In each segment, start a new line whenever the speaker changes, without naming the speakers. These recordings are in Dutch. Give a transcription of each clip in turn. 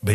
Ben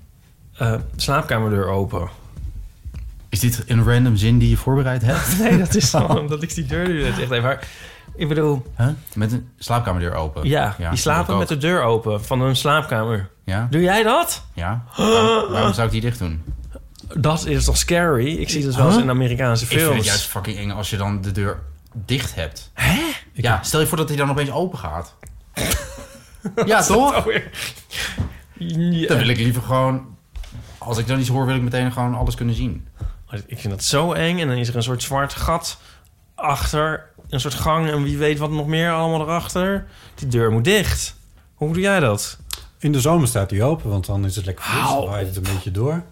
eh, slaapkamerdeur open.
Is dit een random zin die je voorbereid hebt?
Nee, dat is zo, omdat ik die deur nu net echt even... maar Ik bedoel,
Huh? Met een slaapkamerdeur open?
ja, die slapen
dat
met
ook.
de deur open van hun slaapkamer.
Ja?
Doe jij dat?
ja? Waarom, waarom zou ik die dicht doen?
Dat is toch scary? Ik zie dat wel eens in Amerikaanse
Ik vind het
films.
juist fucking eng als je dan de deur dicht hebt. Hè? Ja, stel je voor dat hij dan opeens open gaat. ja, toch?
Ja.
Dan wil ik liever gewoon... Als ik dan iets hoor, wil ik meteen gewoon alles kunnen zien.
Ik vind dat zo eng. En dan is er een soort zwart gat achter. Een soort gang en wie weet wat nog meer allemaal erachter. Die deur moet dicht. Hoe doe jij dat?
In de zomer staat die open, want dan is het lekker fris.
Au.
Dan waait het een beetje door.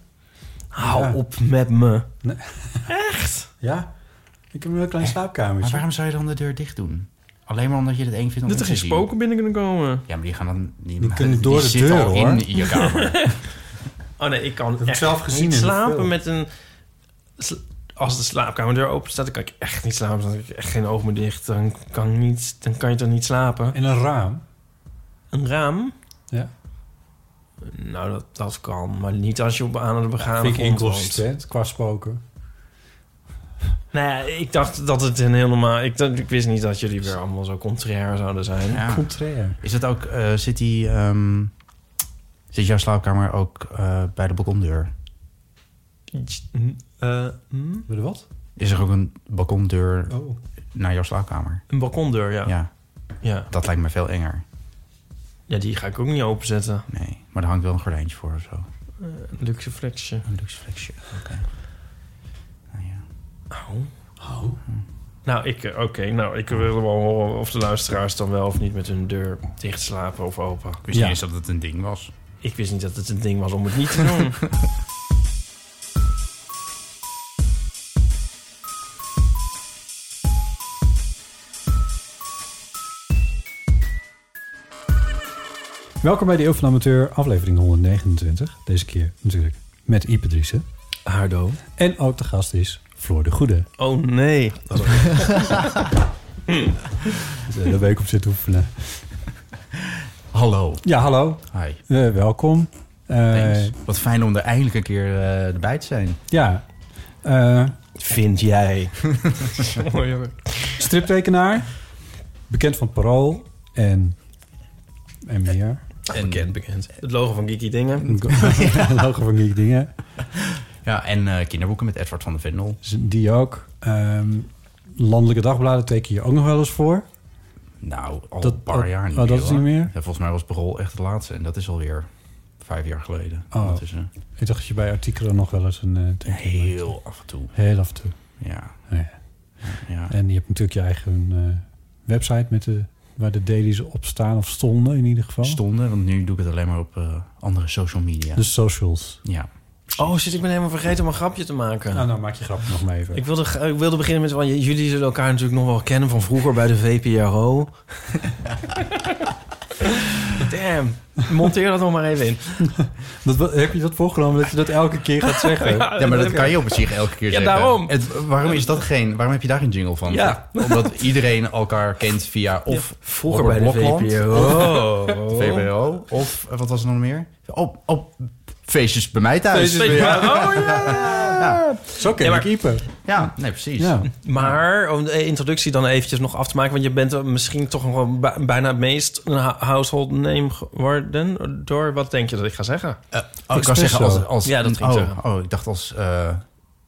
Hou
Ja.
op met me.
Nee.
Echt?
Ja, ik heb een heel klein
Maar
slaapkamertje.
waarom zou je dan de deur dicht doen? Alleen maar omdat je het eng vindt om
Dat
in
er
te
geen
zien.
spoken binnen kunnen komen.
Ja, maar die gaan dan... Die,
kunnen door de
zitten
deur,
al
hoor.
in je kamer.
Oh nee, ik kan
heb ik
echt
zelf gezien
niet
in de
slapen
film.
met een... sla- Als de slaapkamerdeur open staat, dan kan ik echt niet slapen. Dan heb ik echt geen ogen meer dicht. Dan kan, ik niet, dan kan je toch niet slapen?
In een raam.
Een raam?
Ja.
Nou, dat, dat kan. Maar niet als je op aan de begane
Vind ik
grond woont.
inconsistent qua spoken.
Nou ja, ik dacht dat het een heel normaal... Ik, dacht- ik wist niet dat jullie weer allemaal zo contrair zouden zijn.
Ja.
Contrair.
Is dat ook, eh, zit die, ehm, zit jouw slaapkamer ook eh, bij de balkondeur?
Eh, hm?
Wil je wat?
Is er ook een balkondeur
Oh.
naar jouw slaapkamer?
Een balkondeur, ja.
Ja.
ja.
dat lijkt me veel enger.
Ja, die ga ik ook niet openzetten.
Nee, maar daar hangt wel een gordijntje voor of zo.
Een luxe flexje.
Een luxe flexje, oké. Nou ja.
Au. Nou, ik, eh, oké. nou, ik wil wel horen of de luisteraars dan wel of niet met hun deur dicht slapen of open.
Ik wist niet
Ja.
eens dat het een ding was.
Ik wist niet dat het een ding was om het niet te doen.
Welkom bij de Eeuw van de Amateur, aflevering 129. Deze keer natuurlijk met Ipe Driessen.
Hardo.
En ook de gast is Floor de Goede.
Oh nee.
Dus, eh, Daar ben ik op zitten oefenen.
Hallo.
Ja, hallo.
Hi.
Eh, welkom. Eh,
Thanks. Wat fijn om er eindelijk een keer eh, erbij te zijn.
ja. Eh,
Vind jij. Mooi hoor.
striptekenaar. Bekend van Parool. En... En meer.
En,
Bekend, bekend. Het logo van Geeky Dingen.
Logo van Geek Dingen.
Ja, en eh, kinderboeken met Edward van de Vendel.
Dus Die ook. Ehm, landelijke dagbladen teken je ook nog wel eens voor.
Nou, al
Dat-
een paar
oh,
jaar niet
oh, dat
meer,
is niet
hoor.
meer?
Ja, volgens mij was Brol echt de laatste. En dat is alweer vijf jaar geleden.
Oh.
Dat is een
Ik dacht dat je bij artikelen nog wel eens een eh teken
heel af en toe.
maakt. Heel af en toe.
Ja.
Ja.
ja.
En je hebt natuurlijk je eigen eh, website met de, waar de dailies op staan of stonden in ieder geval.
Stonden, want nu doe ik het alleen maar op eh, andere social media.
De socials.
ja.
Oh shit, ik ben helemaal vergeten om een grapje te maken.
Nou, nou maak je grap nog maar even.
Ik wilde, ik wilde beginnen met, want jullie zullen elkaar natuurlijk nog wel kennen van vroeger bij de VPRO. Damn, monteer dat nog maar even in.
Dat, wat- heb je dat voorgenomen dat je dat elke keer gaat zeggen?
ja, maar dat kan je op zich elke keer
Ja,
zeggen.
daarom.
Het, waarom, is dat geen, waarom heb je daar geen jingle van?
Ja.
Omdat iedereen elkaar kent via of
Vroeger
Robert
bij de
Blokland,
VPRO.
VWO, of eh, wat was er nog meer? Op, op feestjes bij mij thuis.
Oh ja.
Ja.
Zo ken
Ja,
je
maar-
keeper.
Ja, nee, precies.
Ja.
Maar om de introductie dan eventjes nog af te maken... want je bent misschien toch nog wel ba- bijna het meest een ha- household name geworden... door wat denk je dat ik ga zeggen?
Eh, oh, ik wou
Espresso.
zeggen als... als
Ja, dat ging
oh,
zeggen.
oh, ik dacht als eh,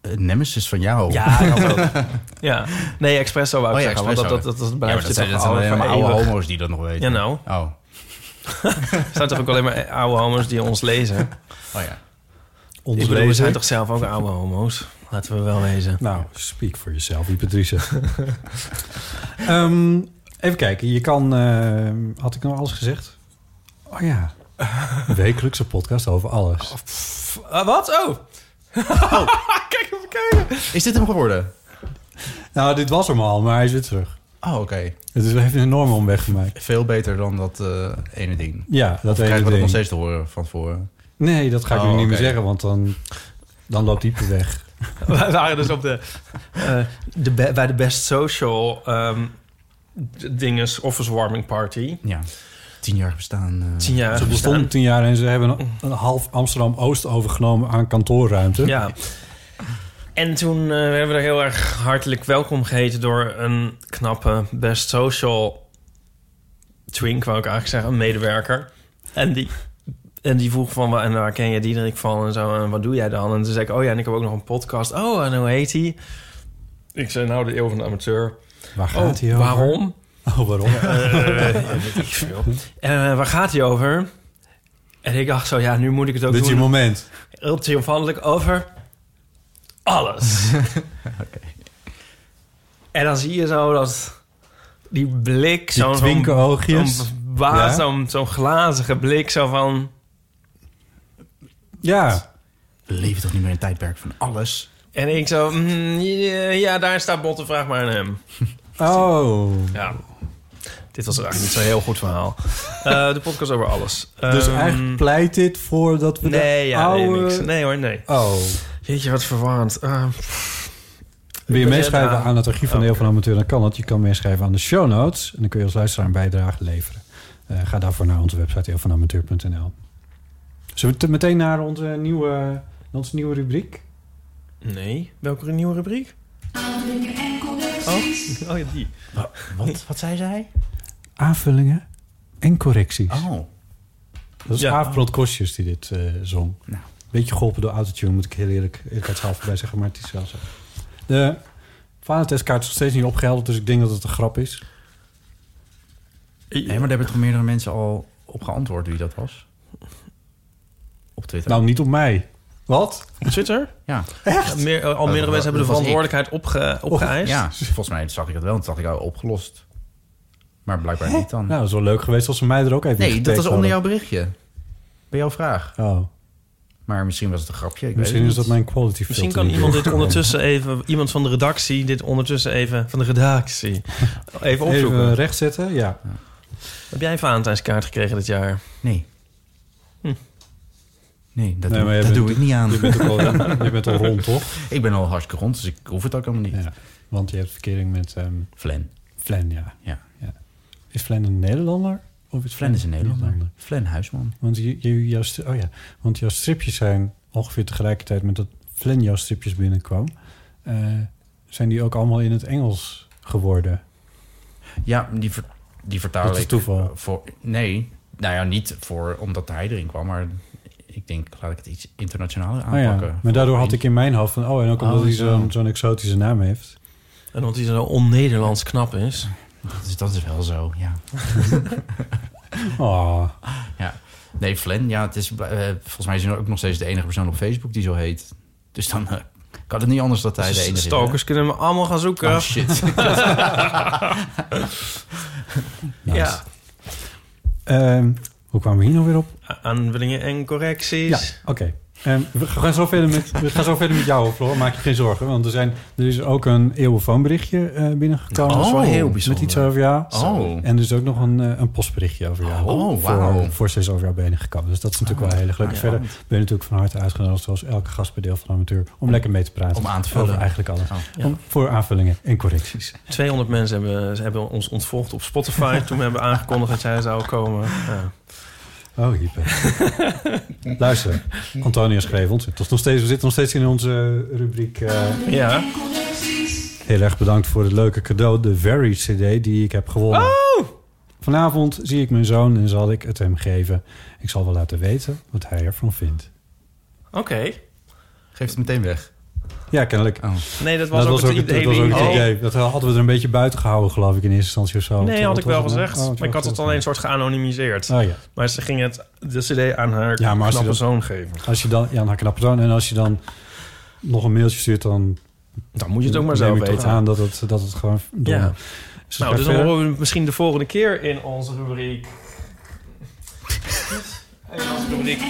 een nemesis van jou.
Ja, ik had wel- ja. Nee, Espresso wou ik
Oh ja,
zeggen. Want dat,
Espresso.
dat, dat, dat
Ja, maar
blijft
dat zijn,
je
dat
toch
zijn alleen maar oude
homo's.
homo's die dat nog weten.
Ja, nou.
Oh,
Er zijn toch ook alleen maar oude homo's die ons lezen?
oh ja.
Ik bedoel, we zijn toch zelf ook oude homo's? Laten we wel wezen.
Nou, speak for yourself, Ipatrice. Ehm even kijken, je kan... eh, had ik nou alles gezegd? Oh ja, wekelijkse podcast over alles.
Eh,
Ah, wat? Oh!
Oh.
Kijk even kijken.
Is dit hem geworden?
Nou, dit was hem al, maar hij is weer terug.
Oh, oké.
Het is- heeft een enorme omweg gemaakt.
Veel beter dan dat eh, ene ding.
Ja, dat ene
Krijgen we dat nog
ding.
steeds te horen van tevoren?
Nee, dat ga ik
Oh,
nu niet meer
oké.
zeggen, want dan, dan loopt Ieper weg.
We waren dus op de, eh, de be- bij de Best Social ehm dinges office warming party.
Ja. Tien jaar bestaan. eh,
Tien jaar
Ze bestonden
bestaan.
tien jaar en ze hebben een, een half Amsterdam-Oost overgenomen aan kantoorruimte.
Ja. En toen eh, werden we er heel erg hartelijk welkom geheten door een knappe Best Social twink, wou ik eigenlijk zeggen, een medewerker. En die, en die vroeg van, wa- en waar ken je Diederik van en zo, en wat doe jij dan? En toen zei ik, oh ja, en ik heb ook nog een podcast. Oh, en hoe heet die? Ik zei, nou, de eeuw van de amateur.
Waar gaat hij
Oh,
over?
waarom?
Oh, waarom?
En eh, waar gaat hij over? En ik dacht zo, ja, nu moet ik het ook
Dit is je
doen.
moment.
Heel triomfantelijk over alles. En dan zie je zo dat die blik,
Die
zo'n
twinkenoogjes.
zo'n baas,
Ja.
zo'n zo'n glazige blik, zo van...
Ja,
We leven toch niet meer in een tijdperk van alles?
En ik zo, mm, ja, daar staat Botte, vraag maar aan hem.
oh.
Ja. Dit was eigenlijk niet zo'n heel goed verhaal. Eh, de podcast over alles.
Dus
Ehm,
eigenlijk pleit dit voor dat we
Nee,
de
ja,
oude...
nee, niks. Nee hoor, nee.
Oh.
Jeetje, wat verwarrend.
Ehm,
Eh,
Wil je
Ja,
meeschrijven
ja.
aan het archief van de
Oh,
Heel van Amateur? Dan kan dat. Je kan meeschrijven aan de show notes. En dan kun je als luisteraar een bijdrage leveren. Eh, ga daarvoor naar onze website heelvanamateur.nl. Zullen we te- meteen naar onze nieuwe, naar onze nieuwe rubriek?
nee. Welke nieuwe rubriek? Oh, oh ja, die.
Wat, wat zei zij?
Aanvullingen en correcties.
Oh.
Dat is
Ja.
Aafbrand Kostjes die dit eh, zong.
Nou.
Beetje geholpen door autotune, moet ik heel eerlijk eerlijkheidshalve bij zeggen. Maar het is wel zo. De vadertestkaart is nog steeds niet opgehelderd. Dus ik denk dat het een grap is.
Nee, maar daar hebben toch meerdere mensen al op geantwoord wie dat was? Op Twitter.
Nou, niet op mij. Wat?
Twitter?
ja.
Echt? Meer, al meerdere mensen hebben de
Dat was ik.
verantwoordelijkheid opge, opgeëist.
ja, volgens mij zag ik dat wel. En toen dacht ik, oh, opgelost. Maar blijkbaar niet dan.
Nou, dat is wel leuk geweest als ze mij er ook even in
nee, dat is
getagd
onder
hadden.
jouw berichtje. Bij jouw vraag.
Oh,
Maar misschien was het een grapje. Ik
misschien
weet
is
het
dat
niet.
mijn quality
Misschien
filter
kan
die
iemand
ik
dit ondertussen even, iemand van de redactie, dit ondertussen even, van de redactie, even opzoeken.
Even rechtzetten, ja.
Heb jij een Valentijnskaart gekregen dit jaar?
Nee. Nee, dat,
Hm. Nee,
doe,
maar je
dat
bent-
doe ik niet aan.
Je bent, ook al, je bent al rond, toch?
Ik ben al hartstikke rond, dus ik hoef het ook helemaal niet.
Ja, want je hebt verkering met ehm
Flan.
Flan, ja.
Ja.
Is Flan een Nederlander? Of is
Flan is een Nederlander. Flan Huisman.
Want, je, je- jouw, stri- oh ja, want jouw stripjes zijn ongeveer tegelijkertijd met dat Flan jouw stripjes binnenkwam. eh, zijn die ook allemaal in het Engels geworden?
Ja, die, ver, die vertaal
Dat is
ik,
toeval.
eh, Voor, nee, nou ja, niet voor, omdat hij erin kwam, maar ik denk, laat ik het iets internationaler
Ah
aanpakken.
ja, maar daardoor had ik in mijn hoofd van... oh, en ook omdat
Oh,
hij
zo.
zo'n zo'n exotische naam heeft.
En omdat hij zo on-Nederlands knap is.
Dus dat is wel zo, ja.
Oh,
ja. Nee, Flan, ja, het is, eh, volgens mij is hij ook nog steeds de enige persoon op Facebook die zo heet. Dus dan eh, kan het niet anders dat hij de enige is, hè?
Stalkers kunnen hem allemaal gaan zoeken.
Oh, shit.
ja.
Ehm, hoe kwamen we hier nou weer op?
A- Aanvullingen en
Ja,
correcties.
oké. Ehm, we, gaan zo verder met, we gaan zo verder met jou, Floor. Maak je geen zorgen. Want er, zijn, er is ook een eeuwenfoonberichtje eh binnengekomen.
Oh, dat is wel heel bijzonder.
Met iets over jou.
Oh.
En er is ook nog een, eh, een postberichtje over jou.
Oh, wauw. Ah,
Voor, voor ze is over jou binnengekomen. Dus dat is natuurlijk wel heel erg leuk. En Verder ben je natuurlijk van harte uitgenodigd, zoals elke gast bij Deel van Amateur... om lekker mee te praten.
Om aan te vullen.
Over eigenlijk alles.
Oh,
ja.
om, voor aanvullingen en correcties.
200 mensen hebben, ze hebben ons ontvolgd op Spotify toen we hebben aangekondigd dat jij zou komen. Ja.
Oké, Oh, Ipe. Luister, Antonia schreef ons. Het was nog steeds, we zitten nog steeds in onze rubriek. eh,
Ja.
Heel erg bedankt voor het leuke cadeau, de Very CD die ik heb gewonnen.
Oh!
Vanavond zie ik mijn zoon en zal ik het hem geven. Ik zal wel laten weten wat hij ervan vindt.
Oké.
Geef het meteen weg.
Ja, kennelijk.
Oh.
Nee, dat was, ook, het idee.
dat was ook het
Oh.
idee. Dat hadden we er een beetje buiten gehouden, geloof ik, in eerste instantie of zo.
Nee,
Wat
had ik
was
wel
het nou?
gezegd.
Oh,
maar ik had het
was-
alleen een soort geanonimiseerd.
Oh ja.
Maar ze ging het, de cd aan haar
Ja, maar als
knappe
je dat-
zoon geven.
Als je dan, ja, een knappe zoon. En als je dan nog een mailtje stuurt, dan
Dan moet je het ook maar
neem
zelf
ik toch
weten.
aan dat het, dat het gewoon dom
Ja.
is.
Nou, dus dan
Verder?
horen we het misschien de volgende keer in onze rubriek. In onze rubriek.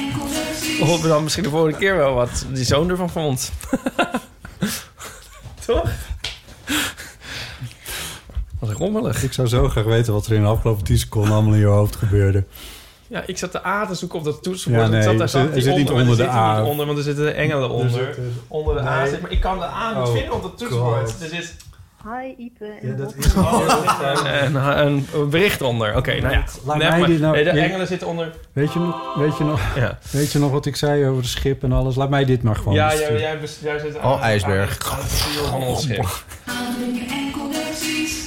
Horen we dan misschien de volgende keer wel wat die zoon ervan vond. Toch? Wat rommelig.
Ik zou zo graag weten wat er in de afgelopen 10 seconden allemaal in je hoofd gebeurde.
Ja, ik zat de A te zoeken op dat toetsenbord.
Ja, nee,
ik zat daar
er
zat
zit- er
die
zit niet
maar
onder
er
de
zit er
A.
niet onder, want er zitten de engelen onder.
Er zit,
onder de A
Nee.
zit, maar ik kan de A niet
Oh,
vinden op dat toetsenbord. Dus Er zit
Hi Ipe en
Ja, dat
Rob.
is...
Oh. een, eh, een, een bericht onder. Oké, nou ja.
Laat
Nee,
mij
maar-
dit nou-
nee, de
je-
engelen zitten onder...
weet, je, nog- weet, je nog,
Ja.
weet je nog wat ik zei over het schip en alles? Laat mij dit maar gewoon.
Ja, jij,
besturen.
jij, bes- jij zit
Oh, ijsberg.
aan het stuur van ons schip.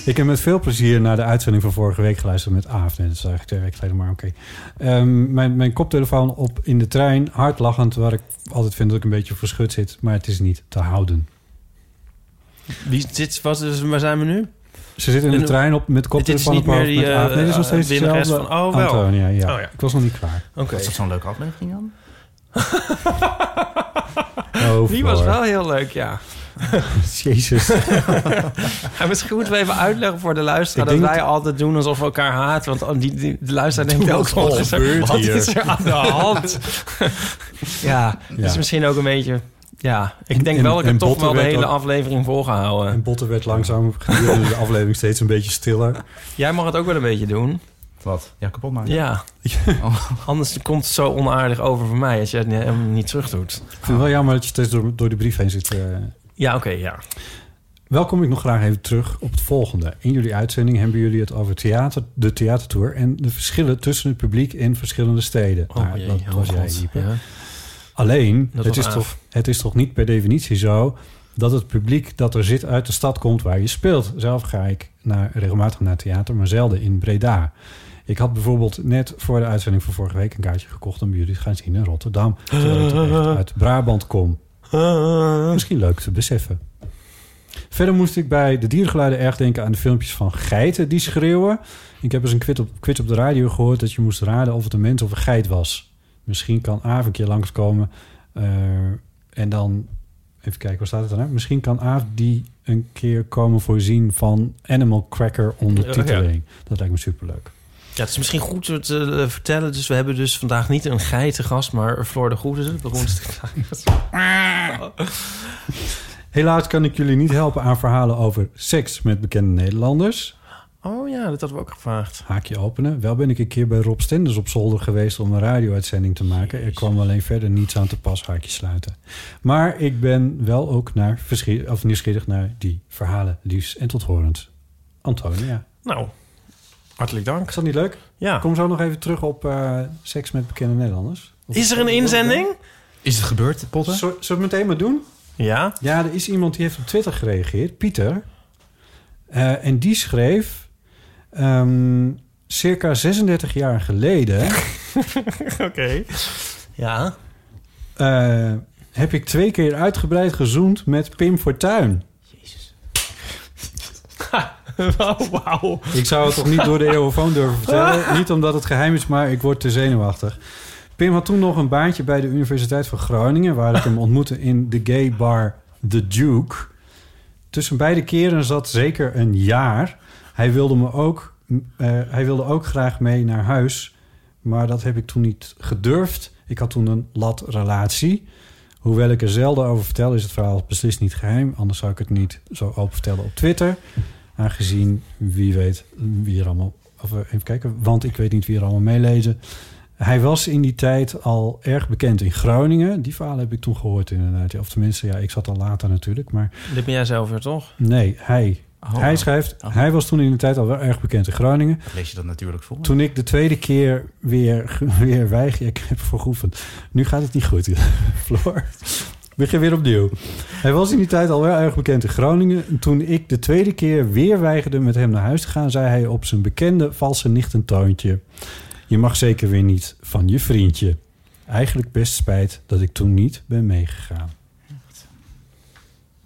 Ik heb met veel plezier naar de uitzending van vorige week geluisterd met Aaf. Nee, dat is eigenlijk twee weken geleden, maar oké. Ehm, mijn, mijn koptelefoon op in de trein, hard lachend, waar ik altijd vind dat ik een beetje verschut zit. Maar het is niet te houden.
Wie zit, wat, is- waar zijn we nu?
Ze zitten in de
En-
trein op met koptelefoon
niet
op hoofd
meer die,
met Aaf. Nee, dit is nog
eh,
steeds
winnares
hetzelfde.
van- oh, wel.
Antonia, ja.
Oh, ja.
Ik was nog niet klaar.
Oké.
Was dat zo'n leuke aflevering dan?
Oh,
Die was
voor.
wel heel leuk, ja.
Jezus.
En misschien moeten we even uitleggen voor de luisteraar...
Ik
dat
denk
wij altijd doen alsof we elkaar haten. Want oh, die, die, de luisteraar denkt ook...
al
Wat is er,
gebeurd
wat
hier?"
is er aan de hand? ja, dat is misschien ook een beetje... Ja, ik denk
en-
wel dat ik
en
het toch
Botten
wel de
werd
hele
ook-
aflevering volgehouden.
En Botten werd langzaam gedurende de aflevering steeds een beetje stiller.
Jij mag het ook wel een beetje doen.
Wat? Ja, kapot maken.
Ja. Oh. Anders komt het zo onaardig over voor mij als jij het niet- helemaal niet terug doet.
Ik vind het wel jammer dat je steeds door, door de brief heen zit. eh.
Ja, oké, ja.
Wel kom ik nog graag even terug op het volgende. In jullie uitzending hebben jullie het over theater, de theatertour... en de verschillen tussen het publiek in verschillende steden. Nou,
jee,
dat
oh
was jij,
God,
Ipe.
ja.
Alleen,
Dat
het
was
is,
Aaf.
toch, het is toch niet per definitie zo... dat het publiek dat er zit uit de stad komt waar je speelt. Zelf ga ik naar, regelmatig naar theater, maar zelden in Breda. Ik had bijvoorbeeld net voor de uitzending van vorige week... een kaartje gekocht om jullie te gaan zien in Rotterdam. Terwijl ik toch echt uit Brabant kom. Misschien leuk te beseffen. Verder moest ik bij de diergeluiden erg denken aan de filmpjes van geiten die schreeuwen. Ik heb eens een quiz op, quiz op de radio gehoord dat je moest raden of het een mens of een geit was. Misschien kan Aaf een keer langskomen. eh, en dan, even kijken, waar staat het dan? hè? Misschien kan Aaf die een keer komen voorzien van Animal Cracker ondertiteling. Dat lijkt me superleuk.
Ja, het is misschien goed om te eh, vertellen. Dus we hebben dus vandaag niet een geitengast, maar Floor de Goede, de beroemdste.
Helaas kan ik jullie niet helpen aan verhalen over seks met bekende Nederlanders.
Oh ja, dat hadden we ook gevraagd.
haakje openen. Wel ben ik een keer bij Rob Stenders op zolder geweest om een radio-uitzending te maken. Er kwam alleen verder niets aan te pas, haakje sluiten. Maar ik ben wel ook naar verschie- of nieuwsgierig naar die verhalen, liefst en tot horend. Antonia.
Nou, hartelijk dank.
Is dat niet leuk?
Ja.
Kom zo nog even terug op eh, seks met bekende Nederlanders. Of-
Is er een inzending?
Is het gebeurd, Potten?
Zullen zullen we het meteen maar doen?
Ja.
Ja, er is iemand die heeft op Twitter gereageerd, Pieter. Eh, en die schreef... ehm, circa 36 jaar geleden...
Oké. Ja.
Eh, heb ik twee keer uitgebreid gezoend met Pim Fortuyn.
Oh, wauw.
Ik zou het toch niet door de eeuwenfoon durven vertellen. Niet omdat het geheim is, maar ik word te zenuwachtig. Pim had toen nog een baantje bij de Universiteit van Groningen... waar ik hem ontmoette in de gay bar The Duke. Tussen beide keren zat zeker een jaar. Hij wilde, me ook, eh, hij wilde ook graag mee naar huis... maar dat heb ik toen niet gedurfd. Ik had toen een lat relatie... Hoewel ik er zelden over vertel, is het verhaal beslist niet geheim. Anders zou ik het niet zo open vertellen op Twitter. Aangezien, wie weet, wie er allemaal... Of eh, even kijken, want ik weet niet wie er allemaal meelezen. Hij was in die tijd al erg bekend in Groningen. Die verhalen heb ik toen gehoord inderdaad. Ja, Of tenminste, ja, ik zat al later natuurlijk. Maar
Dit ben jij zelf weer, toch?
nee, hij.
Oh,
hij schrijft,
Oh.
hij was toen in de tijd al wel erg bekend in Groningen.
dat lees je dat natuurlijk voor.
Toen ik de tweede keer weer, weer weig, ik heb vergoefend. Nu gaat het niet goed, Floor. Begin weer opnieuw. Hij was in die tijd al wel erg bekend in Groningen. En Toen ik de tweede keer weer weigerde met hem naar huis te gaan, zei hij op zijn bekende valse nichtentoontje: Je mag zeker weer niet van je vriendje. Eigenlijk best spijt dat ik toen niet ben meegegaan.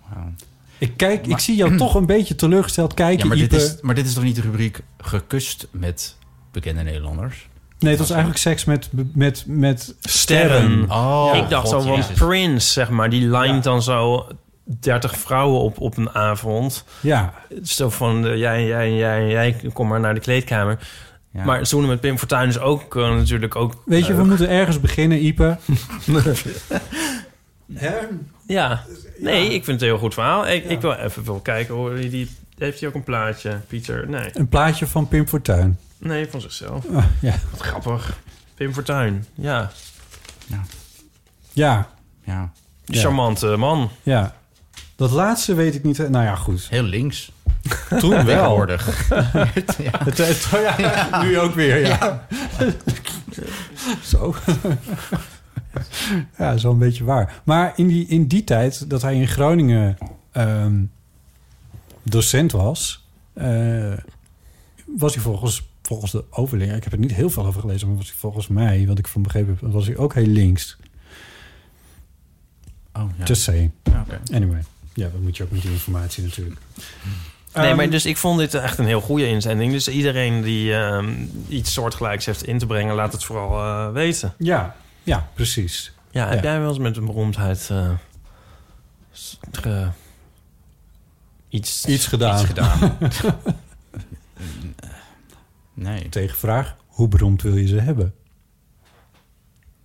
Wauw.
Ik, kijk, ik zie jou toch een beetje teleurgesteld kijken.
Ja, maar dit,
Ipe.
is, maar dit is toch niet de rubriek gekust met bekende Nederlanders?
Nee, het was eigenlijk seks met, met, met
Sterren.
Oh,
ik dacht
God,
zo van
Jezus.
Prince, zeg maar. Die lijnt dan zo 30 vrouwen op, op een avond.
Ja,
Zo van, eh, jij, jij, jij, jij, kom maar naar de kleedkamer.
Ja.
Maar zoenen met Pim Fortuyn is ook eh, natuurlijk ook...
weet je, we moeten ergens beginnen, Ipe.
Ja. Nee, ik vind het een heel goed verhaal. Ik, ik wil even wel kijken, hoor. Die, die- heeft hij ook een plaatje, Pieter? Nee.
Een plaatje van Pim Fortuyn.
Nee, van zichzelf.
Ah, ja.
Wat grappig. Pim Fortuyn, ja.
ja,
ja,
Ja.
Charmante man.
ja. Dat laatste weet ik niet. hè. Nou ja, goed.
heel links.
Toen wel.
Tegenwoordig. ja.
Het, het- oh ja, Nu ook weer, ja. zo. ja, dat is wel een beetje waar. Maar in die, in die tijd dat hij in Groningen ehm, docent was... eh, was hij volgens, volgens de overlingen... Ik heb er niet heel veel over gelezen, maar was hij volgens mij... wat ik van begrepen heb, was hij ook heel links.
Oh, ja.
Just saying.
Ja, oké.
Anyway. Ja, dat moet je ook met die informatie natuurlijk.
Nee,
Ehm,
maar dus ik vond dit echt een heel goede inzending. Dus iedereen die ehm, iets soortgelijks heeft in te brengen, laat het vooral eh, weten.
Ja, ja, precies.
Ja, heb
Ja.
jij wel eens met een beroemdheid eh, s- ge- iets...
Iets gedaan.
Iets gedaan. nee.
Tegenvraag, hoe beroemd wil je ze hebben?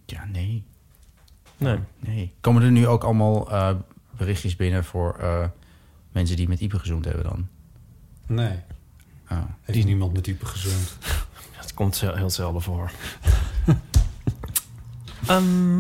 Ja, nee.
Nee.
Nee. Komen er nu ook allemaal eh, berichtjes binnen voor eh, mensen die met Ipe gezoend hebben dan?
Nee.
Oh.
Er is niemand met type gezond.
Dat komt heel, heel zelden voor. Ehm,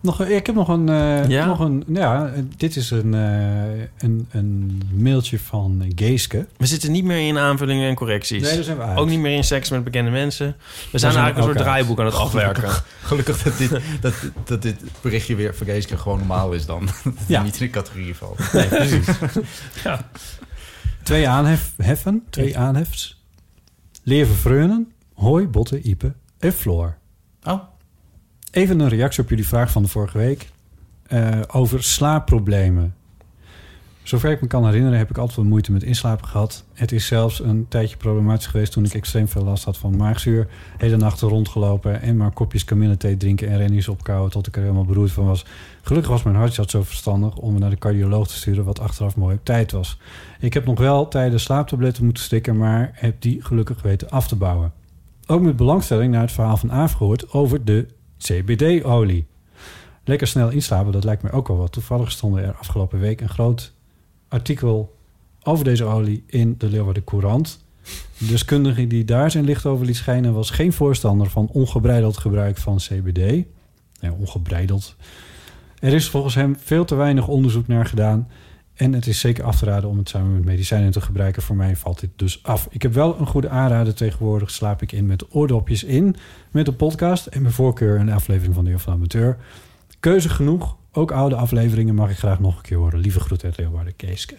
Nog, een- ik heb nog een... eh,
Ja?
nog een ja, eh, dit is een, eh, een, een mailtje van Geeske.
we zitten niet meer in aanvullingen en correcties.
Nee, daar zijn we uit.
ook niet meer in seks met bekende mensen. We zijn,
zijn
eigenlijk een
ook
soort
uit.
draaiboek aan het afwerken.
Gelukkig dat dit, dat, dat dit berichtje weer voor Geeske gewoon normaal is dan. Dat het
Ja.
niet in de categorie valt.
Nee, precies.
Ja.
Twee aanheffen, twee aanhefs. Leven Vreunen, Hoi, Botte, Ipe en Floor.
Oh,
Even een reactie op jullie vraag van de vorige week eh, over slaapproblemen. Zover ik me kan herinneren heb ik altijd wel moeite met inslapen gehad. Het is zelfs een tijdje problematisch geweest toen ik extreem veel last had van maagzuur. Hele nachten rondgelopen en maar kopjes kamillethee drinken en rennies opkouwen tot ik er helemaal beroerd van was. Gelukkig was mijn hartje zo verstandig om me naar de cardioloog te sturen wat achteraf mooi op tijd was. Ik heb nog wel tijden slaaptabletten moeten stikken, maar heb die gelukkig weten af te bouwen ook met belangstelling naar het verhaal van Aaf gehoord over de CBD-olie. Lekker snel inslapen, dat lijkt mij ook wel wat. Toevallig stonden er afgelopen week een groot artikel over deze olie in de Leeuwarden Courant. De deskundige die daar zijn licht over liet schijnen was geen voorstander van ongebreideld gebruik van CBD. Nee, ongebreideld. Er is volgens hem veel te weinig onderzoek naar gedaan. En het is zeker af te raden om het samen met medicijnen te gebruiken. Voor mij valt dit dus af. Ik heb wel een goede aanrader. Tegenwoordig slaap ik in met oordopjes in. Met een podcast en mijn voorkeur een aflevering van de Eeuw van de Amateur. Keuze genoeg. Ook oude afleveringen mag ik graag nog een keer horen. Lieve groeten uit Leeuwarden, Keeske.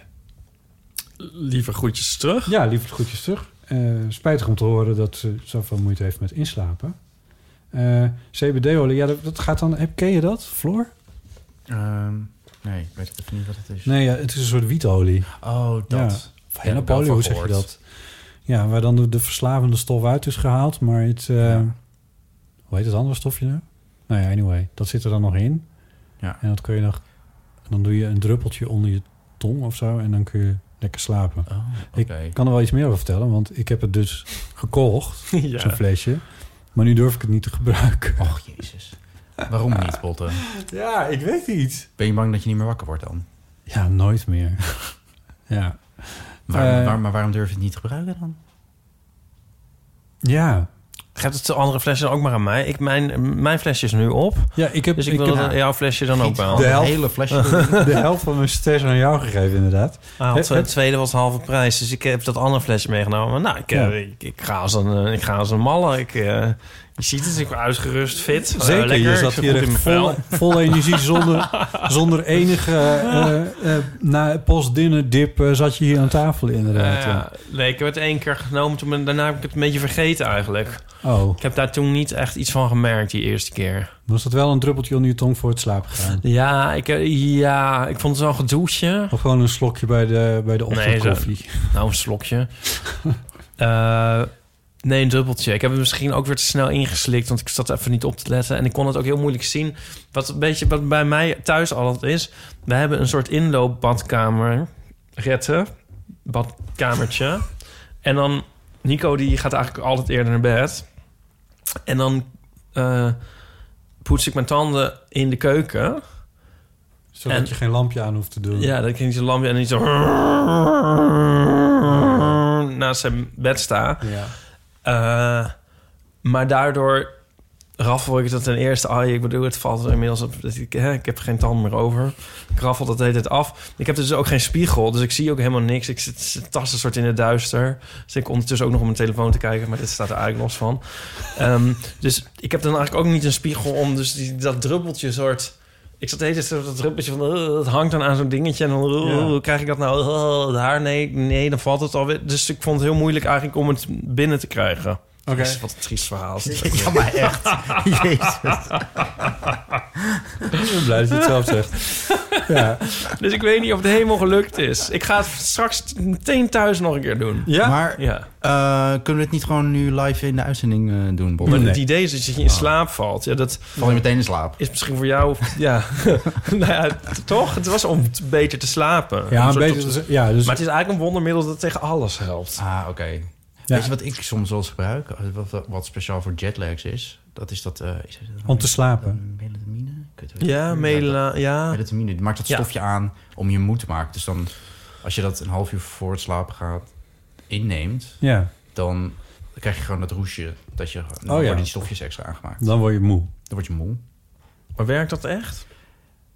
Liever groetjes terug.
Ja, lieve groetjes terug. Eh, spijtig om te horen dat ze zoveel moeite heeft met inslapen. Eh, CBD-olie, ja, dat, dat gaat dan... heb- Ken je dat, Floor?
ehm, nee, weet ik even niet wat het is.
Nee, ja, het is een soort wietolie.
Oh, dat.
Of
Heb ik wel
hennepolie,
van
hoe zeg je
gehoord.
dat? Ja, waar dan de, de verslavende stof uit is gehaald. Maar het... eh,
Ja.
Hoe heet het andere stofje nou? Nou ja, anyway. Dat zit er dan nog in.
Ja.
En dat kun je nog... Dan doe je een druppeltje onder je tong of zo. En dan kun je lekker slapen.
Oh, oké.
Ik kan er wel iets meer over vertellen. Want ik heb het dus gekocht.
Ja.
Zo'n flesje. Maar nu durf ik het niet te gebruiken.
Och, jezus. Waarom niet, Botte?
Ja, ik weet niet.
Ben je bang dat je niet meer wakker wordt dan?
Ja, nooit meer. ja.
Waarom,
Eh.
waar- maar waarom durf je het niet te gebruiken dan?
Ja.
Geeft het de andere flesje dan ook maar aan mij? Ik, mijn, mijn flesje is nu op.
Ja, ik heb-
dus ik,
ik
wil
heb-
dat jouw flesje dan ook wel.
de helft,
hele flesje erin.
de helft van mijn ster aan jou gegeven, inderdaad.
Ah, want
Het-
het
het-
tweede was halve prijs, dus ik heb dat andere flesje meegenomen. Nou, ik, eh,
Ja.
ik, ik ga als een, eh, ik ga als een malle. Ik, eh, je ziet het, ik ben uitgerust, fit. eh,
Zeker,
lekker.
je
Ik
zat
zit
hier
goed in
echt
mijn
vol,
vel.
vol energie, zonder, zonder enige eh, eh, na post-dinner dip eh, zat je hier aan tafel inderdaad.
Eh, ja. nee, ik heb het één keer genomen, toen, ben- daarna heb ik het een beetje vergeten eigenlijk.
Oh,
Ik heb daar toen niet echt iets van gemerkt die eerste keer.
was dat wel een druppeltje onder je tong voor het slapen gaan?
Ja, ik, eh, ja, ik vond het wel een gedoetje.
Of gewoon een slokje bij de, bij de
Nee, zo-
ochtendkoffie?
Nou, een slokje. Eh, nee, een dubbeltje. Ik heb het misschien ook weer te snel ingeslikt, want ik zat even niet op te letten. En ik kon het ook heel moeilijk zien. Wat een beetje wat bij mij thuis altijd is. We hebben een soort inloopbadkamer. Retten. Badkamertje. En dan... Nico die gaat eigenlijk altijd eerder naar bed. En dan eh, poets ik mijn tanden in de keuken.
Zodat
en-
je geen lampje aan hoeft te doen.
Ja, dat ik niet zo'n lampje en niet zo... naast zijn bed sta.
Ja.
Eh, maar daardoor raffel ik dat ten eerste. Ah, ik bedoel, het valt er inmiddels op. dat Ik, hè, ik heb geen tand meer over. Ik raffel dat de hele tijd af. Ik heb dus ook geen spiegel, dus ik zie ook helemaal niks. Ik zit, zit tasten soort in het duister. Dus ik ondertussen ook nog op mijn telefoon te kijken, maar dit staat er eigenlijk los van. Ehm, dus ik heb dan eigenlijk ook niet een spiegel om. Dus die, dat druppeltje soort. Ik zat de hele tijd zo dat druppeltje van... eh, dat hangt dan aan zo'n dingetje. En dan eh,
Ja.
krijg ik dat nou eh, daar? Nee, nee, dan valt het alweer. Dus ik vond het heel moeilijk eigenlijk om het binnen te krijgen.
Oké.
Dat is Wat een triest verhaal.
Ja, maar echt. Jezus.
Ik ben blij dat je het zelf zegt. Ja.
Dus ik weet niet of het helemaal gelukt is. Ik ga het straks meteen thuis nog een keer doen.
Ja?
Maar
Ja.
eh, kunnen we het niet gewoon nu live in de uitzending eh, doen, Bob?
Maar
Nee. Ah.
het idee is dat je in slaap valt. Ja, dat
Val je meteen in slaap?
is misschien voor jou... Ja. nou ja, t- toch? Het was om t- beter te slapen.
Ja,
Om
een
soort
beetje,
op-
dus- ja, dus,
Maar het is eigenlijk een wondermiddel dat tegen alles helpt.
Ah, oké.
Ja.
Weet je wat ik soms wel eens gebruik? Wat- Wat, wat speciaal voor jetlags is? Dat is dat... eh, is het-
om te slapen.
Melatonine? Ik weet het niet.
Ja, mela, ja.
Melatonine. Die maakt dat
Ja.
stofje aan om je moe te maken. Dus dan, als je dat een half uur voor het slapen gaat inneemt...
Ja,
dan krijg je gewoon dat roesje. Dat je, dan
Oh, ja.
worden die stofjes extra aangemaakt. Dan
dan word je moe.
word je moe.
Maar werkt dat echt?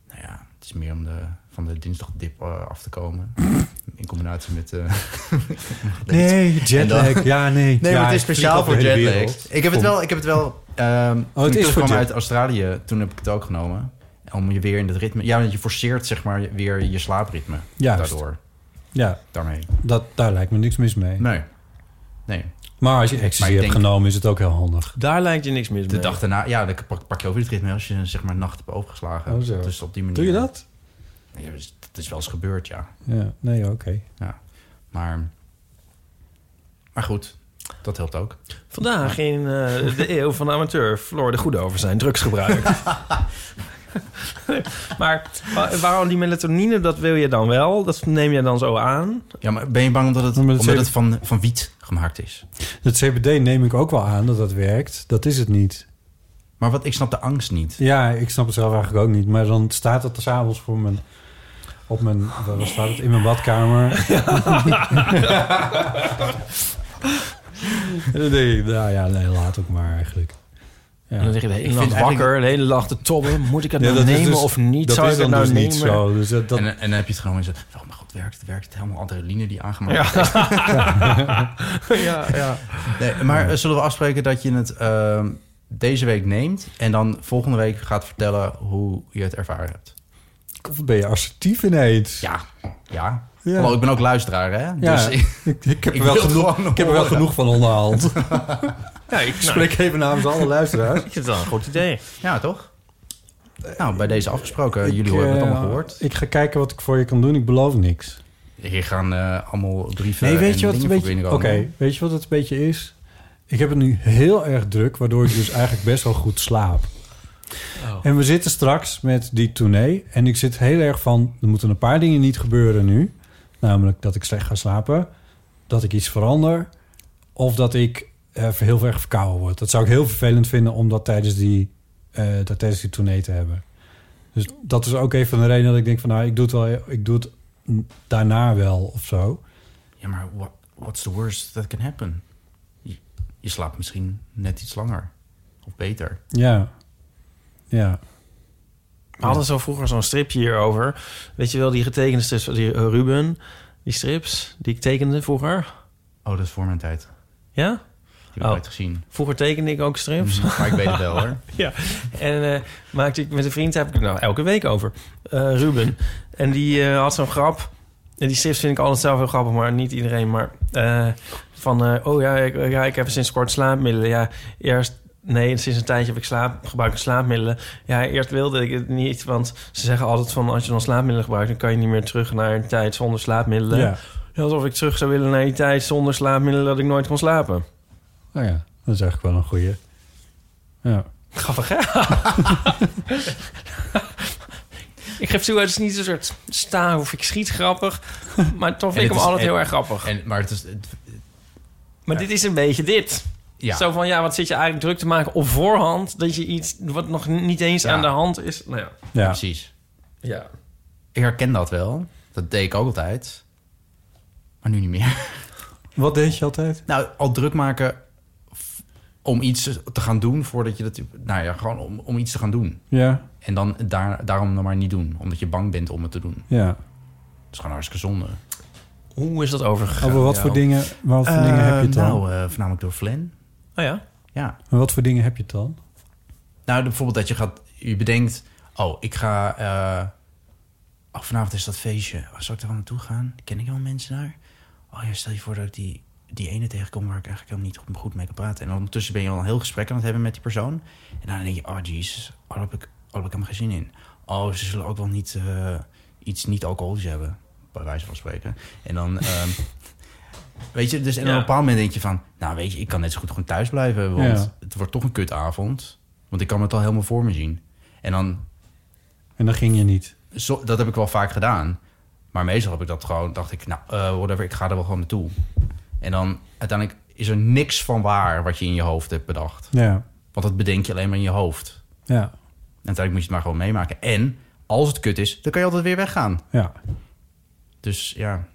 Nou ja, het is meer om de, van de dinsdagdip eh, af te komen. In combinatie met... eh,
Nee,
En
jetlag.
dan-
Ja, nee.
Nee,
Ja,
maar het
ik
is speciaal
vlieg
voor
over de hele
jetlags.
wereld.
Ik heb het wel, ik heb het wel. ehm toen
Oh, het
ik
is voor
terugkwam
jet-
uit Australië, toen heb ik het ook genomen. Om je weer in het ritme. Ja, want je forceert zeg maar weer je slaapritme.
Juist.
Daardoor.
Ja,
Daarmee.
dat, daar lijkt me niks mis mee.
Nee. Nee.
Maar als je ecstasy
Maar ik
hebt
denk-
genomen, is het ook heel handig.
Daar lijkt je niks mis
De
mee.
dag daarna, ja, dan pak, pak je ook weer het ritme als je zeg maar nacht hebt overgeslagen.
Oh, zo.
Dus op die manier.
Doe je dat?
Ja, dus dat is wel eens gebeurd, ja.
Ja, nee, oké.
ja. Maar, maar goed, dat helpt ook.
Vandaag in eh, de eeuw van de amateur verloor de goede over zijn drugsgebruik. maar wa- waarom die melatonine, dat wil je dan wel? Dat neem je dan zo aan?
Ja, maar ben je bang omdat het,
Maar dat
omdat
zeg-
het van, van wiet gemaakt is?
Dat CBD neem ik ook wel aan dat dat werkt. Dat is het niet.
Maar wat, ik snap de angst niet.
Ja, ik snap het zelf eigenlijk ook niet. Maar dan staat het s'avonds voor mijn... Op mijn... Waar staat het? In mijn badkamer. En dan denk ik, nou ja, nee, laat ook maar eigenlijk.
En dan zeg je de
Ik
hele
vind
nacht
eigenlijk-
wakker, de hele nacht te tobben. Moet ik het
Ja,
nou
is
nemen
dus-
of niet?
Dat
Zou
is
ik het
dan
nou
dus
nemen?
niet zo. Dus dat, dat,
En, en dan heb je het gewoon eens... Oh mijn god, het werkt, het werkt. Het helemaal adrenaline die aangemaakt
Ja.
is.
ja, ja.
Nee, maar eh, zullen we afspreken dat je het ehm, deze week neemt... en dan volgende week gaat vertellen hoe je het ervaren hebt?
Of ben je assertief ineens?
Ja. Ja.
Ja.
Hallo, ik ben ook luisteraar, hè? Dus
Ja.
ik,
Ik, ik heb
Ik
er wel
wil
genoeg,
gewoon
ik heb er wel
horen.
genoeg van onderhand. Ik
Ja, ik nou,
spreek even namens alle luisteraars.
ik vind het wel een goed idee.
ja, toch? Nou, bij deze afgesproken. Jullie
Eh, Ik,
hebben het
eh,
allemaal gehoord.
Ik ga kijken wat ik voor je kan doen. Ik beloof niks.
Hier gaan eh, allemaal brieven
Nee, weet je
en
wat het
dingen
een
voor
beetje... Oké,
binnenkomen.
weet je wat het een beetje is? Ik heb het nu heel erg druk, waardoor ik dus eigenlijk best wel goed slaap. En we zitten straks met die tournee. En ik zit heel erg van, er moeten een paar dingen niet gebeuren nu. Namelijk dat ik slecht ga slapen, dat ik iets verander... of dat ik eh, heel erg verkouden word. Dat zou ik heel vervelend vinden om dat tijdens die, eh, dat tijdens die tournee te hebben. Dus dat is ook een van de redenen dat ik denk van... nou, ik doe het, wel, ik doe het daarna wel of zo...
Ja, maar what, what's the worst that can happen? Je- je slaapt misschien net iets langer. Of beter.
Ja. Ja.
We hadden zo vroeger zo'n stripje hierover. Weet je wel, die getekende strips van die eh, Ruben, die strips die ik tekende vroeger.
Oh, dat is voor mijn tijd.
Ja?
Die heb ik
Oh.
ooit gezien.
Vroeger tekende ik ook strips.
Maar ik weet het wel hoor.
ja. En eh, maakte ik met een vriend, daar heb ik het nou elke week over, Eh, Ruben. En die eh, had zo'n grap. En die strips vind ik altijd zelf heel grappig, maar niet iedereen. Maar eh, van, eh, oh ja ik, ja, ik heb sinds kort slaapmiddelen. Ja, eerst... Nee, sinds een tijdje heb ik slaap, gebruik ik slaapmiddelen. Ja, eerst wilde ik het niet, want ze zeggen altijd van... als je dan slaapmiddelen gebruikt, dan kan je niet meer terug naar een tijd zonder slaapmiddelen.
Ja.
Alsof ik terug zou willen naar die tijd zonder slaapmiddelen dat ik nooit kon slapen.
Nou ja, dat is eigenlijk wel een goeie. Ja.
Grappig, hè? ik geef toe, het is niet een soort sta of ik schiet grappig. Maar toch vind
het
ik hem
is-
altijd
en-
heel erg grappig.
En, maar het is... het-
maar dit is een beetje dit.
ja.
Zo van, ja, wat zit je eigenlijk druk te maken op voorhand... dat je iets wat nog niet eens
Ja.
aan de hand is... Nou ja,
Ja.
precies.
ja.
Ik herken dat wel. Dat deed ik ook altijd. Maar nu niet meer.
Wat deed je altijd?
Nou, al druk maken f- om iets te gaan doen voordat je dat... Nou ja, gewoon om, om iets te gaan doen.
Ja.
En dan daar, daarom dan maar niet doen. Omdat je bang bent om het te doen.
Ja.
Dat is gewoon hartstikke zonde.
hoe is dat overgegaan?
Over wat
Ja.
voor dingen, wat voor dingen heb je het
Eh,
dan?
Nou, eh, voornamelijk door Flan.
Oh ja?
Ja.
Maar wat voor dingen heb je het dan?
Nou, bijvoorbeeld dat je gaat... Je bedenkt... Oh, ik ga... eh, oh, vanavond is dat feestje. Oh, zal ik daar wel naartoe gaan? Ken ik wel mensen daar? Oh ja, stel je voor dat ik die, die ene tegenkom... waar ik eigenlijk helemaal niet goed- goed mee kan praten. En ondertussen ben je al een heel gesprek aan het hebben met die persoon. En dan denk je... Oh, jezus. Oh, daar heb ik, oh, daar heb ik helemaal geen zin in. Oh, ze zullen ook wel niet... eh, iets niet-alcoholisch hebben. Bij wijze van spreken. En dan... ehm, Weet je, dus en op
Ja.
een bepaald moment denk je van... Nou, weet je, ik kan net zo goed gewoon thuis blijven. Want
Ja.
het wordt toch een kutavond. Want ik kan het al helemaal voor me zien. En dan,
En dan ging je niet.
zo, dat heb ik wel vaak gedaan. Maar meestal heb ik dat gewoon, dacht ik, nou, eh, whatever, ik ga er wel gewoon naartoe. En dan uiteindelijk is er niks van waar wat je in je hoofd hebt bedacht.
Ja.
Want dat bedenk je alleen maar in je hoofd.
Ja.
En uiteindelijk moet je het maar gewoon meemaken. En als het kut is, dan kan je altijd weer weggaan.
Ja.
Dus ja,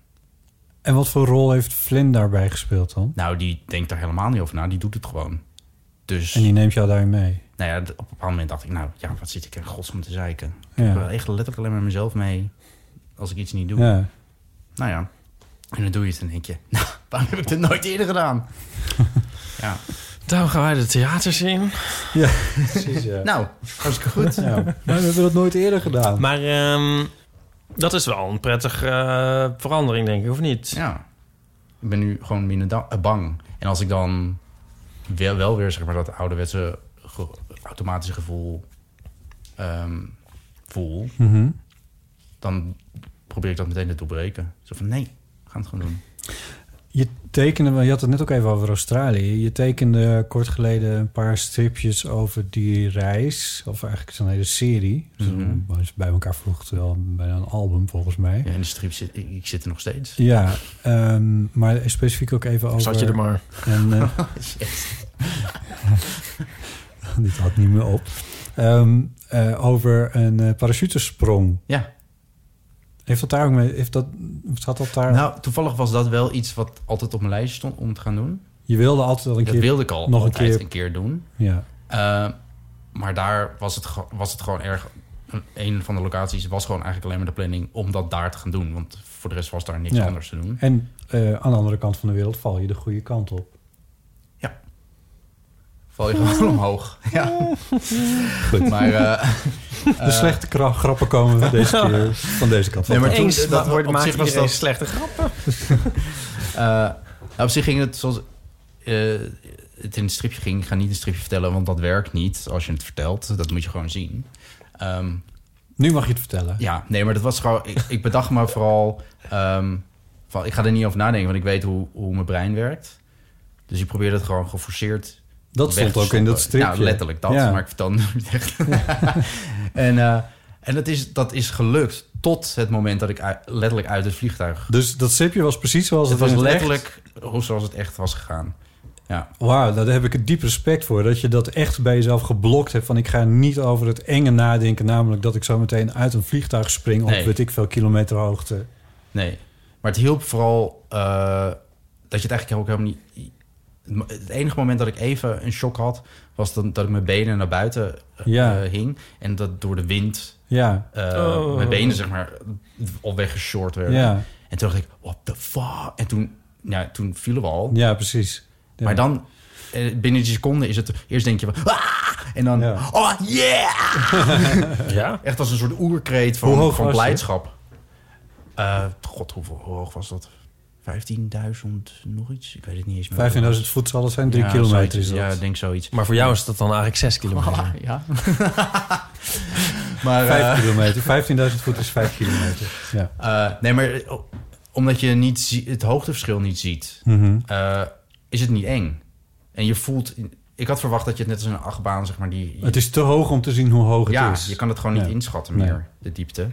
En wat voor rol heeft Flynn daarbij gespeeld dan?
nou, die denkt er helemaal niet over na. Die doet het gewoon. Dus...
En die neemt jou daarin mee.
Nou ja, d- op een bepaald moment dacht ik, nou ja, wat zit ik er in godsnaam te zeiken?
Ja.
Ik ben echt letterlijk alleen maar mezelf mee als ik iets niet doe.
Ja.
Nou ja, en dan doe je het en denk je, nou, waarom heb ik dit nooit eerder gedaan? ja.
Daarom gaan wij de theaters in.
Ja, precies. Ja.
Nou, hartstikke goed.
Ja. Maar Nou, we hebben dat nooit eerder gedaan.
Maar ehm, dat is wel een prettige eh, verandering, denk ik, of niet?
Ja, ik ben nu gewoon minder da- eh, bang. En als ik dan wel, wel weer, zeg maar, dat ouderwetse ge- automatische gevoel ehm, voel,
Mhm.
dan probeer ik dat meteen te doorbreken. Zo van, nee, we gaan het gewoon doen.
Je tekende, want je had het net ook even over Australië. Je tekende kort geleden een paar stripjes over die reis. Of eigenlijk zo'n hele serie. Dus
Mhm.
als je bij elkaar vroeg, wel bijna een album volgens mij.
Ja, in de strip zit ik, ik zit er nog steeds.
Ja, ehm, maar specifiek ook even over...
Zat je er maar.
En, eh, dit had niet meer op. Ehm, eh, over een eh, parachutesprong.
Ja.
Heeft dat daar ook mee... Heeft dat, zat dat daar...
Nou, toevallig was dat wel iets wat altijd op mijn lijst stond om te gaan doen.
je wilde altijd wel een
Dat
keer...
wilde ik al
nog een
altijd
keer.
een keer doen.
Ja,
Eh, maar daar was het, ge- was het gewoon erg... Een van de locaties was gewoon eigenlijk alleen maar de planning om dat daar te gaan doen. Want voor de rest was daar niks
Ja.
anders te doen.
en eh, aan de andere kant van de wereld val je de goede kant op.
Val je gewoon omhoog. Ja. Goed. Maar, eh,
De slechte kra- grappen komen van deze, keer, van deze kant.
Nee,
van.
maar toen-
Eens,
dat-
dat
op
wordt maakt
zich was
iedereen
dat-
slechte grap.
Eh, nou, op zich ging het zoals eh, het in het stripje ging. Ik ga niet een stripje vertellen, want dat werkt niet als je het vertelt. Dat moet je gewoon zien. Ehm,
Nu mag je het vertellen.
ja, nee, maar dat was gewoon... Ik, ik bedacht me vooral... ehm, van, ik ga er niet over nadenken, want ik weet hoe, hoe mijn brein werkt. Dus ik probeer dat gewoon geforceerd
dat
weg
stond
te
ook in dat
stoppen.
stripje.
Nou, letterlijk dat,
Ja.
maar ik vertel het nooit echt. en eh, en dat, is, dat is gelukt tot het moment dat ik u- letterlijk uit het vliegtuig...
Dus dat stripje was precies zoals
Het
het,
was
in het echt-
letterlijk hoe zoals het echt was gegaan.
Wauw, nou, daar heb ik een diep respect voor. Dat je dat echt bij jezelf geblokt hebt. Van ik ga niet over het enge nadenken. Namelijk dat ik zo meteen uit een vliegtuig spring. Op
Nee.
weet ik veel kilometer hoogte.
Nee. Maar het hielp vooral eh, dat je het eigenlijk ook helemaal niet... het mo- Het enige moment dat ik even een shock had, was dan, dat ik mijn benen naar buiten eh,
Ja.
hing. En dat door de wind
Ja,
eh,
Oh.
mijn benen, zeg maar, al weggeshort werden.
ja,
En toen dacht ik, what the fuck? En toen, ja, toen vielen we al.
ja, precies. Ja.
Maar dan, eh, binnen die seconde is het... Eerst denk je van... "Ah!" En dan...
Ja.
Oh, yeah!
Ja?
Echt als een soort oerkreet
Hoe
van,
hoog
van
was die?
blijdschap. Eh, God, hoeveel, hoe hoog was dat? 15.000 nog iets? Ik weet het niet eens meer.
15.000 voet zal het zijn, drie
Ja,
kilometer
zoiets.
is dat.
Ja, ik denk zoiets.
Maar voor jou is dat dan eigenlijk 6 kilometer.
Ah, ja. maar, eh,
Vijf kilometer. 15.000 voet is 5 kilometer. Ja.
eh, nee, maar eh, omdat je niet zie- het hoogteverschil niet ziet...
Mhm.
eh, is het niet eng. En je voelt... Ik had verwacht dat je het net als een achtbaan, zeg maar... Die,
Het is te hoog om te zien hoe hoog het
ja,
is.
je kan het gewoon niet
Ja.
inschatten
Nee.
meer, de diepte.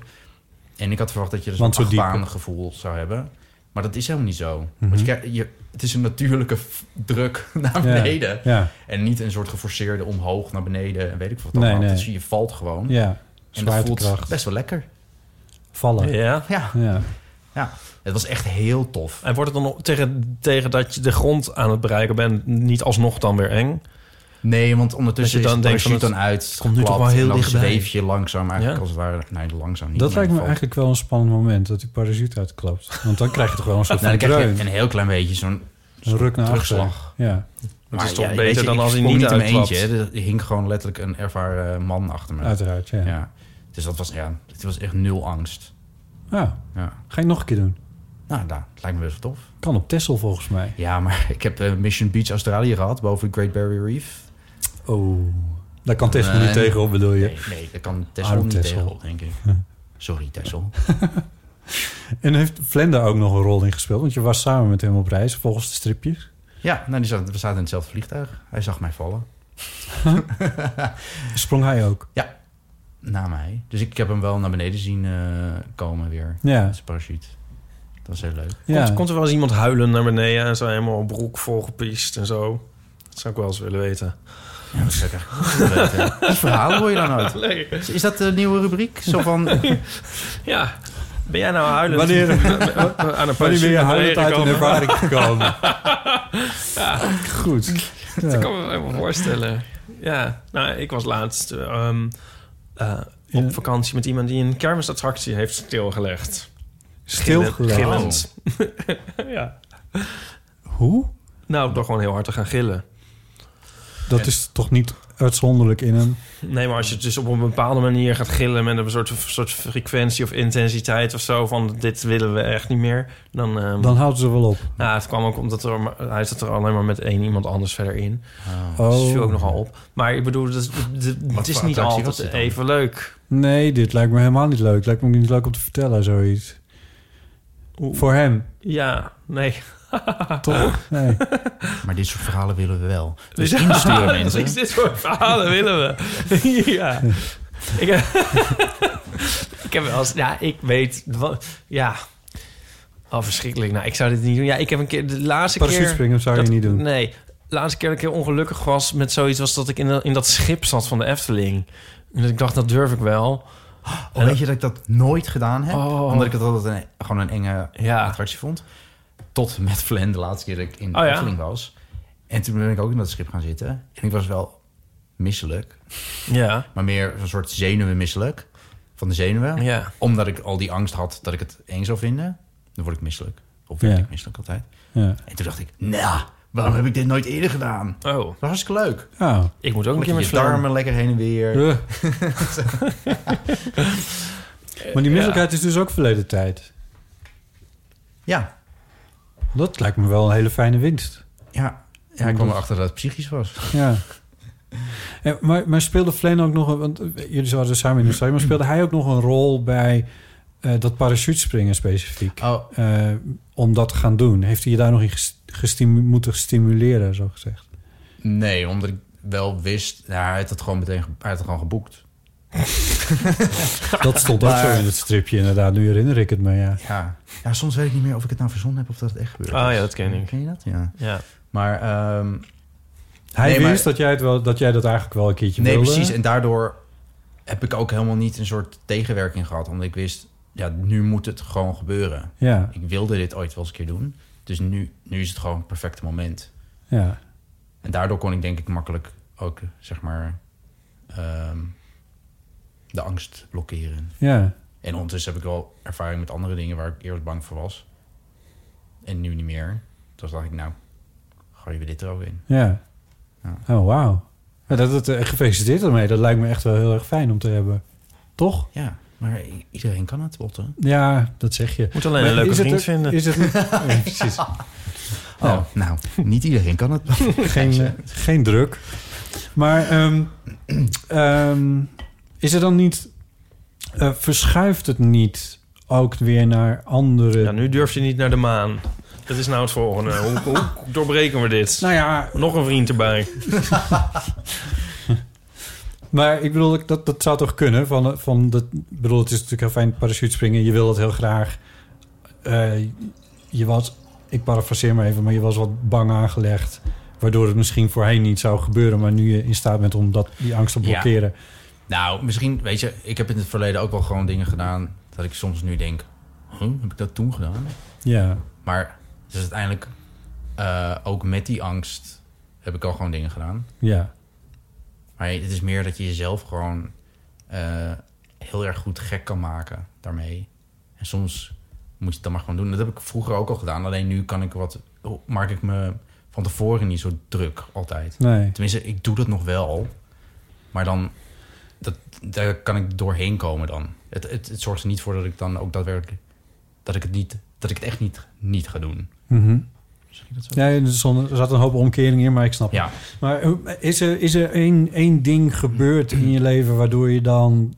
En ik had verwacht dat je dus
Want
een
zo diep- Mhm.
achtbaan gevoel zou hebben. Maar dat is helemaal niet zo. Want je, krijgt- je, het is een natuurlijke f- druk naar
Ja.
beneden.
Ja,
En niet een soort geforceerde omhoog naar beneden. En weet ik wat
Nee,
allemaal.
nee.
Dus je valt gewoon.
ja.
en dat voelt
Zwaartekracht.
best wel lekker.
Vallen. Ja.
Ja.
Ja, het was echt heel tof.
En wordt het dan nog- tegen, tegen dat je de grond aan het bereiken bent, niet alsnog dan weer eng?
Nee, want ondertussen
Dat je
dan
dan
is de
denkt van,
parachute dan uit. Het
komt nu toch wel heel dichtbij.
zweef je langzaam eigenlijk
Ja.
als het ware. Nee, langzaam niet.
Dat
maar in
lijkt me
ieder geval.
eigenlijk wel een spannend moment, dat die parachute uitklapt. Want dan krijg je toch wel een soort
Nou,
van
dan krijg
dreun.
je een heel klein beetje zo'n
Een ruk naar achteren.
terugslag.
Ja.
Het is toch
ja, weet
beter
je,
dan
ik
als hij
sprong
niet
in mijn
uitklapt.
eentje, hè. Er hing gewoon letterlijk een ervaren man achter me.
uiteraard. Ja. Ja.
Ja. Dus dat was, ja, het was echt nul angst. Ja.
ga je nog een keer doen?
Nou, nou, het lijkt me best wel tof.
Kan op Texel volgens mij.
Ja, maar ik heb eh, Mission Beach Australië gehad, boven de Great Barrier Reef.
Oh, daar kan Texel
Nee.
niet tegen op, bedoel je?
Nee, nee dat kan Tessel
Arm
niet
Texel.
tegenop, denk ik. Sorry, Tessel.
En heeft Flem daar ook nog een rol in gespeeld? Want je was samen met hem op reis, volgens de stripjes.
Ja, nou, die zat, we zaten in hetzelfde vliegtuig. Hij zag mij vallen.
Sprong hij ook?
Na mij. Dus ik heb hem wel naar beneden zien eh, komen weer.
Ja.
Met zijn parachute. Dat was heel leuk.
ja.
Komt, komt er wel eens iemand huilen naar beneden en zo helemaal broek volgepiest en zo? Dat zou ik wel eens willen weten.
Ja, dat zou ik eigenlijk ook wel weten. Die verhalen hoor je dan uit. Is- Is dat de nieuwe rubriek? Zo van,
Ja. Ben jij nou huilen?
Wanneer-
aan een
Wanneer ben je
parachute
huilend uit een
gekomen?
ervaring gekomen? Goed. Ja.
Dat kan me helemaal voorstellen. Ja, nou, ik was laatst eh, ehm, eh,
Ja.
op vakantie met iemand die een kermisattractie heeft stilgelegd.
Stilgelegd?
Gillend. ja.
Hoe?
Nou, door gewoon heel hard te gaan gillen.
Dat is toch niet uitzonderlijk in een...
Nee, maar als je dus op een bepaalde manier gaat gillen met een soort, soort frequentie of intensiteit of zo van dit willen we echt niet meer, dan. ehm,
Dan houden ze wel op.
nou, het kwam ook omdat er, maar- hij zat er alleen maar met één iemand anders verder in. Dus dat viel ook
Oh.
nogal op. Maar ik bedoel, dat is- dat- het is
voor
niet
attractie was
altijd
dit dan?
even leuk.
Nee, dit lijkt me helemaal niet leuk. Lijkt me ook niet leuk om te vertellen, zoiets. Voor hem,
Ja, nee.
toch? Nee.
maar dit soort verhalen willen we wel. Dus
Dus-
insturen
Dus
mensen.
ik- dit soort verhalen willen we. ja. Ik, heb- ik heb wel eens... Ja, ik weet... Wat, ja. Oh, verschrikkelijk. Nou, ik zou dit niet doen. Ja, ik heb een keer... De laatste
Parachute
keer...
springen zou je
dat-
niet doen.
Nee. De laatste keer dat ik heel ongelukkig was met zoiets... was dat ik in, dat- in dat schip zat van de Efteling. En dat ik dacht, dat durf ik wel.
Oh, weet je dat ik dat nooit gedaan heb?
Oh.
Omdat ik het altijd een, gewoon een enge
Ja.
attractie vond. Tot en met Vlen de laatste keer dat ik in
Oh, ja.
Efteling was. En toen ben ik ook in dat schip gaan zitten. En ik was wel misselijk.
Ja.
Maar meer een soort zenuwen misselijk. Van de zenuwen.
Ja.
Omdat ik al die angst had dat ik het eng zou vinden. Dan word ik misselijk. Of
Ja.
werd ik misselijk altijd.
Ja.
En toen dacht ik, nou, waarom heb ik dit nooit eerder gedaan? Dat
Oh,
was hartstikke leuk.
Nou,
ik moet ook een
Omdat je
keer met
je
Fleur.
darmen lekker heen en weer.
eh. maar die misselijkheid is dus ook verleden tijd.
Ja,
Dat lijkt me wel een hele fijne winst.
ja. ja ik kwam erachter dat het psychisch was.
Ja. En, maar, maar speelde Flen ook nog... een- Want eh, jullie zaten dus samen in de strijd. Maar speelde hij ook nog een rol bij eh, dat parachutespringen specifiek?
Oh,
eh, om dat te gaan doen? Heeft hij je daar nog in ges- gestimu- moeten stimuleren, zo gezegd?
Nee, omdat ik wel wist... Nou, hij had het gewoon meteen ge- hij had het gewoon geboekt.
Dat stond ook zo in het stripje, inderdaad. Nu herinner ik het me, ja.
Ja. ja, soms weet ik niet meer of ik het nou verzonnen heb of dat het echt gebeurd
Ah,
is.
ja, dat ken ik.
Ken je dat? Ja.
Ja.
Maar ehm,
Hij
Nee, maar-
wist dat, jij het wel, dat jij dat eigenlijk wel een keertje
nee,
wilde.
precies. En daardoor heb ik ook helemaal niet een soort tegenwerking gehad. Omdat ik wist, ja, nu moet het gewoon gebeuren.
Ja,
Ik wilde dit ooit wel eens een keer doen. Dus nu, nu is het gewoon het perfecte moment.
Ja.
En daardoor kon ik denk ik makkelijk ook, zeg maar, ehm, de angst blokkeren.
Ja.
En ondertussen heb ik wel ervaring met andere dingen waar ik eerst bang voor was. En nu niet meer. Dus dacht ik, nou, gooien we dit er ook in.
Ja. Oh, wauw. Ja, dat, dat, eh, gefeliciteerd ermee. Dat lijkt me echt wel heel erg fijn om te hebben. Toch?
Ja, maar i- iedereen kan het, Botte.
Ja, dat zeg je.
Moet alleen een
Maar
leuke
is het
vriend
ook-
vinden.
Is het niet? Ja, precies.
Oh, nou, eh, niet iedereen kan het.
Geen, geen druk. Maar ehm, ehm, is er dan niet... eh, verschuift het niet ook weer naar andere...
Ja, nu durf je niet naar de maan. Dat is nou het volgende. Hoe, hoe doorbreken we dit?
Nou ja,
Nog een vriend erbij.
Maar ik bedoel, dat, dat zou toch kunnen? Van, van dat, ik bedoel, het is natuurlijk heel fijn parachute springen. Je wil dat heel graag. Eh, je was, ik parafraseer maar even, maar je was wat bang aangelegd. Waardoor het misschien voorheen niet zou gebeuren. Maar nu je in staat bent om dat, die angst te
Ja.
blokkeren.
Nou, misschien, weet je, ik heb in het verleden ook wel gewoon dingen gedaan... dat ik soms nu denk, huh, heb ik dat toen gedaan?
Ja,
Maar dus uiteindelijk, eh, ook met die angst heb ik al gewoon dingen gedaan.
ja,
Maar het is meer dat je jezelf gewoon eh, heel erg goed gek kan maken daarmee. En soms moet je het dan maar gewoon doen. Dat heb ik vroeger ook al gedaan. Alleen nu kan ik wat, maak ik me van tevoren niet zo druk altijd.
nee.
Tenminste, ik doe dat nog wel. Maar dan, dat, daar kan ik doorheen komen dan. Het, het, het zorgt er niet voor dat ik dan ook daadwerkelijk... dat ik het, niet, dat ik het echt niet, niet ga doen.
Mhm.
Zeg je dat zo?
Ja, er zon- er zat een hoop omkering in, maar ik snap het.
Ja.
Maar hoe- is er, is er één, één ding gebeurd in je leven waardoor je dan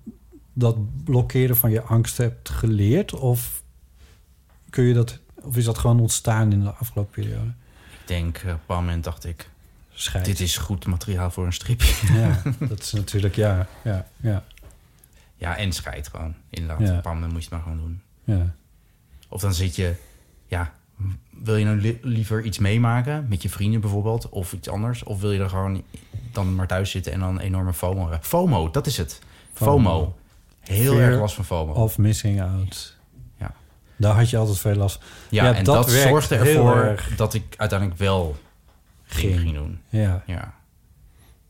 dat blokkeren van je angst hebt geleerd? Of, kun je dat, of is dat gewoon ontstaan in de afgelopen periode?
Ik denk, eh, op een bepaald moment dacht ik...
Schijt.
dit is goed materiaal voor een stripje.
Ja, dat is natuurlijk, ja, ja, ja,
Ja, en scheid gewoon. Inderdaad,
Ja.
op een bepaald moment moet je het maar gewoon doen.
ja.
Of dan zit je... Ja, wil je nou li- liever iets meemaken? Met je vrienden bijvoorbeeld, of iets anders? Of wil je er gewoon dan maar thuis zitten en dan enorme FOMO hebben? FOMO, dat is het. FOMO.
FOMO.
Heel
Fear Oh.
erg last van FOMO.
Of missing out.
Ja.
Daar had je altijd veel last van.
ja,
ja,
en
dat
dat,
werkt
zorgde
heel
ervoor
erg.
dat ik uiteindelijk wel ging, ging doen.
Ja.
Ja.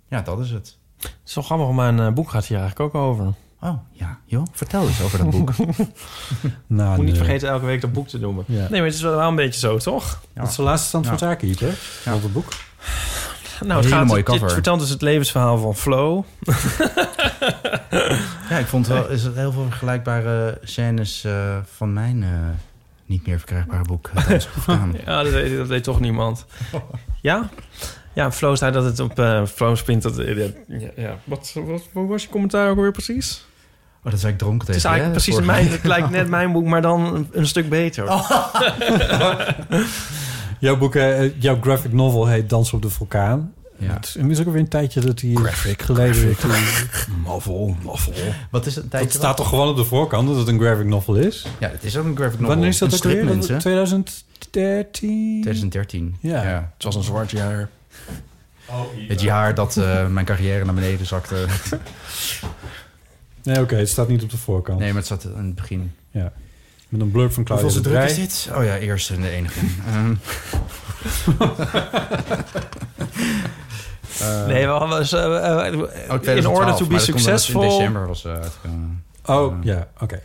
ja, dat is het.
Het is wel grappig, mijn eh, boek gaat hier eigenlijk ook over. Moet
Oh, ja. joh, vertel eens over dat boek.
Nou,
niet
nee.
vergeten elke week dat boek te noemen.
Ja.
Nee, maar het is wel een beetje zo, toch?
Dat is de laatste stand van
Ja.
zaken, Iep, hè?
Ja.
Op het boek.
Nou, het
Hele
gaat,
mooie
dit- dit
cover.
vertelt dus het levensverhaal van Flo.
Ja, ik vond wel is er heel veel vergelijkbare scènes eh, van mijn eh, niet meer verkrijgbare boek. eh, tijdens Afghaan.
Ja, dat weet, dat weet toch niemand. Ja? Ja, Flo zei dat het op eh Flo Spint... Dat, ja, ja. Wat, wat, wat was je commentaar ook weer precies?
Oh, dat zei ik dronken
Het
tegen
is eigenlijk
je, hè,
precies
vorige
mijn... Het lijkt net mijn boek, maar dan een, een stuk beter.
Jouw boek, eh, jouw graphic novel heet Dans op de Vulkaan.
keer. Ja.
Het is inmiddels ook alweer een tijdje dat hij graphic, geleden Novel, novel.
Wat is het? Een
Het
tijdje
staat toch gewoon op de voorkant dat het een graphic novel is?
wel? Ja, het is ook een graphic novel.
Wanneer is dat
een
ook weer?
strip,
Dat-
mensen.
2013?
2013.
Ja. Oh,
Het was een zwart jaar.
Het jaar dat eh, mijn carrière naar beneden zakte.
Nee, oké, het staat niet op de voorkant.
Nee, maar het zat aan het begin.
Ja. Met een blurb van Claudia
Hoeveelste
de
druk
Brij.
is dit? Oh ja, eerst en de enige. Ehm. Eh,
nee, we hadden... eh, eh,
oh,
in
2012,
order to be
maar dat komt omdat het In
successful...
december was eh, uitgekomen.
Oh, ja, oké.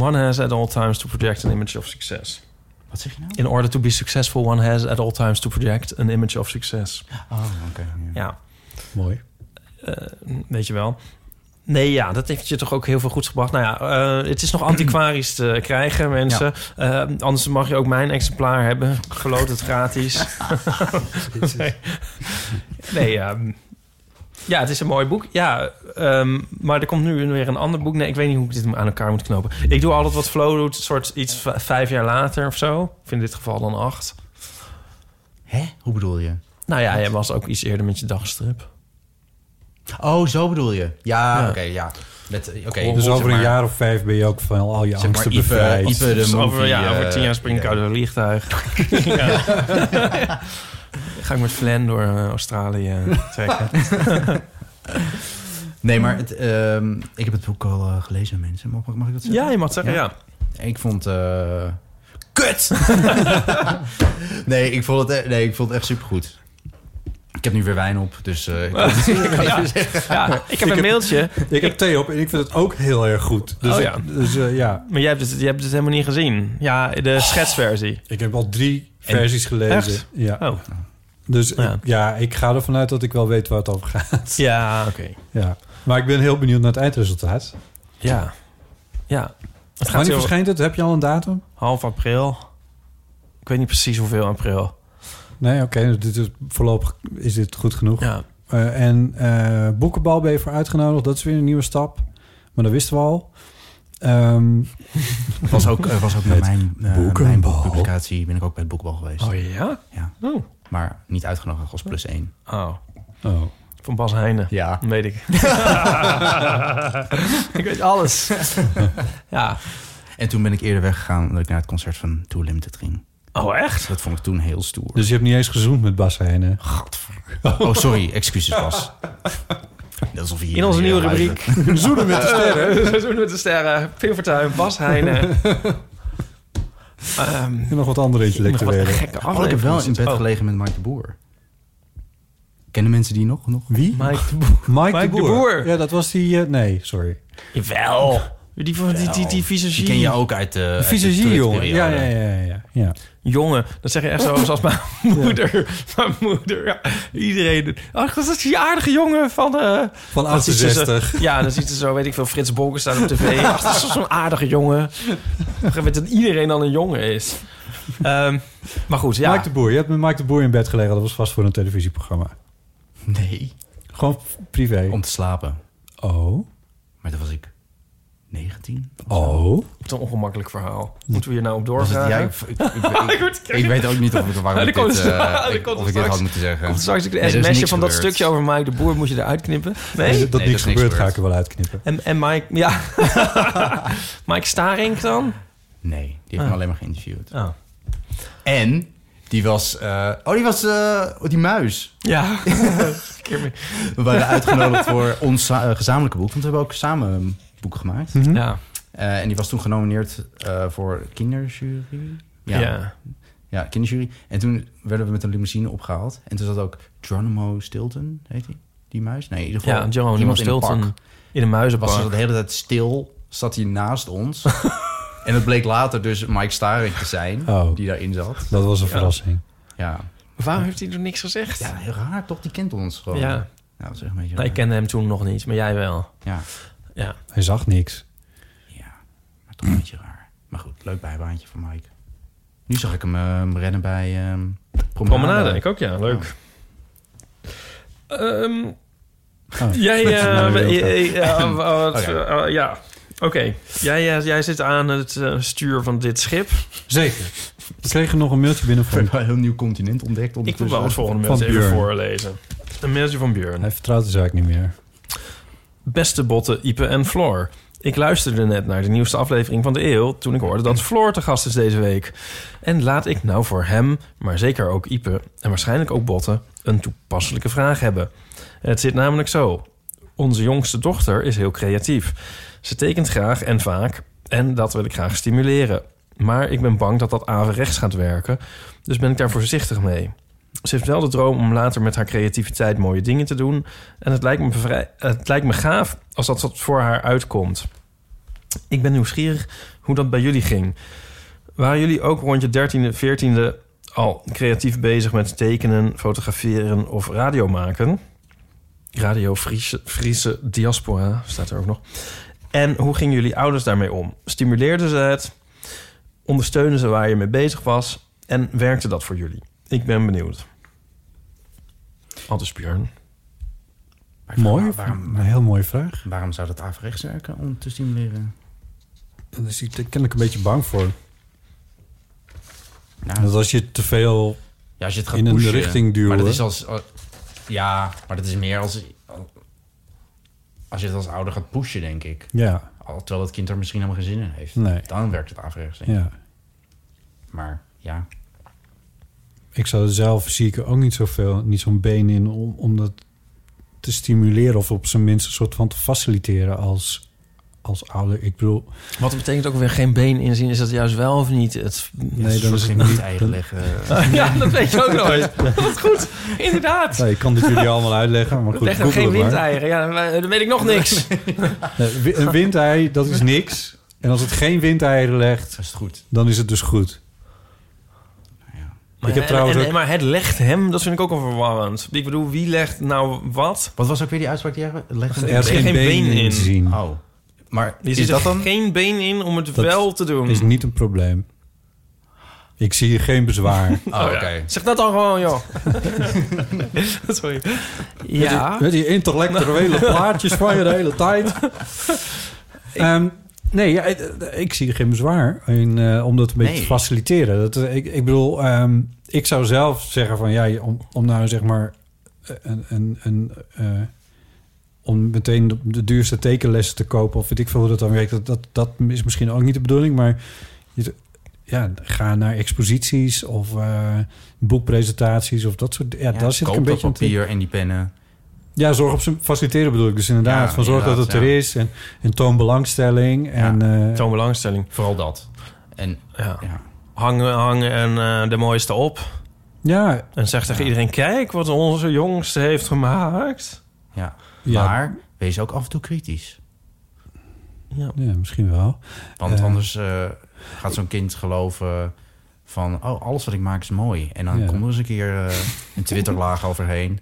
One has at all times to project an image of success.
Wat zeg je nou?
In order to be successful, one has at all times to project an image of success.
Oh, oké. ja.
Ja,
Mooi.
eh, weet je wel. Nee, ja, dat heeft je toch ook heel veel goeds gebracht. Nou ja, eh, het is nog antiquarisch te krijgen, mensen. Eh, anders mag je ook mijn exemplaar hebben. Verloot het gratis. nee, nee ehm, ja, het is een mooi boek. Ja, ehm, maar er komt nu weer een ander boek. Nee, ik weet niet hoe ik dit aan elkaar moet knopen. Ik doe altijd wat Flo doet, soort iets v- vijf jaar later of zo. Of in dit geval dan acht.
Hè? Hoe bedoel je?
Nou ja, jij was ook iets eerder met je dagstrip.
Oh, zo bedoel je. Ja,
Ja.
oké, ja. Net, eh, oké,
dus
zeg
over een
maar-
jaar of vijf ben je ook van al je
Zeg maar
angsten
Ipe,
bevrijd.
Ipe de
Dus over,
movie,
ja, over
eh,
tien jaar spring ik
ja.
uit een vliegtuig. Ja. Ga ik met Flan door eh, Australië eh, trekken.
Nee, maar het, ehm, ik heb het boek al eh, gelezen, mensen. Mag, mag ik dat zeggen?
ja, je mag zeggen, ja.
Ik vond... eh, Kut! nee, ik vond het, e- nee, ik vond het echt supergoed. heb nu weer wijn op, dus eh, ik kan het niet zeggen.
Ja, ik heb een mailtje.
Ik heb thee op en ik vind het ook heel erg goed. Dus,
Oh
ik-
ja.
dus eh, ja,
Maar jij hebt, het, jij hebt het helemaal niet gezien. Ja, de schetsversie.
ik heb al drie versies gelezen.
Echt?
Ja.
Oh,
Dus ja.
Ja.
Ik, ja, ik ga ervan uit dat ik wel weet waar het over gaat.
ja, oké.
Ja. Maar ik ben heel benieuwd naar het eindresultaat.
Ja. Ja. Het gaat
Wanneer
heel
verschijnt het? Heb je al een datum?
half april. Ik weet niet precies hoeveel april.
Nee, oké. dus dit is, voorlopig is dit goed genoeg.
Ja.
Eh, en eh, boekenbal ben je voor uitgenodigd. Dat is weer een nieuwe stap. Maar dat wisten we al. Ehm,
was ook, eh, was ook bij
Met
mijn, eh, mijn
boekenbal.
publicatie ben ik ook bij het boekbal geweest.
Oh ja?
Ja.
Oh.
Maar niet uitgenodigd als plus één.
oh.
oh.
Van Bas Heijnen.
Ja.
Dat weet ik. ik weet alles. ja.
En toen ben ik eerder weggegaan omdat ik naar het concert van Too Limited ging. Dus
Oh, echt?
Dat vond ik toen heel stoer.
Dus je hebt niet eens gezoend met Bas Heijnen.
Oh, sorry, excuses Bas. Dat is of hier
In onze nieuwe
hier
rubriek.
Zoenen met de sterren.
Seizoen met de sterren. Pim Fortuyn, Bas Heijnen. Ehm,
En nog wat andere
nog wat
intellectuelen.
gekke
Oh, ik heb wel in bed
Oh,
gelegen met Mike de Boer. Kennen mensen die nog? nog?
Wie?
Mike de Boer.
Mike,
Mike
de,
de
Boer.
Boer.
Ja, dat was die... eh, nee, sorry.
Jawel. Die, van- die, die, die visagie.
Nou, Die ken je ook uit de... uit
De
de
visagie, jongen. Ja,
Twitter-periode.
ja, ja, ja, ja.
Jongen, dat zeg je echt zo zoals mijn moeder. Mijn moeder, ja. Iedereen. Ach, dat is die aardige jongen van... eh,
Van
dan ziet ze zo-
68.
ja, dan ziet ze zo, weet ik veel, Frits Bolken staan op tv. Ach, dat is zo'n aardige jongen. Ik weet dat iedereen dan een jongen is. Ehm, maar goed, ja.
Mike de Boer. Je hebt met Mike de Boer in bed gelegen. Dat was vast voor een televisieprogramma.
Nee.
Gewoon privé.
Om te slapen.
Oh.
Maar toen was ik 19.
Oh.
Het is een ongemakkelijk verhaal. Moeten we hier nou op
Was het,
doorgaan?
ja, ik, ik, ik-
Ik word-
ik- ik weet ook niet of ik, waarom
Ah,
ik
die komt
dit,
er-
eh,
ah, die
ik-
komt er
of ik dit
straks.
had moeten zeggen.
Komt straks ik de
Nee, er is
sms'je
niks
van dat
gebeurd.
stukje over Mike de Boer moet je eruit knippen.
Nee,
Nee?
dat
dat is
niks
niks
gebeurt ga
gebeurd.
ik er wel uitknippen.
En, en Mike, ja. Mike Starink dan?
Nee, die heeft
Ah.
me alleen maar geïnterviewd.
Oh.
En die was... eh, oh, die was... eh, oh, die muis.
Ja.
We waren uitgenodigd voor ons za- eh, gezamenlijke boek. Want we hebben ook samen een boek gemaakt.
ja.
Eh, en die was toen genomineerd eh, voor kinderjury.
Ja.
Ja, kinderjury. En toen werden we met een limousine opgehaald. En toen zat ook Geronimo Stilton, heet hij? Die muis? Nee, in ieder geval
Ja, Jeroen
iemand
Stilton.
in
In,
een
een
pak. Was ze de
muizenbak.
hele tijd stil, zat hij naast ons. en het bleek later dus Mike Staring te zijn,
Oh.
die daarin zat.
Dat was een verrassing.
Ja.
Waarom heeft hij toen niks gezegd?
ja, heel raar toch? Die kent ons gewoon.
Ja.
Ja, dat is echt een beetje
Nou, ik
raar.
kende hem toen nog niet, maar jij wel.
Ja.
Ja.
Hij zag niks.
ja, maar toch een beetje raar. Maar goed, leuk bijbaantje voor Mike. Nu zag ik hem ehm, rennen bij ehm Promenade.
Promenade, ik ook, ja. Leuk. Ehm,
Oh.
jij...
Dat is een
eh,
mooie
eh,
beeld,
eh, eh, wat-
Oké.
eh, Ja, oké. Jij, eh, jij zit aan het eh, stuur van dit schip.
Zeker. We kregen nog een mailtje binnen
We
van...
hebben een heel nieuw continent ontdekt.
Ik wil wel Dus het volgende
Van
mailtje even
Björn.
voorlezen. Een mailtje van Björn.
Hij vertrouwt de zaak niet meer.
Beste botten, Ipe en Floor. Ik luisterde net naar de nieuwste aflevering van de eeuw... toen ik hoorde dat Floor te gast is deze week. En laat ik nou voor hem, maar zeker ook Ipe... en waarschijnlijk ook botten, een toepasselijke vraag hebben. Het zit namelijk zo. Onze jongste dochter is heel creatief. Ze tekent graag en vaak en dat wil ik graag stimuleren. Maar ik ben bang dat dat averechts gaat werken... dus ben ik daar voorzichtig mee. Ze heeft wel de droom om later met haar creativiteit mooie dingen te doen... En het lijkt me, bevrij- het lijkt me gaaf als dat wat voor haar uitkomt. Ik ben nieuwsgierig hoe dat bij jullie ging. Waren jullie ook rond je 13e, 14e al creatief bezig met tekenen, fotograferen of radio maken? Radio Friese, Friese Diaspora staat er ook nog. En hoe gingen jullie ouders daarmee om? Stimuleerden ze het? Ondersteunen ze waar je mee bezig was? En werkte dat voor jullie? Ik ben benieuwd. Aldus Björn.
Mooi.
Waarom, waarom,
Een heel mooie vraag.
waarom zou dat averechts werken om te eh? stimuleren?
Daar is hij kennelijk een beetje bang voor.
Nou,
Dat als je te veel...
ja, als je het gaat
in een
pushen,
richting duwen.
Maar dat is als, als- ja, maar dat is meer als, als je het als ouder gaat pushen, denk ik.
Ja,
Al- Terwijl het kind er misschien helemaal geen zin in heeft.
Nee.
Dan werkt het averechts, denk ik.
ja.
Maar ja,
Ik zou er zelf zie ik er ook niet zoveel, niet zo'n been in om, om dat te stimuleren of op zijn minst een soort van te faciliteren als als ouder. Ik bedoel,
Wat betekent ook weer geen been inzien? Is dat juist wel of niet? Het...
nee, dan is het
niet
niet.
eieren leggen.
Ja, dat weet je ook nooit. Wat goed, inderdaad.
Nee, ik kan dit jullie allemaal uitleggen, maar goed.
Leg nog
google
geen
het maar.
windeieren. Ja, dan- dan weet ik nog niks.
Nee, wi- een windei, dat is niks. En als het geen windeieren legt,
Dat is het goed.
dan is het dus goed.
Maar,
Ik heb trouwens
en-
ook-
en- maar het legt hem, dat vind ik ook al verwarrend. Ik bedoel, wie legt nou wat?
Wat was ook weer die uitspraak die jij legde?
Er is
geen
geen been,
been in.
in te zien.
Oh. Maar
Je
is,
zit
dat
er
dan?
geen been in om het
Dat
wel te doen.
Is niet een probleem. Ik zie hier geen bezwaar.
Oh, oké.
Zeg dat dan gewoon, joh. Sorry. Ja.
Met die intellectuele plaatjes van je de hele tijd. Ehm, nee, ja, ik, ik zie er geen bezwaar in, eh, om dat een beetje
Nee.
te faciliteren. Dat, eh, ik, ik bedoel, ehm, ik zou zelf zeggen van ja, je- om, om nou zeg maar een, een, een, eh, om meteen de, de duurste tekenlessen te kopen of weet ik veel hoe dat dan werkt. Dat, dat, dat is misschien ook niet de bedoeling, maar je- ja, ga naar exposities of eh, boekpresentaties of dat soort. Ja, daar zit ik
Koop
een
dat
beetje aan te denken.
papier en die pennen.
Ja, zorg op zijn faciliteren bedoel ik. Dus inderdaad,
Ja,
van zorg dat
inderdaad,
het er
ja.
is. En, en toon belangstelling. En, eh,
Zo'n belangstelling.
Vooral dat. En
Ja.
ja.
Hangen, hangen en eh, de mooiste op.
ja,
En zeg tegen iedereen, kijk wat onze jongste heeft gemaakt.
ja.
Ja.
Maar wees ook af en toe kritisch.
Ja.
ja, misschien wel.
Want
Eh.
anders eh, gaat zo'n kind geloven van... oh, alles wat ik maak is mooi. En dan
Ja.
komt er eens een keer eh, een Twitterlaag overheen.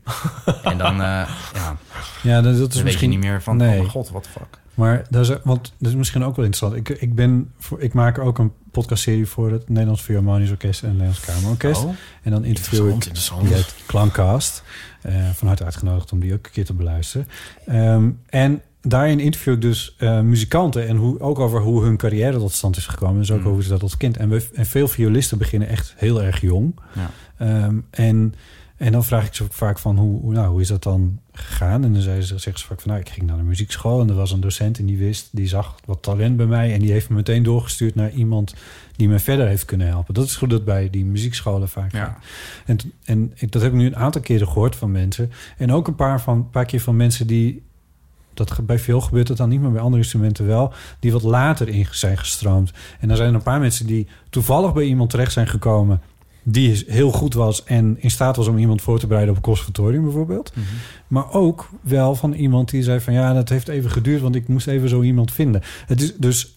en dan, eh, ja,
Ja, dat, dat
dan
is
weet je
misschien
niet meer van...
nee.
oh mijn god, what the fuck.
Maar dat is, want dat is misschien ook wel interessant. Ik, ik, ben voor, ik maak ook een podcastserie voor het Nederlands Philharmonisch Orkest en het Nederlands Kamerorkest.
Oh,
En dan interview ik
interessant.
die heet Klankcast. Eh, van harte uitgenodigd om die ook een keer te beluisteren. Ehm, en daarin interview ik dus eh, muzikanten en hoe, ook over hoe hun carrière tot stand is gekomen. Dus ook
Hmm.
hoe ze dat als kind. En, we, en veel violisten beginnen echt heel erg jong.
Ja.
Ehm, en, en dan vraag ik ze ook vaak van hoe, hoe, nou, hoe is dat dan gegaan? En dan zei ze, zeggen ze vaak van nou, ik ging naar de muziekschool en er was een docent en die wist, die zag wat talent bij mij en die heeft me meteen doorgestuurd naar iemand die me verder heeft kunnen helpen. Dat is goed dat bij die muziekscholen vaak
Ja.
gaat. En, t- en ik- dat heb ik nu een aantal keren gehoord van mensen. En ook een paar, van, een paar keer van mensen die... Dat ge- bij veel gebeurt dat dan niet, maar bij andere instrumenten wel. Die wat later in zijn gestroomd. En dan zijn er een paar mensen die toevallig bij iemand terecht zijn gekomen... die is- heel goed was en in staat was om iemand voor te bereiden op een conservatorium bijvoorbeeld. Maar ook wel van iemand die zei van... ja, dat heeft even geduurd, want ik moest even zo iemand vinden. Het is dus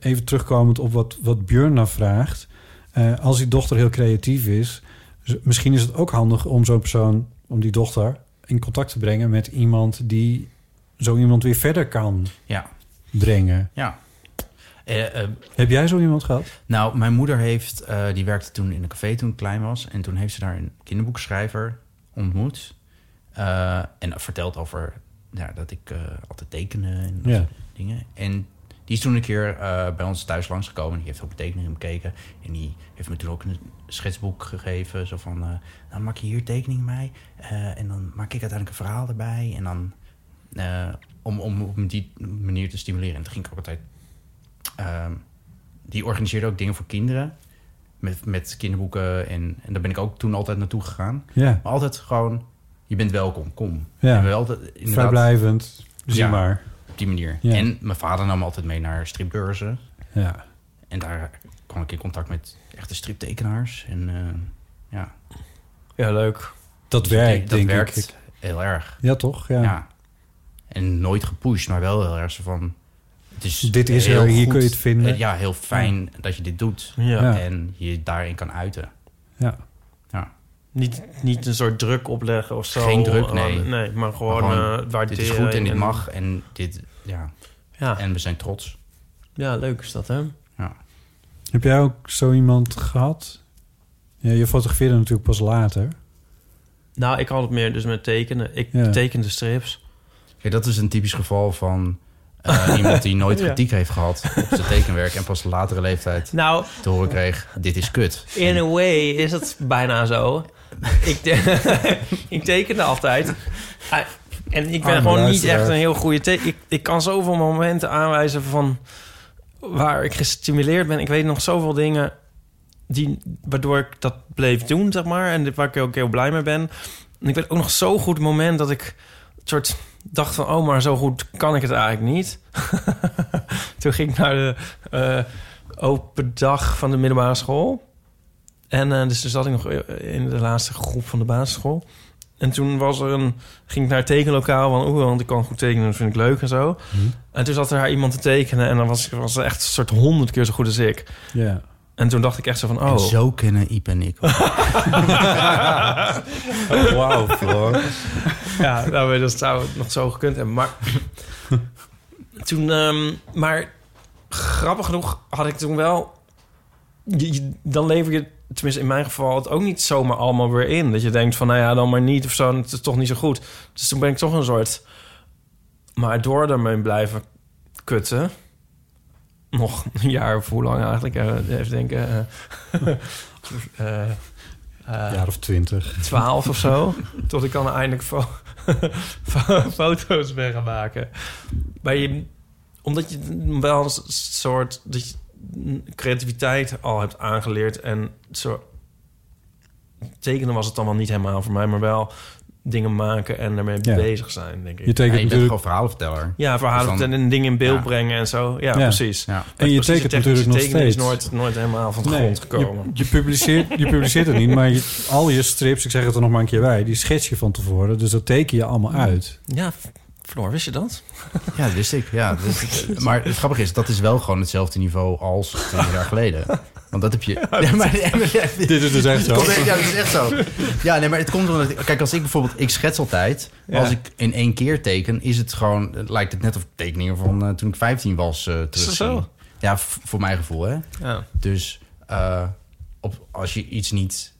even terugkomend op wat, wat Björn nou vraagt. Eh, als die dochter heel creatief is, z- misschien is het ook handig om zo'n persoon, om die dochter, in contact te brengen met iemand die zo iemand weer verder kan
ja,
brengen.
ja. Eh, eh,
Heb jij zo iemand gehad?
Nou, mijn moeder heeft, eh, die werkte toen in een café toen ik klein was. En toen heeft ze daar een kinderboekschrijver ontmoet. Eh, en verteld over ja, dat ik eh, altijd tekenen en dat
Ja.
soort dingen. En die is toen een keer eh, bij ons thuis langsgekomen. En die heeft ook mijn tekeningen bekeken. En die heeft me toen ook een schetsboek gegeven. Zo van, eh, dan maak je hier tekeningen mee. eh, en dan maak ik uiteindelijk een verhaal erbij. En dan eh, om, om op die manier te stimuleren. En toen ging ik ook altijd... ehm, die organiseerde ook dingen voor kinderen. Met, met kinderboeken. En, en daar ben ik ook toen altijd naartoe gegaan.
Ja,
Maar altijd gewoon, je bent welkom, kom.
Ja.
En we altijd, inderdaad,
vrijblijvend. Zie
Ja.
maar.
Op die manier.
Ja.
En mijn vader nam me altijd mee naar stripbeurzen.
Ja.
En daar kwam ik in contact met echte striptekenaars. En eh, ja,
Ja, leuk.
Dat
Dus
werkt,
dat
denk
werkt
ik.
heel erg.
Ja, toch? Ja.
Ja. En nooit gepusht, maar wel heel erg zo van... Het is
Dit is er, hier kun je het vinden.
eh, ja, heel fijn dat je dit doet.
Ja.
Ja.
En je daarin kan uiten.
Ja.
Ja.
Niet, niet een soort druk opleggen of zo.
Geen druk,
Eh,
nee.
nee, maar gewoon,
Maar
eh
gewoon,
waarderen.
Dit is goed en dit
en-
mag. En, dit, ja.
Ja.
en we zijn trots.
ja, leuk is dat, hè?
Ja.
Heb jij ook zo iemand gehad? Ja, je fotografeerde natuurlijk pas later.
Nou, ik had het meer dus met tekenen. Ik
Ja.
tekende strips.
Kijk, dat is een typisch geval van eh, iemand die nooit kritiek heeft gehad op zijn tekenwerk en pas op latere leeftijd
Nou,
te horen kreeg: dit is kut.
in a way is het bijna zo. ik, te- ik tekende altijd. Ah, En ik ben
Arme
gewoon niet
luisteraar.
echt een heel goede teken. Ik, ik kan zoveel momenten aanwijzen van waar ik gestimuleerd ben. Ik weet nog zoveel dingen die, waardoor ik dat bleef doen, zeg maar. En waar ik ook heel blij mee ben. En ik weet ook nog zo goed het moment dat ik een soort dacht van, oh, maar zo goed kan ik het eigenlijk niet. Toen ging ik naar de eh, open dag van de middelbare school. En eh, dus toen zat ik nog in de laatste groep van de basisschool. En toen was er een, ging ik naar het tekenlokaal, van, oeh, want ik kan goed tekenen, dat vind ik leuk en zo. En toen zat er haar iemand te tekenen en dan was, was ze echt een soort honderd keer zo goed als ik.
Ja.
En toen dacht ik echt zo van, oh.
En zo kennen Iep en ik.
Wauw, Floor.
Ja, nou, maar dat zou nog zo gekund hebben. Maar, toen, ehm, maar grappig genoeg had ik toen wel... je- je- dan lever je, tenminste in mijn geval, het ook niet zomaar allemaal weer in. Dat je denkt van, nou ja, dan maar niet of zo. Het is toch niet zo goed. Dus toen ben ik toch een soort... Maar door daarmee blijven kutten... Nog een jaar of hoe lang eigenlijk? eh, Even denken. eh, eh, eh,
jaar of twintig.
12 of zo. tot ik dan eindelijk fo- fo- foto's ben gaan maken. Maar je, omdat je wel een s- soort dat je creativiteit al hebt aangeleerd. En zo tekenen was het dan wel niet helemaal voor mij, maar wel dingen maken en daarmee
Ja.
bezig zijn, denk ik.
Je
Ja,
tekent
je bent
natuurlijk
gewoon verhalenverteller.
ja, verhalen
Dus dan-
en dingen in beeld
Ja.
brengen en zo. Ja,
Ja.
precies.
Ja.
En je
Precies,
tekent
technische
natuurlijk nog
tekenen is
steeds.
nooit, nooit helemaal van de grond gekomen.
Je, je publiceert, je publiceert het niet, maar je- al je strips, ik zeg het er nog maar een keer bij, die schets je van tevoren. Dus dat teken je allemaal uit.
Ja, Floor, wist je dat?
Ja, dat wist ik. Ja, dat wist ik. maar het grappige is, dat is wel gewoon hetzelfde niveau als 20 jaar geleden. Want dat heb je... Ja, maar,
Dit is dus echt zo.
Komt- Ja, dat is echt zo. Ja, nee, maar het komt omdat... ik- Kijk, als ik bijvoorbeeld... Ik schets altijd. Maar
Ja.
als ik in één keer teken, is het gewoon... het lijkt het net of ik tekeningen van eh, toen ik 15 was eh terugzien.
zo?
Ja, v- voor mijn gevoel, hè.
Ja.
Dus eh, op, als je iets niet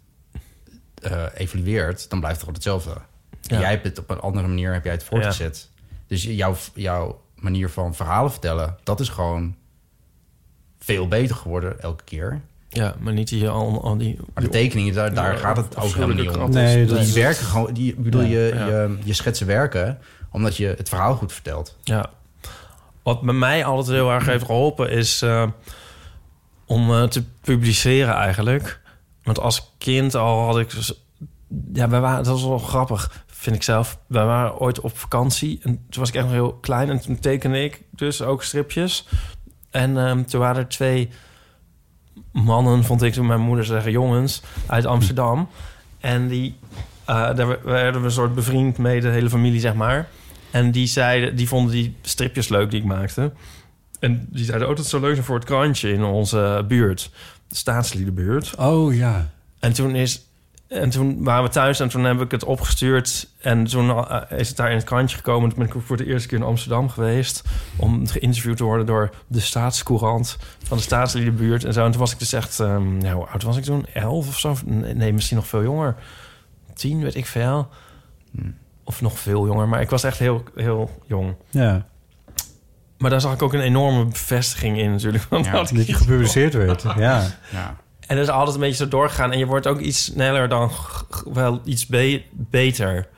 eh, evalueert, dan blijft het gewoon hetzelfde.
Ja.
Jij hebt het op een andere manier heb jij het voortgezet. Dus jouw, jouw manier van verhalen vertellen, dat is gewoon veel beter geworden elke keer.
Ja, maar niet die, al, al die
Maar de tekeningen, daar, daar
Ja,
gaat het ook helemaal niet om.
afschuwelijke
Nee,
krat is.
dat
Die
is-
werken gewoon, die, ik bedoel, je,
Ja.
Je, je schetsen werken omdat je het verhaal goed vertelt.
Ja. Wat bij mij altijd heel erg heeft geholpen is eh, om eh, te publiceren eigenlijk. Want als kind al had ik... dus- Ja, wij waren, dat was wel grappig, vind ik zelf. Wij waren ooit op vakantie en toen was ik echt nog heel klein. En toen tekende ik dus ook stripjes. En ehm, toen waren er twee mannen, vond ik toen mijn moeder zeggen, jongens uit Amsterdam. En die, eh, daar werden we een soort bevriend mee, de hele familie, zeg maar. En die, zeiden, die vonden die stripjes leuk die ik maakte. En die zeiden, oh, dat zou leuk zijn voor het krantje in onze buurt. De staatsliedenbuurt.
Oh ja.
En toen is... En toen waren we thuis en toen heb ik het opgestuurd. En toen eh, is het daar in het krantje gekomen. Toen ben ik ook voor de eerste keer in Amsterdam geweest. Om geïnterviewd te worden door de staatscourant van de staatsliedenbuurt. En zo. En toen was ik dus echt... ehm, ja, hoe oud was ik toen? Elf of zo? Nee, nee, misschien nog veel jonger. Tien, weet ik veel. Of nog veel jonger. Maar ik was echt heel, heel jong.
Ja,
Maar daar zag ik ook een enorme bevestiging in natuurlijk. Want
Ja.
dat-
dat je gepubliceerd werd. Ja.
Ja.
En dat is altijd een beetje zo doorgegaan. En je wordt ook iets sneller dan g- g- wel iets be- beter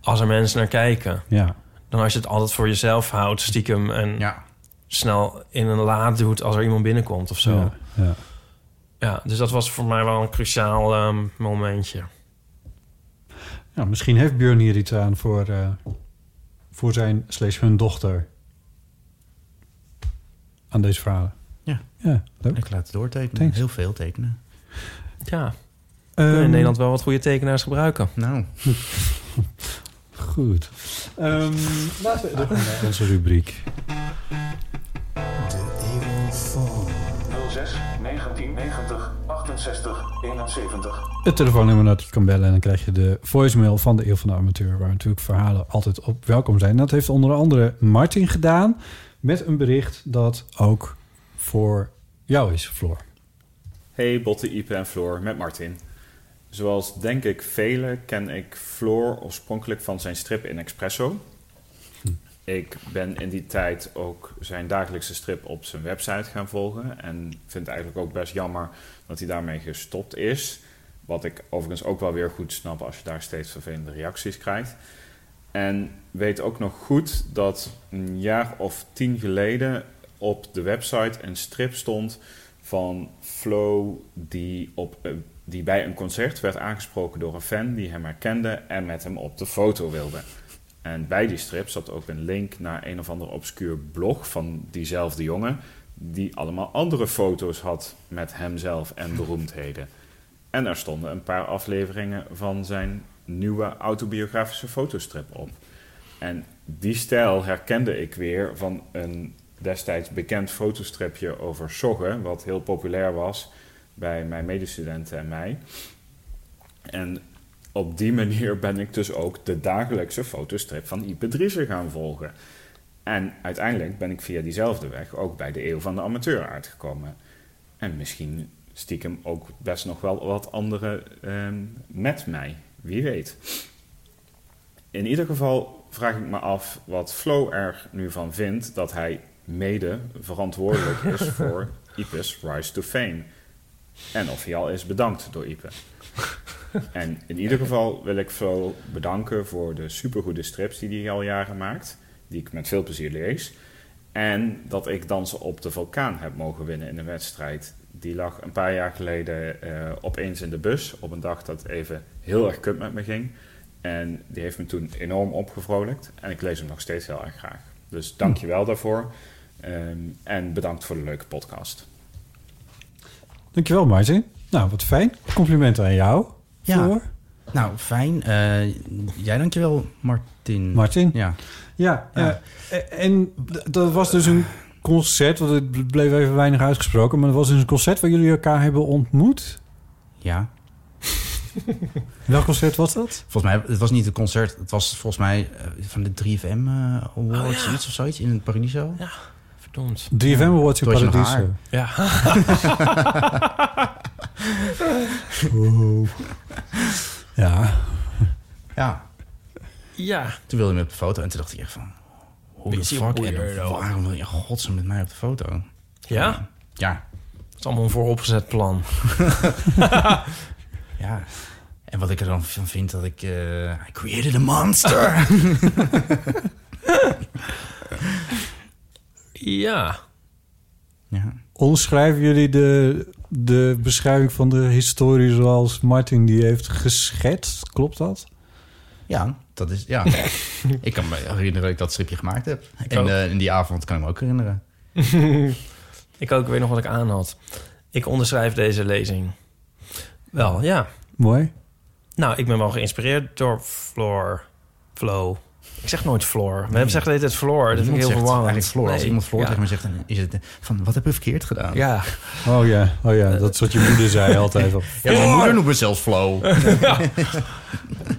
als er mensen naar kijken.
ja.
Dan als je het altijd voor jezelf houdt, stiekem en
ja.
snel in een laad doet als er iemand binnenkomt of zo.
ja.
Ja,
ja.
dus dat was voor mij wel een cruciaal ehm, momentje.
Nou, misschien heeft Björn hier iets aan voor, eh, voor zijn slash hun dochter. Aan deze verhalen.
Ja.
ja leuk.
Ik laat het doortekenen.
Thanks.
Heel veel tekenen.
Ja, kunnen
Ehm,
in eh, Nederland wel wat goede tekenaars gebruiken.
Nou,
Goed. Ehm, laten we door naar onze rubriek.
06 1990 68 71.
Het telefoonnummer dat je kan bellen en dan krijg je de voicemail van de Eeuw van de Amateur... waar natuurlijk verhalen altijd op welkom zijn. Dat heeft onder andere Martin gedaan met een bericht dat ook voor jou is, Floor.
Hey Botte, Ipe en Floor met Martin. Zoals denk ik velen ken ik Floor oorspronkelijk van zijn strip in Espresso. Ik ben in die tijd ook zijn dagelijkse strip op zijn website gaan volgen. En vind het eigenlijk ook best jammer dat hij daarmee gestopt is. Wat ik overigens ook wel weer goed snap als je daar steeds vervelende reacties krijgt. En weet ook nog goed dat een jaar of tien geleden op de website een strip stond van Flo die, op, een- die bij een concert werd aangesproken door een fan die hem herkende en met hem op de foto wilde. En bij die strip zat ook een link naar een of ander obscuur blog van diezelfde jongen. Die allemaal andere foto's had met hemzelf en beroemdheden. En er stonden een paar afleveringen van zijn nieuwe autobiografische fotostrip op. En die stijl herkende ik weer van een destijds bekend fotostripje over Soggen, wat heel populair was bij mijn medestudenten en mij. En op die manier ben ik dus ook de dagelijkse fotostrip van Ipe Driessen gaan volgen. En uiteindelijk ben ik via diezelfde weg ook bij de Eeuw van de Amateur uitgekomen. En misschien stiekem ook best nog wel wat anderen ehm, met mij. Wie weet. In ieder geval vraag ik me af wat Flo er nu van vindt dat hij mede verantwoordelijk is voor Ipe's Rise to Fame. En of hij al is bedankt door Ipe. En in ieder geval wil ik Flo bedanken voor de supergoede strips die hij al jaren maakt. Die ik met veel plezier lees. En dat ik Dansen op de Vulkaan heb mogen winnen in een wedstrijd. Die lag een paar jaar geleden eh, opeens in de bus. Op een dag dat even heel erg kut met me ging. En die heeft me toen enorm opgevrolijkt. En ik lees hem nog steeds heel erg graag. Dus dank je wel daarvoor. Ehm, en bedankt voor de leuke podcast.
Dankjewel, Martin. Nou, wat fijn. Complimenten aan jou.
Ja.
Floor.
Nou, fijn. Eh, jij dankjewel, Martin.
Martin?
Ja.
Ja, eh, en d- dat was dus een concert, want het bleef even weinig uitgesproken, maar dat was dus een concert waar jullie elkaar hebben ontmoet.
Ja.
Welk concert was dat?
Volgens mij, het was niet een concert. Het was volgens mij eh, van de 3FM eh, Awards
Oh,
iets of zoiets in het Paradiso. Ja,
verdomd.
3FM Awards in Paradiso.
Ja.
Wow. Ja.
ja.
Ja.
Toen wilde hij me op de foto en toen dacht ik echt van... Hoe de
Beetje
fuck,
weirdo.
en waarom wil je in godsnaam met mij op de foto?
Ja?
Ja.
Het is allemaal een vooropgezet plan.
Ja. En wat ik er dan van vind, dat ik... eh I created a monster!
ja.
Omschrijven jullie de, de beschrijving van de historie zoals Martin die heeft geschetst? Klopt dat?
ja, dat is... Ja. ik kan me herinneren dat ik dat stripje gemaakt heb.
Ik
en
ook.
eh, in die avond kan ik me ook herinneren.
ik ook, ik weet nog wat ik aan had. Ik onderschrijf deze lezing. Wel, ja.
Mooi.
Nou, ik ben wel geïnspireerd door Floor. Flo. Ik zeg nooit Floor. We hebben zeggen de hele tijd Floor. Dat vind ik heel
Iemand zegt
verwarrend.
Eigenlijk Floor. Als
Nee,
iemand Floor
ja.
tegen me zegt, dan is het eh, van... Wat heb ik verkeerd gedaan?
Ja.
Oh ja, oh ja dat is wat je moeder zei altijd. Op.
Ja, mijn moeder noemt me zelfs Flo.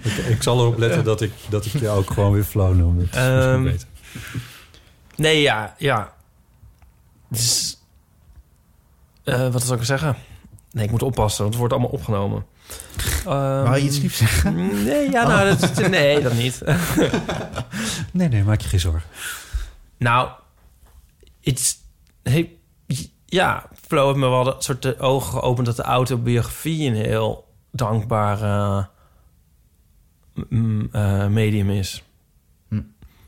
Ik, ik zal erop letten dat ik, dat ik je ook gewoon weer flow noem. Dat is misschien
Ehm,
beter.
Nee, ja, ja. Dus, eh, wat zou ik zeggen? Nee, ik moet oppassen, want het wordt allemaal opgenomen.
Wou je iets Oh. liefs
zeggen? Nee, ja, nou, dat, nee, dat niet.
Nee, nee, maak je geen zorgen.
Nou, iets. Hey, ja, Flo heeft me wel een soort de ogen geopend dat de autobiografie een heel dankbaar eh, m- eh, medium is.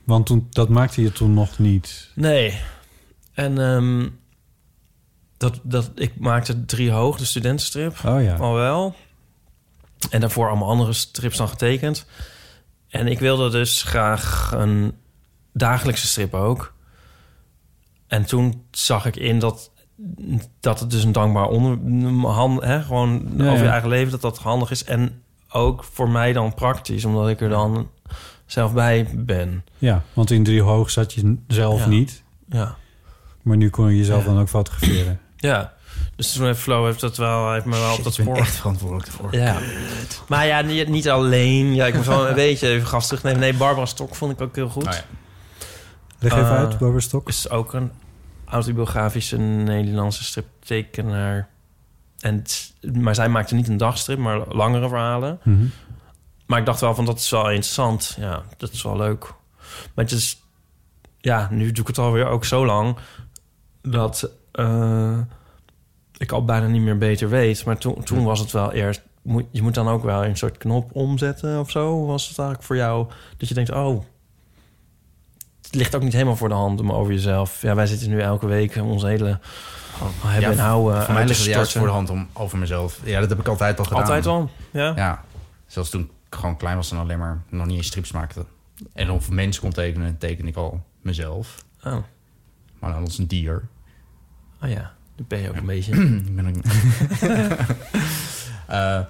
Want toen, dat maakte je toen nog niet.
Nee. En ehm, dat, dat, ik maakte drie hoog, de studentenstrip.
Oh ja.
Al wel. En daarvoor allemaal andere strips dan getekend. En ik wilde dus graag een dagelijkse strip ook. En toen zag ik in dat, dat het dus een dankbaar onder... Hand, hè, gewoon
Ja,
over je
ja.
eigen leven, dat dat handig is. En ook voor mij dan praktisch, omdat ik er dan zelf bij ben.
Ja, want in drie hoog zat je n- zelf
Ja.
niet.
Ja.
Maar nu kon je jezelf dan ook fotograferen.
Ja, dus toen heeft Flo heeft dat wel, heeft me wel op dat
ik ben
spoor.
echt verantwoordelijk daarvoor.
Ja. Maar ja, niet, niet alleen. Ja, ik moet wel een beetje even gas terugnemen. Nee, Barbara Stok vond ik ook heel goed.
Oh ja.
Leg even
Eh,
uit, Barbara Stok.
Is ook een autobiografische Nederlandse striptekenaar. En, het- maar zij maakte niet een dagstrip, maar langere verhalen.
Mhm.
Maar ik dacht wel van, dat is wel interessant. Ja, dat is wel leuk. Maar het is... Ja, nu doe ik het alweer ook zo lang... dat eh, ik al bijna niet meer beter weet. Maar toen, toen was het wel eerst... Moet, je moet dan ook wel een soort knop omzetten of zo. Hoe Was het eigenlijk voor jou dat je denkt... oh, het ligt ook niet helemaal voor de hand om over jezelf... Ja, wij zitten nu elke week onze hele... hebben nou, eh, en houden
Oh. nou, Voor
uit
mij
te
ligt het juist
storten.
voor de hand om over mezelf. Ja, dat heb ik altijd al gedaan.
Altijd al, ja.
Ja. Zelfs toen ik gewoon klein was en alleen maar nog niet eens strips maakte. En of een mens kon tekenen, teken ik al mezelf.
Oh.
Maar dan als een dier.
Oh ja, dat ben je ook een beetje.
Ik ben ook- Eh,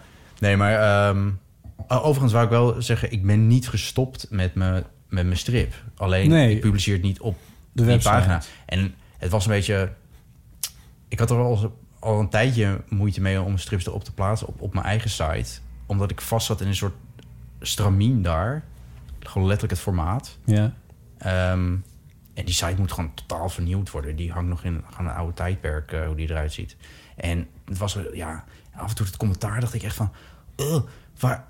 nee, maar ehm, o- overigens wou ik wel zeggen, ik ben niet gestopt met mijn, met mijn strip. Alleen
Nee.
ik publiceer het niet op
De
de die
website.
pagina. En het was een beetje. Ik had er al, al een tijdje moeite mee om strips erop te plaatsen op, op mijn eigen site. Omdat ik vast zat in een soort stramien daar. Gewoon letterlijk het formaat.
Ja.
Ehm, en die site moet gewoon totaal vernieuwd worden. Die hangt nog in gewoon een oude tijdperk, eh, hoe die eruit ziet. En het was, eh, ja, af en toe het commentaar dacht ik echt van... "Ugh, waar,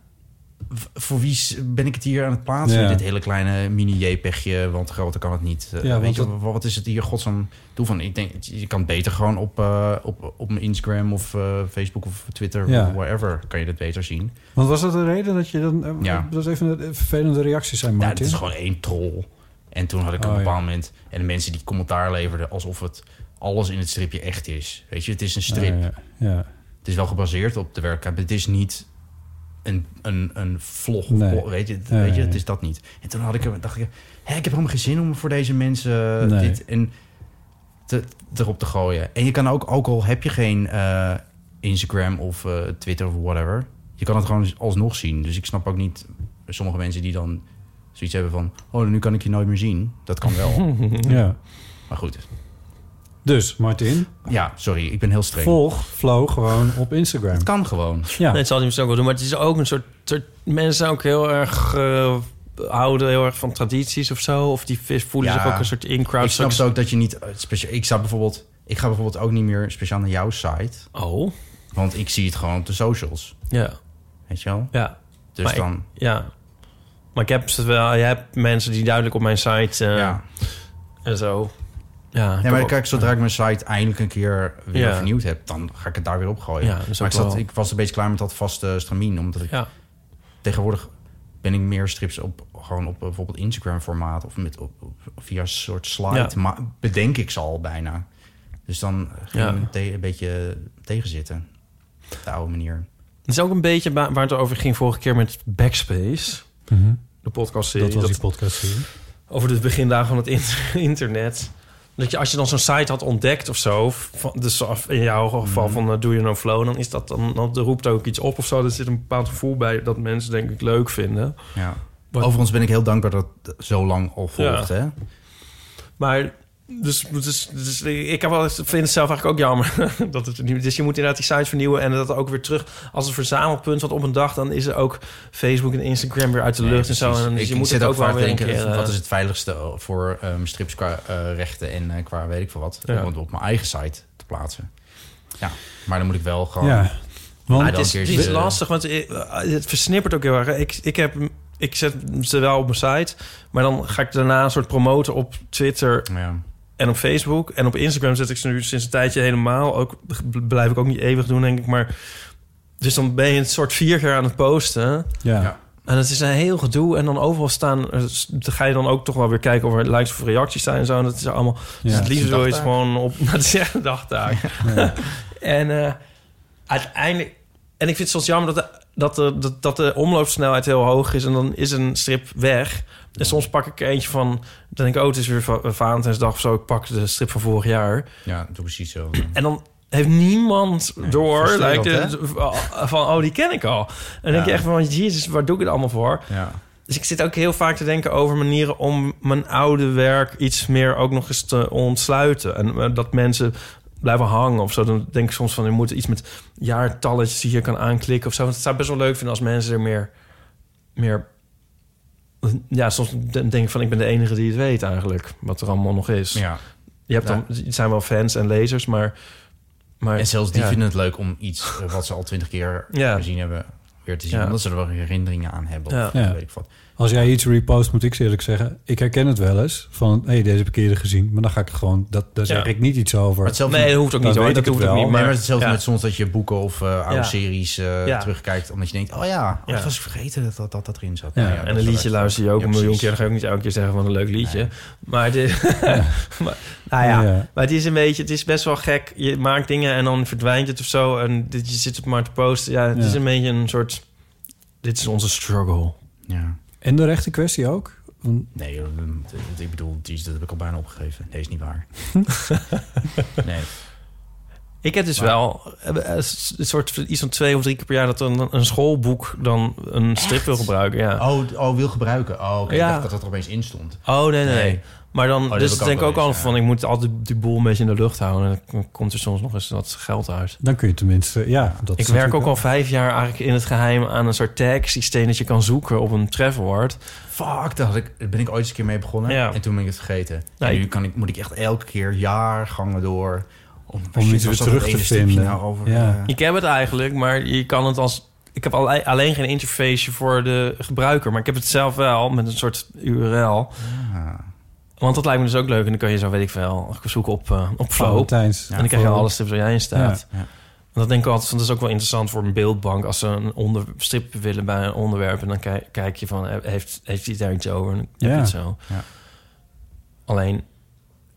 v- voor wie s- ben ik het hier aan het plaatsen?
Ja.
Dit hele kleine mini-JPEGje, want groter kan het niet. Eh,
Ja, want
weet je,
dat-
wa- wat is het hier godsnaam toe van? Ik denk, je kan het beter gewoon op, eh, op, op mijn Instagram of eh, Facebook of Twitter...
Ja.
of wherever kan je dat beter zien.
Want was dat de reden dat je dan... eh,
Ja.
Dat is even een vervelende reactie zijn,
Ja,
Martin.
het is gewoon één troll. En toen had ik op
Oh,
een
ja.
bepaald moment... En de mensen die commentaar leverden... alsof het alles in het stripje echt is. Weet je, het is een strip.
Ah, ja. ja.
Het is wel gebaseerd op de werkelijkheid. maar Het is niet een, een, een vlog.
Nee.
Of, weet je, het-
Ja,
weet je,
ja,
het
ja.
is dat niet. En toen had ik, er- dacht ik... Hé, ik heb helemaal geen zin om voor deze mensen eh,
Nee.
dit en te, erop te gooien. En je kan ook, ook al heb je geen eh, Instagram of eh, Twitter of whatever... je kan het gewoon alsnog zien. Dus ik snap ook niet sommige mensen die dan zoiets hebben van... oh, nu kan ik je nooit meer zien. Dat kan wel.
Ja.
maar goed.
Dus, Martin,
Ja, sorry, ik ben heel streng.
volg Flo gewoon op Instagram.
Het kan gewoon.
Ja.
Nee, dat zal hij misschien ook wel doen. Maar het is ook een soort... soort mensen zijn ook heel erg... eh, houden heel erg van tradities of zo. Of die vis voelen
Ja.
zich ook een soort
ik
in-crowd.
snap het ook dat je niet eh, specia- Ik zou bijvoorbeeld, ik ga bijvoorbeeld ook niet meer speciaal naar jouw site,
Oh,
want ik zie het gewoon op de socials,
ja.
weet je wel?
Ja,
Dus
Maar ik-
dan,
ja. Maar ik heb ze wel... Je hebt mensen die duidelijk op mijn site eh,
ja.
en zo... Ja, ik heb
Nee, maar
ook-
dan kijk, zodra ik mijn site eindelijk een keer weer
Ja.
vernieuwd heb, dan ga ik het daar weer op gooien.
Ja, dat is
maar
ook
ik, zat,
wel-
ik was een beetje klaar met dat vaste stramien, omdat ik
Ja.
tegenwoordig ben ik meer strips op gewoon op eh, bijvoorbeeld Instagram formaat of met op, op- via een soort slide,
Ja.
maar bedenk ik ze al bijna. Dus dan ging
Ja.
ik me te- een beetje tegenzitten, op de oude manier.
Het is ook een beetje wa- waar het over ging vorige keer met Backspace.
Mhm.
De podcast
Dat was die podcast hier.
over de begindagen van het inter- internet. Dat je als je dan zo'n site had ontdekt of zo, van, dus af- in jouw geval
Mhm.
van eh, Doe Je No Flow, dan is dat dan, dan roept ook iets op of zo. Er zit een bepaald gevoel bij dat mensen denk ik leuk vinden.
Ja.
Wat-
Overigens ben ik heel dankbaar dat het zo lang al volgt.
Ja.
Hè?
Maar dus, dus, dus ik heb wel, eens- vind het zelf eigenlijk ook jammer dat het er niet. Dus je moet inderdaad die site vernieuwen en dat ook weer terug als een verzamelpunt. Want op een dag dan is er ook Facebook en Instagram weer uit de lucht en zo. En dan, dus
ik,
je
ik
moet
zit
het
ook
ook wel
vaak
weer
te
een
denken,
keer. eh,
wat is het veiligste voor ehm, strips qua eh, rechten en eh, qua weet ik veel wat.
Ja.
Om het op mijn eigen site te plaatsen. Ja, maar dan moet ik wel gewoon... Ah,
Ja. Want,
Maar
Het is,
dan
het
keer
is
je-
lastig, want eh, het versnippert ook heel erg. Ik, ik, heb, ik zet ze wel op mijn site, maar dan ga ik daarna een soort promoten op Twitter
Ja.
en op Facebook. En op Instagram zet ik ze nu sinds een tijdje helemaal. Ook b- blijf ik ook niet eeuwig doen, denk ik. Maar, dus dan ben je een soort vier keer aan het posten.
ja.
Ja.
En het is een heel gedoe. En dan overal staan, eh, s- dan ga je dan ook toch wel weer kijken of er likes of reacties zijn en zo. En dat is allemaal. Dus
Ja,
het
het
liefst
is een
wil je het
dagtaak.
gewoon op. Dat is echt een dagtaak.
Ja.
En eh, uiteindelijk. En ik vind het soms jammer dat de, dat, de, dat, dat de omloopsnelheid heel hoog is. En dan is een strip weg. En soms pak ik er eentje van. Dan denk ik, oh, het is weer Va- Valentijnsdag of zo. Ik pak de strip van vorig jaar.
ja, doe precies zo.
En dan heeft niemand door.
frustrerend,
Lijkt het, van, oh, die ken ik al. En dan denk je
Ja.
echt van, jezus, waar doe ik het allemaal voor?
ja.
Dus ik zit ook heel vaak te denken over manieren om mijn oude werk iets meer ook nog eens te ontsluiten. En eh, dat mensen blijven hangen of zo. Dan denk ik soms van, je moet iets met jaartalletjes die je kan aanklikken of zo. Want het zou best wel leuk vinden als mensen er meer... meer ja, soms denk ik van, ik ben de enige die het weet eigenlijk. Wat er allemaal nog is.
ja.
je hebt
Ja.
dan, het zijn wel fans en lezers, maar... maar
En zelfs die
ja.
vinden het leuk om iets eh, wat ze al twintig keer
Ja.
gezien hebben weer te zien.
Ja.
Omdat ze er wel herinneringen aan hebben. Of
Ja. Ja.
weet ik wat.
Als jij iets repost, moet ik ze eerlijk zeggen... ik herken het wel eens. Van, hé, deze heb ik eerder gezien. Maar dan ga ik gewoon... Dat, daar zeg
Ja.
ik niet iets over.
Maar hetzelfde
Nee, dat hoeft ook
Dan
niet hoor.
weet
Dat
ik het
hoeft ook
wel.
niet.
Nee, maar hetzelfde
ja.
met soms dat je boeken of eh, oude
Ja.
series eh,
Ja.
terugkijkt. Omdat je denkt, oh ja, oh,
Ja.
dat was ik vergeten dat dat, dat, dat erin zat.
Ja,
Nou
en
dat
een
is
liedje
wel echt-
luister je ook
Ja,
een miljoen keer.
precies.
Dan ga je ook niet elke keer zeggen van een leuk liedje.
Nee.
Maar, de, maar, nou ja,
Ja.
maar het is een beetje, het is best wel gek. Je maakt dingen en dan verdwijnt het of zo. En dit, je zit het maar te posten. Ja, het
Ja.
is een beetje een soort, dit is onze struggle.
Ja.
En de rechte kwestie ook?
Nee, joh, dat- dat- ik bedoel, die, dat heb ik al bijna opgegeven. Nee, is niet waar. nee.
Ik heb dus wel eh, eh, s- een soort van- iets van twee of drie keer per jaar dat een, een schoolboek dan een strip wil gebruiken. Ja.
Oh, d- oh, wil gebruiken. Oh, oké.
Ja.
Ik dacht dat dat er opeens in stond.
Oh, nee, nee.
Nee.
Maar dan,
dat heb
dus
ik
ik
ook
denk ik
wel
ook al
eens,
van, ik moet altijd die boel een beetje in de lucht houden. En dan komt er soms nog eens wat geld uit.
Dan kun je tenminste, ja. Dat
ik
is
werk ook
natuurlijk-
al vijf jaar eigenlijk in het geheim aan een soort tag-systeem dat je kan zoeken op een trefwoord.
Fuck, daar had ik, daar ben ik ooit eens een keer mee begonnen.
Ja.
En toen ben ik het vergeten.
Nee.
En nu kan Nou, ik, moet ik echt elke keer jaargangen door... Om, Shit,
Om iets weer
was dat het
terug te
ene stukje
vinden.
Nou over,
ja.
eh,
Ik heb het eigenlijk, maar je kan het als. Ik heb alle- alleen geen interface voor de gebruiker, maar ik heb het zelf wel met een soort URL. Want dat lijkt me dus ook leuk. En dan kun je zo, weet ik veel, zoeken op, eh, op Flow.
Valentijns.
en dan krijg je
Flow.
alle strips waar jij in staat.
Ja, ja.
En dat denk ik altijd, van, dat is ook wel interessant voor een beeldbank. Als ze een onder, strip willen bij een onderwerp, en dan kijk, kijk je van, eh, heeft, heeft hij daar iets over? En dan heb
Ja.
je het zo.
Ja.
Alleen,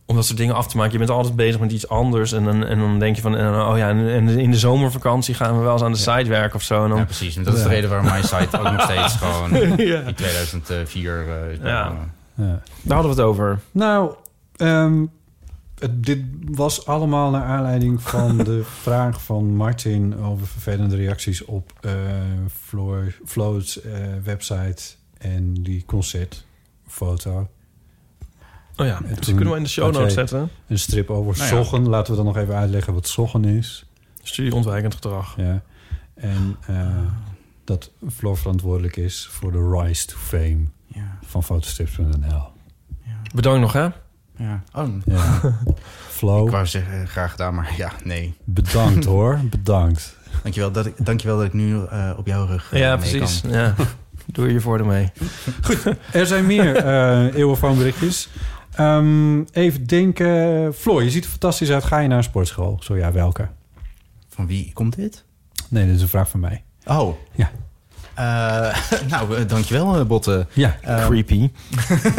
om dat soort dingen af te maken, je bent altijd bezig met iets anders. En dan, en dan denk je van, en dan, oh ja, en, en in de zomervakantie gaan we wel eens aan de site werken of zo. En dan,
Ja, precies. En dat is de
Ja.
reden waarom mijn site ook nog steeds gewoon eh, in 2004 eh, is
Ja.
begonnen.
Ja.
Daar hadden we het over.
Nou, ehm, het, dit was allemaal naar aanleiding van de vraag van Martin over vervelende reacties op eh Floor, Flo's eh, website en die concertfoto.
Oh ja,
toen-
dus die kunnen we in de show
had
notes
jij-
zetten.
Een strip over
Nou ja.
soggen. Laten we dan nog even uitleggen wat soggen is.
Studieontwijkend gedrag.
Ja. En
Ah.
eh, dat Floor verantwoordelijk is voor de rise to fame
Ja,
van fotostrips.nl.
Bedankt nog, hè?
ja. Oh,
Ja. Flo,
ik wou zeggen, eh, graag gedaan, maar ja, nee.
bedankt hoor. Bedankt.
Dankjewel dat ik, dankjewel dat ik nu eh, op jouw rug eh,
ja,
mee
precies.
kan.
Ja. Doe je voordeel mee.
Er zijn meer eh eeuwenfoonberichtjes. Ehm, even denken. Floor, je ziet er fantastisch uit. Ga je naar een sportschool? Zo ja, welke?
Van wie komt dit?
Nee, dit is een vraag van mij.
Oh.
Ja.
Eh, nou, eh, dankjewel, eh, Botte.
Ja,
Eh,
Creepy.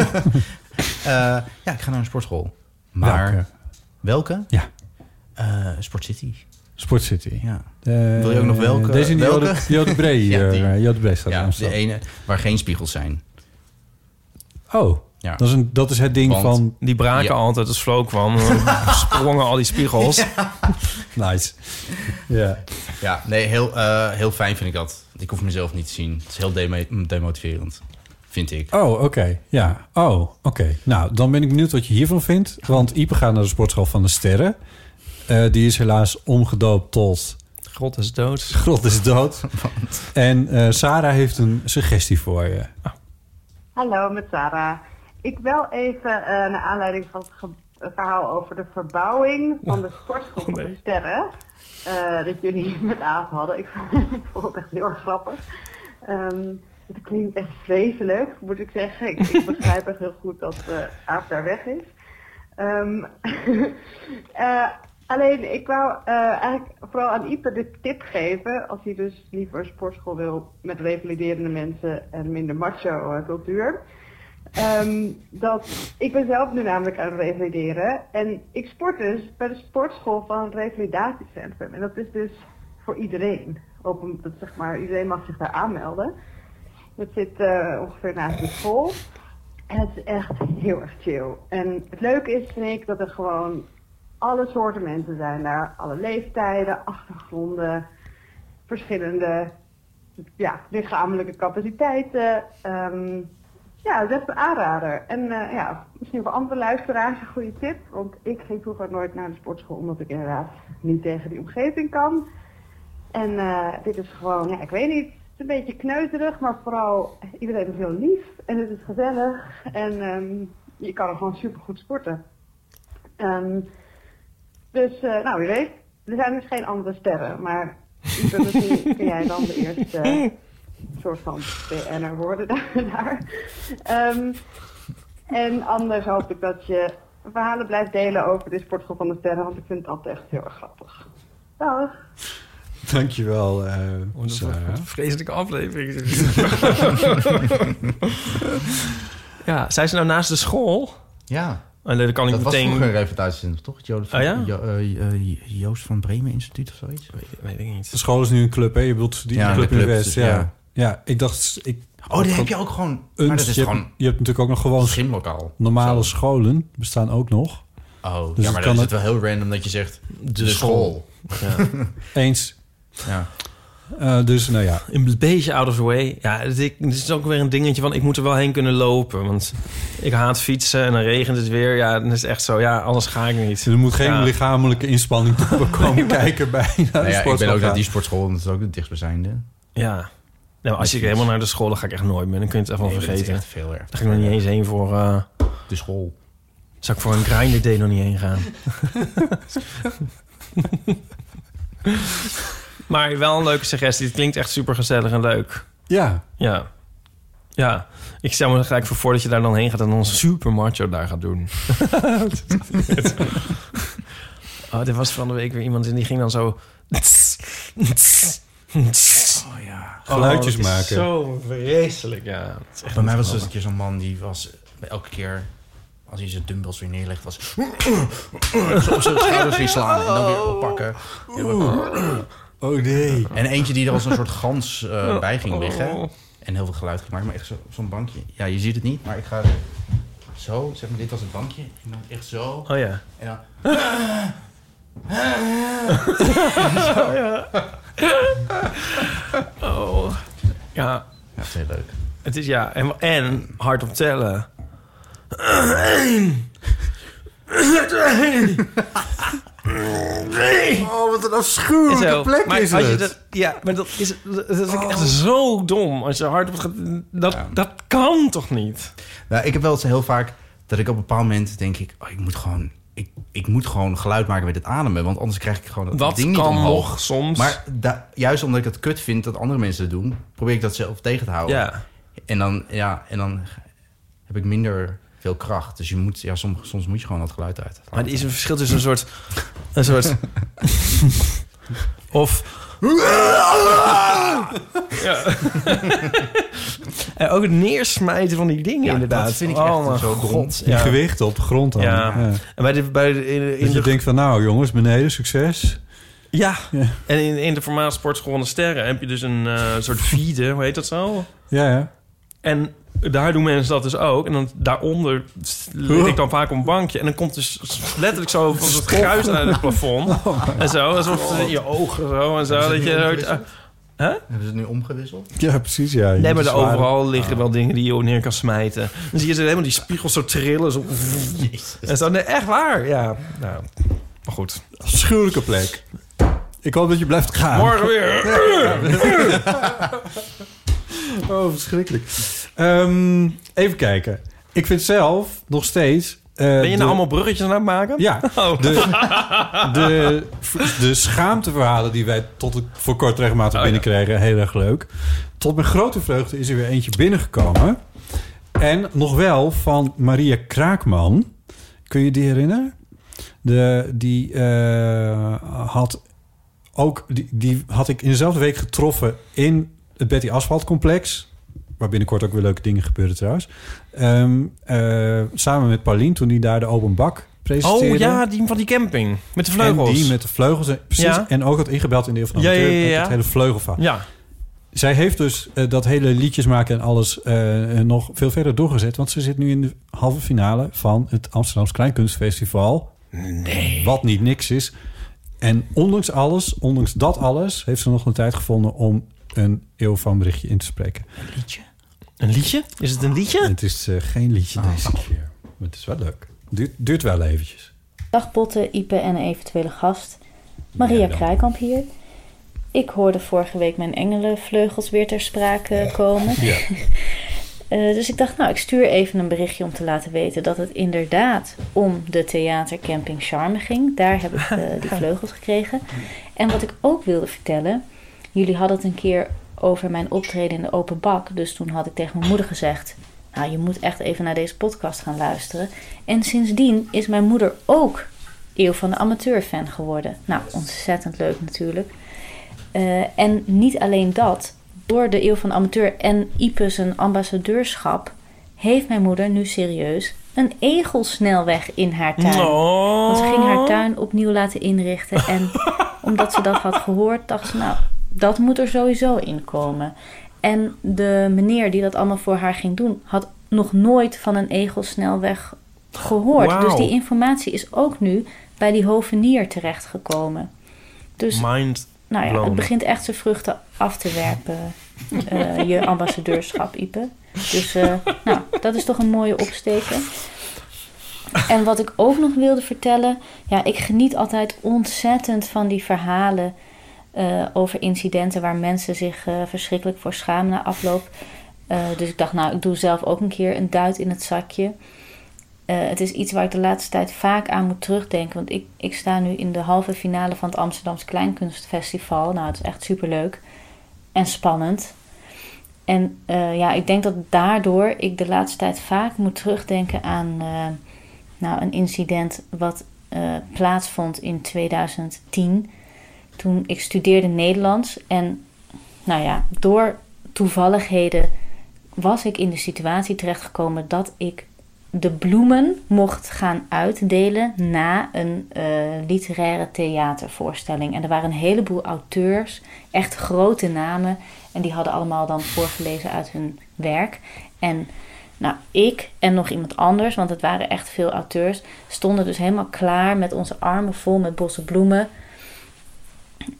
eh, ja, ik ga naar een sportschool. Maar welke?
welke? Ja.
Eh, Sport City.
Sport City.
Ja,
Eh,
Wil je ook nog welke-
Deze in de
welke?
Jode- Jode Bree
Ja,
hier.
die.
eh, Jode Bree staat in
ja de
Amsterdam.
ene waar geen spiegels zijn.
Oh,
Ja.
dat, is een, dat is het ding
Want-
van...
Die braken
Ja.
altijd als Flo kwam. Dan sprongen al die spiegels.
Nice. ja.
Ja, nee, heel, eh, heel fijn vind ik dat. Ik hoef mezelf niet te zien. Het is heel demo- demotiverend, vind ik.
Oh, oké. Ja. Oh, oké. Nou, dan ben ik benieuwd wat je hiervan vindt. Want Ipe gaat naar de sportschool van de Sterren. Eh, die is helaas omgedoopt tot
God is dood.
Grot is dood. En eh, Sarah heeft een suggestie voor je.
Hallo, met Sarah. Ik wel even eh, naar aanleiding van het ge- eh, verhaal over de verbouwing van de sportschool van de sterren. eh, dat jullie met Aaf hadden. Ik vond, ik vond het echt heel erg grappig. Ehm, het klinkt echt vreselijk, moet ik zeggen. Ik, ik begrijp echt heel goed dat eh Aaf daar weg is. Ehm, eh, alleen, ik wou eh, eigenlijk vooral aan Ipe de tip geven, als hij dus liever een sportschool wil met revaliderende mensen en minder macho eh, cultuur. Ehm, dat ik ben zelf nu namelijk aan het revalideren en ik sport dus bij de sportschool van het revalidatiecentrum. En dat is dus voor iedereen. Op een, dat zeg maar, iedereen mag zich daar aanmelden. Dat zit eh, ongeveer naast de school. En het is echt heel erg chill. En het leuke is, vind ik, dat er gewoon alle soorten mensen zijn daar. Alle leeftijden, achtergronden, verschillende ja, lichamelijke capaciteiten. Ehm, ja, dat is echt een aanrader. En eh, ja, misschien voor andere luisteraars een goede tip. Want ik ging vroeger nooit naar de sportschool, omdat ik inderdaad niet tegen die omgeving kan. En eh, dit is gewoon, ja, ik weet niet, het is een beetje kneuterig, maar vooral iedereen is heel lief en het is gezellig en ehm, je kan er gewoon supergoed sporten. Ehm, dus, eh, nou, wie weet, er zijn dus geen andere sterren, maar Ipe, misschien kun jij dan de eerste eh, soort van BN'er worden daar. daar. Ehm, en anders hoop ik dat je verhalen blijft delen over de sportschool van de sterren, want ik vind het altijd echt heel erg grappig. Dag!
Dankjewel, eh Sarah.
Vreselijke aflevering. ja, zijn ze nou naast de school?
Ja,
Oh, nee, dan kan ik
dat was
meteen...
vroeger een revalidatiecentrum, toch? Het Jode van-
Oh ja?
Jo- eh, eh, Joost van Bremen Instituut of zoiets?
Weet, weet ik niet.
De school is nu een club, hè? Je bedoelt die
Ja,
club
de
in
club,
West.
dus
Ja.
ja.
ja. ik dacht... Ik
Oh, die heb je ook gewoon.
Een-
maar dat is
je, hebt,
gewoon.
je hebt natuurlijk ook nog gewoon...
Gymlokaal.
Normale scholen bestaan ook nog.
Oh,
Dus
ja,
het
maar
kan
dan is
het-
het wel heel random dat je zegt. De,
school.
school. Nou
Eens.
Ja.
Eh, dus nou ja.
Een beetje out of the way. Ja, het ik- het is ook weer een dingetje van ik moet er wel heen kunnen lopen. Want ik haat fietsen en dan regent het weer. Ja, dan is het echt zo. Ja, anders ga ik niet.
Er moet geen
Ja.
lichamelijke inspanning toe komen kijken bij naar de
Nou ja, ik ben
sportschool
ook naar
gaan.
die sportschool, omdat het ook het dichtstbijzijnde.
Ja. Nou, als ik helemaal naar de school, dan ga ik echt nooit meer. Dan kun je het echt wel
Nee, dat is
vergeten.
echt veel erg.
Daar ga ik nog niet eens heen voor... eh,
de school.
Zou ik voor een grinder day nog niet heen gaan? maar wel een leuke suggestie. Het klinkt echt super gezellig en leuk.
Ja.
Ja. Ja. Ik stel me er gelijk voor voor dat je daar dan heen gaat... en dan super macho daar gaat doen. oh, dit was van de week weer iemand... en die ging dan zo... Oh ja.
Geluidjes maken.
Zo vreselijk, ja. Het is echt
Bij mij
niet
was er
te
een keer zo'n man die was bij elke keer als hij zijn dumbbells weer neerlegt was zo op zijn schouders weer slaan en dan weer oppakken.
Oh nee.
En eentje die er als een soort gans eh, bij ging
Oh.
liggen en heel veel geluid ging maken, maar echt zo, op zo'n bankje. Ja, je ziet het niet, maar ik ga zo, zeg maar dit was het bankje en dan echt zo.
Oh ja.
En dan
Oh, ja. oh. Ja.
ja, heel leuk.
Het is ja. En, en hardop tellen.
Oh, wat een
En
afschuwelijke
zo.
plek
maar
is
als
het. Oh.
Je dat, ja, maar dat is, dat is echt zo dom. Als je hardop gaat... Dat, dat kan toch niet?
Nou, ik heb wel eens heel vaak dat ik op een bepaald moment denk ik, oh, ik moet gewoon, ik, ik moet gewoon geluid maken met het ademen, want anders krijg ik gewoon het
Dat
ding
kan
niet omhoog.
nog soms.
Maar da- juist omdat ik het kut vind dat andere mensen het doen, probeer ik dat zelf tegen te houden.
Ja.
En dan, ja, en dan heb ik minder veel kracht. Dus je moet, ja, soms, soms moet je gewoon dat geluid uit.
Maar er is een verschil tussen een soort... Een soort... of... Ja. en ook het neersmijten van die dingen
Ja,
inderdaad.
dat vind ik
oh,
echt
mijn
zo dom.
god.
Die gewichten op de grond dan.
Ja.
Ja.
En bij de, bij de, in, in
Dat je
de,
denkt van nou jongens, beneden, succes.
ja.
Ja.
En in, in de voormalige sportschool van de sterren heb je dus een eh, soort vide, hoe heet dat zo?
Ja, ja.
En daar doen mensen dat dus ook. En dan daaronder lig ik dan vaak op een bankje. En dan komt dus letterlijk zo van het kruis uit het plafond.
Oh
en zo, alsof het in je ogen zo en zo. Dat je zo-
Hebben ze het nu omgewisseld?
Ja, precies. Ja.
Nee, maar
Die
daar
zware-
overal
Ah.
liggen wel dingen die je neer kan smijten. Dan zie je ze helemaal die spiegels zo trillen. Zo. En zo, nee, echt waar, ja. Nou, maar goed.
Afschuwelijke plek. Ik hoop dat je blijft gaan.
Morgen
Eh,
weer.
Oh, verschrikkelijk. Ehm, even kijken. Ik vind zelf nog steeds... eh,
Ben je
de-
nou allemaal bruggetjes aan het maken?
Ja,
Oh.
de, de, de schaamteverhalen die wij tot het- voor kort regelmatig
Oh, ja.
binnenkregen, heel erg leuk. Tot mijn grote vreugde is er weer eentje binnengekomen. En nog wel van Maria Kraakman. Kun je die herinneren? De, die eh, had ook die, die had ik in dezelfde week getroffen in het Betty Asphalt complex. Waar binnenkort ook weer leuke dingen gebeuren trouwens. Ehm, eh, samen met Paulien toen die daar de open bak presenteerde.
Oh ja, die van die camping. Met de vleugels.
En die met de vleugels. en- Precies.
Ja.
En ook had ingebeld in de Eeuw van de
Ja,
Amateur.
ja, ja,
met
ja.
Het hele vleugelverhaal.
Ja.
Zij heeft dus eh, dat hele liedjes maken en alles eh, nog veel verder doorgezet. Want ze zit nu in de halve finale van het Amsterdamse Kleinkunstfestival. Nee. Wat niet niks is. En ondanks alles, ondanks dat alles, heeft ze nog een tijd gevonden om een eeuw van berichtje in te spreken.
Een liedje? Is het een liedje?
En het is eh, geen liedje deze keer. Maar het is wel leuk. Duurt, duurt wel eventjes.
Dag Botte, Ipe en een eventuele gast. Maria Kraaikamp hier. Ik hoorde vorige week mijn engelenvleugels weer ter sprake komen.
Ja.
Eh, dus ik dacht, nou, ik stuur even een berichtje om te laten weten dat het inderdaad om de theatercamping Charme ging. Daar heb ik eh, die vleugels gekregen. En wat ik ook wilde vertellen, jullie hadden het een keer over mijn optreden in de open bak. Dus toen had ik tegen mijn moeder gezegd, nou, je moet echt even naar deze podcast gaan luisteren. En sindsdien is mijn moeder ook Eeuw van de Amateur fan geworden. Nou, ontzettend leuk natuurlijk. Eh, en niet alleen dat, door de Eeuw van de Amateur en Ipe zijn ambassadeurschap, heeft mijn moeder nu serieus een egelsnelweg in haar tuin.
Oh.
Want ze eh, ging haar tuin opnieuw laten inrichten. En omdat ze dat had gehoord, dacht ze, nou, dat moet er sowieso in komen. En de meneer die dat allemaal voor haar ging doen, had nog nooit van een egelsnelweg gehoord.
Wauw.
Dus die informatie is ook nu bij die hovenier terechtgekomen. Dus
Mind
nou ja, het
blown.
begint echt zijn vruchten af te werpen, eh, je ambassadeurschap, Ipe. Dus eh, nou, dat is toch een mooie opsteken. En wat ik ook nog wilde vertellen, ja, ik geniet altijd ontzettend van die verhalen eh, over incidenten waar mensen zich eh, verschrikkelijk voor schamen na afloop. Eh, dus ik dacht, nou, ik doe zelf ook een keer een duit in het zakje. Eh, het is iets waar ik de laatste tijd vaak aan moet terugdenken. Want ik, ik sta nu in de halve finale van het Amsterdamse Kleinkunstfestival. Nou, het is echt superleuk en spannend. En eh, ja, ik denk dat daardoor ik de laatste tijd vaak moet terugdenken aan eh, nou, een incident wat eh, plaatsvond in 2010. Toen ik studeerde Nederlands en nou ja, door toevalligheden was ik in de situatie terechtgekomen dat ik de bloemen mocht gaan uitdelen na een eh, literaire theatervoorstelling. En er waren een heleboel auteurs, echt grote namen, en die hadden allemaal dan voorgelezen uit hun werk. En nou, ik en nog iemand anders, want het waren echt veel auteurs, stonden dus helemaal klaar met onze armen vol met bossen bloemen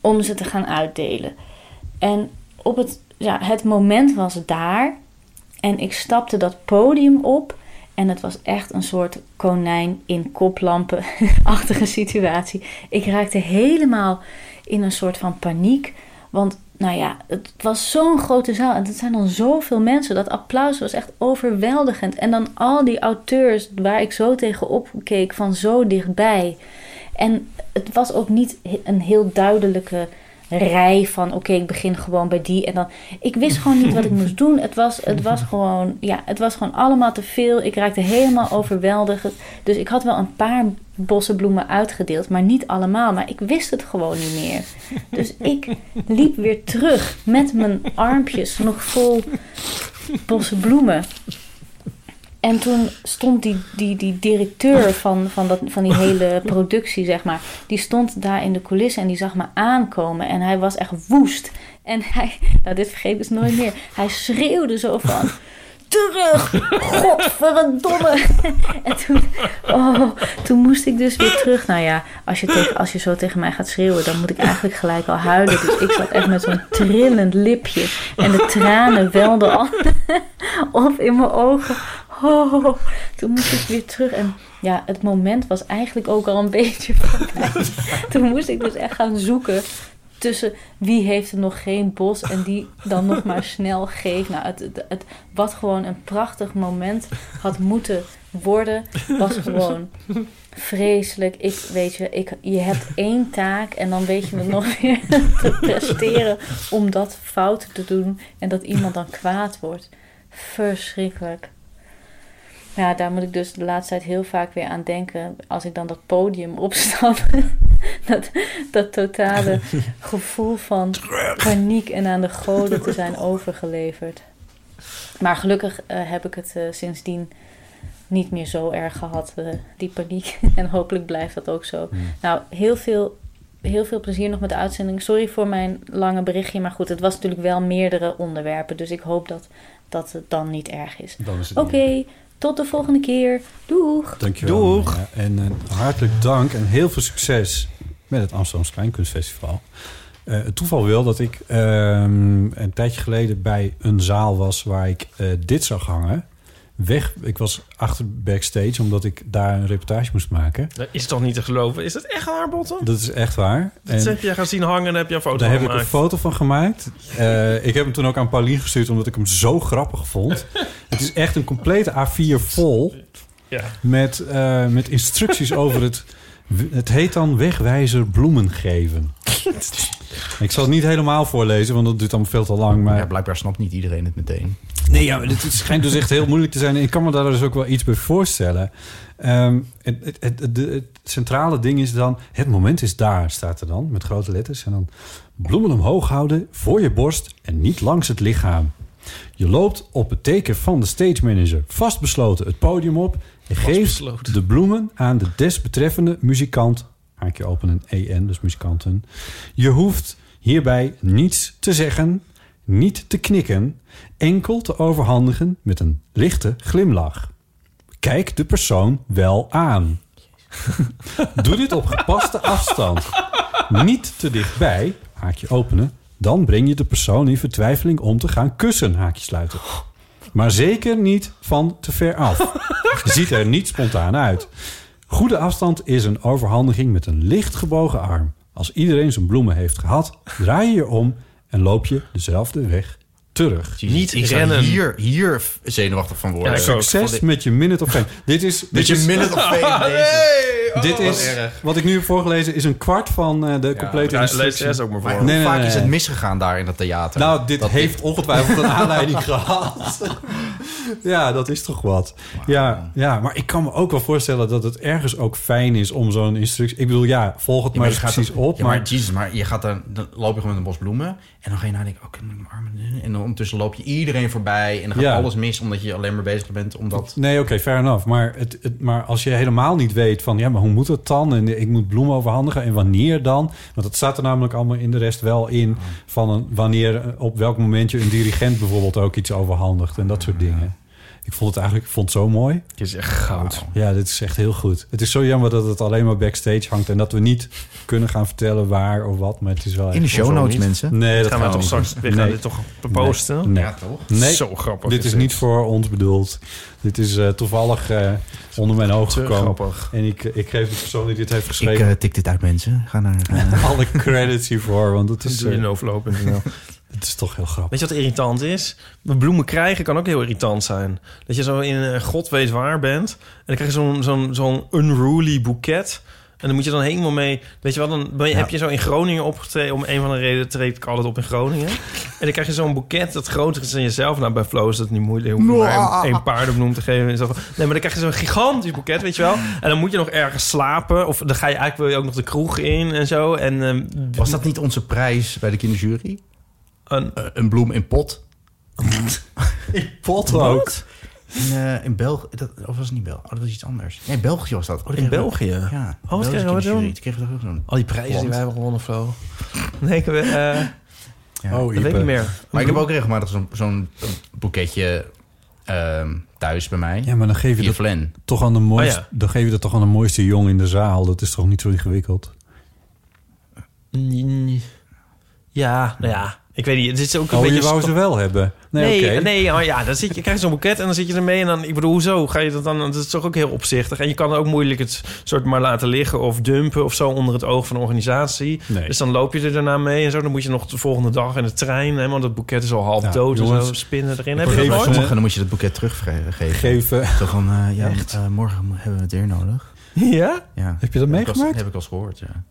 om ze te gaan uitdelen. En op het, ja, het moment was daar en ik stapte dat podium op. En het was echt een soort konijn in koplampen-achtige situatie. Ik raakte helemaal in een soort van paniek. Want nou ja, het was zo'n grote zaal. En het zijn dan zoveel mensen. Dat applaus was echt overweldigend. En dan al die auteurs waar ik zo tegen opkeek van zo dichtbij. En het was ook niet he- een heel duidelijke rij van oké, ik begin gewoon bij die en dan. Ik wist gewoon niet wat ik moest doen. Het was, het was gewoon, ja, het was gewoon allemaal te veel. Ik raakte helemaal overweldigd. Dus ik had wel een paar bossen bloemen uitgedeeld, maar niet allemaal. Maar ik wist het gewoon niet meer. Dus ik liep weer terug met mijn armpjes nog vol bossen bloemen. En toen stond die, die, die directeur van, van, dat, van die hele productie, zeg maar, die stond daar in de coulissen en die zag me aankomen. En hij was echt woest. En hij, nou dit vergeet ik dus nooit meer, hij schreeuwde zo van, terug, godverdomme. En toen, oh, toen moest ik dus weer terug. Nou ja, als je, tegen, als je zo tegen mij gaat schreeuwen, dan moet ik eigenlijk gelijk al huilen. Dus ik zat echt met zo'n trillend lipje en de tranen welden al of in mijn ogen. Oh, toen moest ik weer terug. En ja, het moment was eigenlijk ook al een beetje voorbij. Toen moest ik dus echt gaan zoeken tussen wie heeft er nog geen bos en die dan nog maar snel geeft. Nou, het, het, het- wat gewoon een prachtig moment had moeten worden, was gewoon vreselijk. Ik weet je, ik, je hebt één taak en dan weet je het nog weer te presteren om dat fout te doen en dat iemand dan kwaad wordt. Verschrikkelijk. Ja, daar moet ik dus de laatste tijd heel vaak weer aan denken. Als ik dan dat podium opstap. dat, dat totale gevoel van paniek en aan de goden te zijn overgeleverd. Maar gelukkig eh, heb ik het eh, sindsdien niet meer zo erg gehad, eh, die paniek. en hopelijk blijft dat ook zo. Nou, heel veel, heel veel plezier nog met de uitzending. Sorry voor mijn lange berichtje, maar goed, het was natuurlijk wel meerdere onderwerpen. Dus ik hoop dat, dat het dan niet erg is.
Dan is het
Oké, tot de volgende keer. Doeg!
Dankjewel. Doeg. En eh, hartelijk dank en heel veel succes met het Amsterdamse Kleinkunstfestival. Eh, het toeval wil dat ik ehm, een tijdje geleden bij een zaal was waar ik eh, dit zag hangen. Weg, ik was achter backstage omdat ik daar een reportage moest maken.
Dat is toch niet te geloven? Is dat echt haar botten?
Dat is echt waar.
Dat
En-
heb je gaan zien hangen en heb je een foto
Daar heb ik
gemaakt.
een foto van gemaakt. Eh, ik heb hem toen ook aan Paulien gestuurd omdat ik hem zo grappig vond. het is echt een complete A4 vol
Ja.
met, eh, met instructies over het. Het heet dan wegwijzer bloemen geven. Ik zal het niet helemaal voorlezen, want dat duurt allemaal veel te lang. Maar... Ja, blijkbaar snapt niet iedereen het meteen. Nee, ja, maar het schijnt dus echt heel moeilijk te zijn. En ik kan me daar dus ook wel iets bij voorstellen. Ehm, het, het, het, het- het centrale ding is dan... Het moment is daar, staat er dan, met grote letters. En dan bloemen omhoog houden, voor je borst en niet langs het lichaam. Je loopt op het teken van de stage manager vastbesloten het podium op... en geeft de bloemen aan de desbetreffende muzikant. Haakje E openen, EN, dus muzikanten. Je hoeft hierbij niets te zeggen... niet te knikken, enkel te overhandigen met een lichte glimlach. Kijk de persoon wel aan. Doe dit op gepaste afstand. Niet te dichtbij, haakje openen. Dan breng je de persoon in vertwijfeling om te gaan kussen, haakje sluiten. Maar zeker niet van te ver af. Ziet er niet spontaan uit. Goede afstand is een overhandiging met een licht gebogen arm. Als iedereen zijn bloemen heeft gehad, draai je je om en loop je dezelfde weg terug.
Niet ik zou rennen. hier- hier zenuwachtig van worden. Ja, ik ook.
Succes met je minute of fame. Dit is... dit
Met je
is-
minute of fame, deze. Hey, oh,
dit
wat
is...
erg.
Wat ik nu heb voorgelezen is een kwart van eh, de complete instructie.
Maar hoe vaak is het misgegaan daar in dat theater?
Nou, dit
Dat
heeft ongetwijfeld een aanleiding gehad. Ja, dat is toch wat. Ja, ja, maar ik kan me ook wel voorstellen dat het ergens ook fijn is om zo'n instructie... Ik bedoel, ja, volg het
Ja,
maar
je
eens
gaat
precies
er-
op.
ja, maar,
maar
jezus, maar je gaat dan, dan loop je gewoon met een bos bloemen. En dan ga je nadenken, oké, moet ik mijn armen doen? En dan ondertussen loop je iedereen voorbij. En dan gaat
Ja.
alles mis, omdat je alleen maar bezig bent. Omdat,
Nee, oké, fair enough. Maar, het, het, maar als je helemaal niet weet van... ja, maar hoe moet het dan? En ik moet bloemen overhandigen. En wanneer dan? Want dat staat er namelijk allemaal in de rest wel in... van een, wanneer, eh, op welk moment je een dirigent bijvoorbeeld ook iets overhandigt. En dat soort dingen. Ik vond het eigenlijk ik vond het zo mooi.
Het is echt goud.
Ja, dit is echt heel goed. Het is zo jammer dat het alleen maar backstage hangt... en dat we niet kunnen gaan vertellen waar of wat. Maar het is wel echt-
de show
Hoezo
notes,
niet?
mensen.
Nee, dat
Gaan we
gaan
toch
we
straks-
niet
we
doen.
gaan
Nee.
dit toch
Nee.
posten?
Nee.
Ja, toch?
Nee.
Zo grappig
Dit
is
is
dit.
niet voor ons bedoeld. Dit is eh, toevallig eh, onder mijn oog gekomen.
grappig.
En ik, eh, ik geef de persoon die dit heeft
Ik
geschreven
eh, tik dit uit, mensen. Ga naar... ga naar-
alle credits hiervoor. Want het is...
Doe je
eh,
een overloop.nl.
Het is toch heel grappig.
Weet je wat irritant is? Bloemen krijgen kan ook heel irritant zijn. Dat je zo in eh, god weet waar bent. En dan krijg je zo'n zo'n zo'n unruly boeket. En dan moet je dan helemaal mee... Weet je wat, dan ben je, heb je zo in Groningen opgetreden... om een van de redenen treed ik altijd op in Groningen. En dan krijg je zo'n boeket dat groter is dan jezelf. Nou, bij Flo is dat niet moeilijk. Hoef je maar één- één paardenbloem te geven. En zo. Nee, maar dan krijg je zo'n gigantisch boeket, weet je wel. En dan moet je nog ergens slapen. Of dan ga je eigenlijk wil je ook nog de kroeg in en zo. En, ehm,
Was dat niet onze prijs bij de kinderjury? Eh,
Een,
een bloem in pot. in
pot
ook?
In, eh, in België, dat, of was het niet België? Oh, dat was iets anders. Nee, België was dat. Oh, dat
In
kregen we-
België?
Ja.
Oh, wat kregen we dan?
Dat kregen we toch ook zo'n
Al die prijzen die
plant.
wij hebben gewonnen, Flo. Nee, ik, eh,
Ja.
dat weet ik niet meer.
Maar ik heb
Mhm.
ook regelmatig zo'n zo'n boeketje ehm, thuis bij mij.
Ja, maar dan geef je
Via
dat
Flan.
toch aan de mooiste,
Oh,
dan geef je dat toch aan de mooiste jong in de zaal. Dat is toch niet zo ingewikkeld.
Ja, nou ja. Ik weet niet, het is ook een
oh,
beetje...
je wou
sto-
ze wel hebben. Nee,
Nee,
oké.
nee, oh ja, dan zit je, krijg je zo'n boeket en dan zit je ermee. En dan, ik bedoel, hoezo ga je dat dan? Dat is toch ook heel opzichtig. En je kan ook moeilijk het soort maar laten liggen of dumpen of zo onder het oog van de organisatie.
Nee.
Dus dan loop je er daarna mee en zo. Dan moet je nog de volgende dag in de trein, hè, want dat boeket is al half
Ja,
dood en zo.
jongens,
Spinnen erin.
Ik
Heb je dat
geef
Eh?
nooit?
sommigen, dan moet je dat boeket teruggeven.
Geven.
Zo van, eh, ja,
Echt?
eh, morgen mo- hebben we het weer nodig.
Ja?
Ja.
Heb je dat
ik als-
meegemaakt?
heb ik al eens gehoord, ja.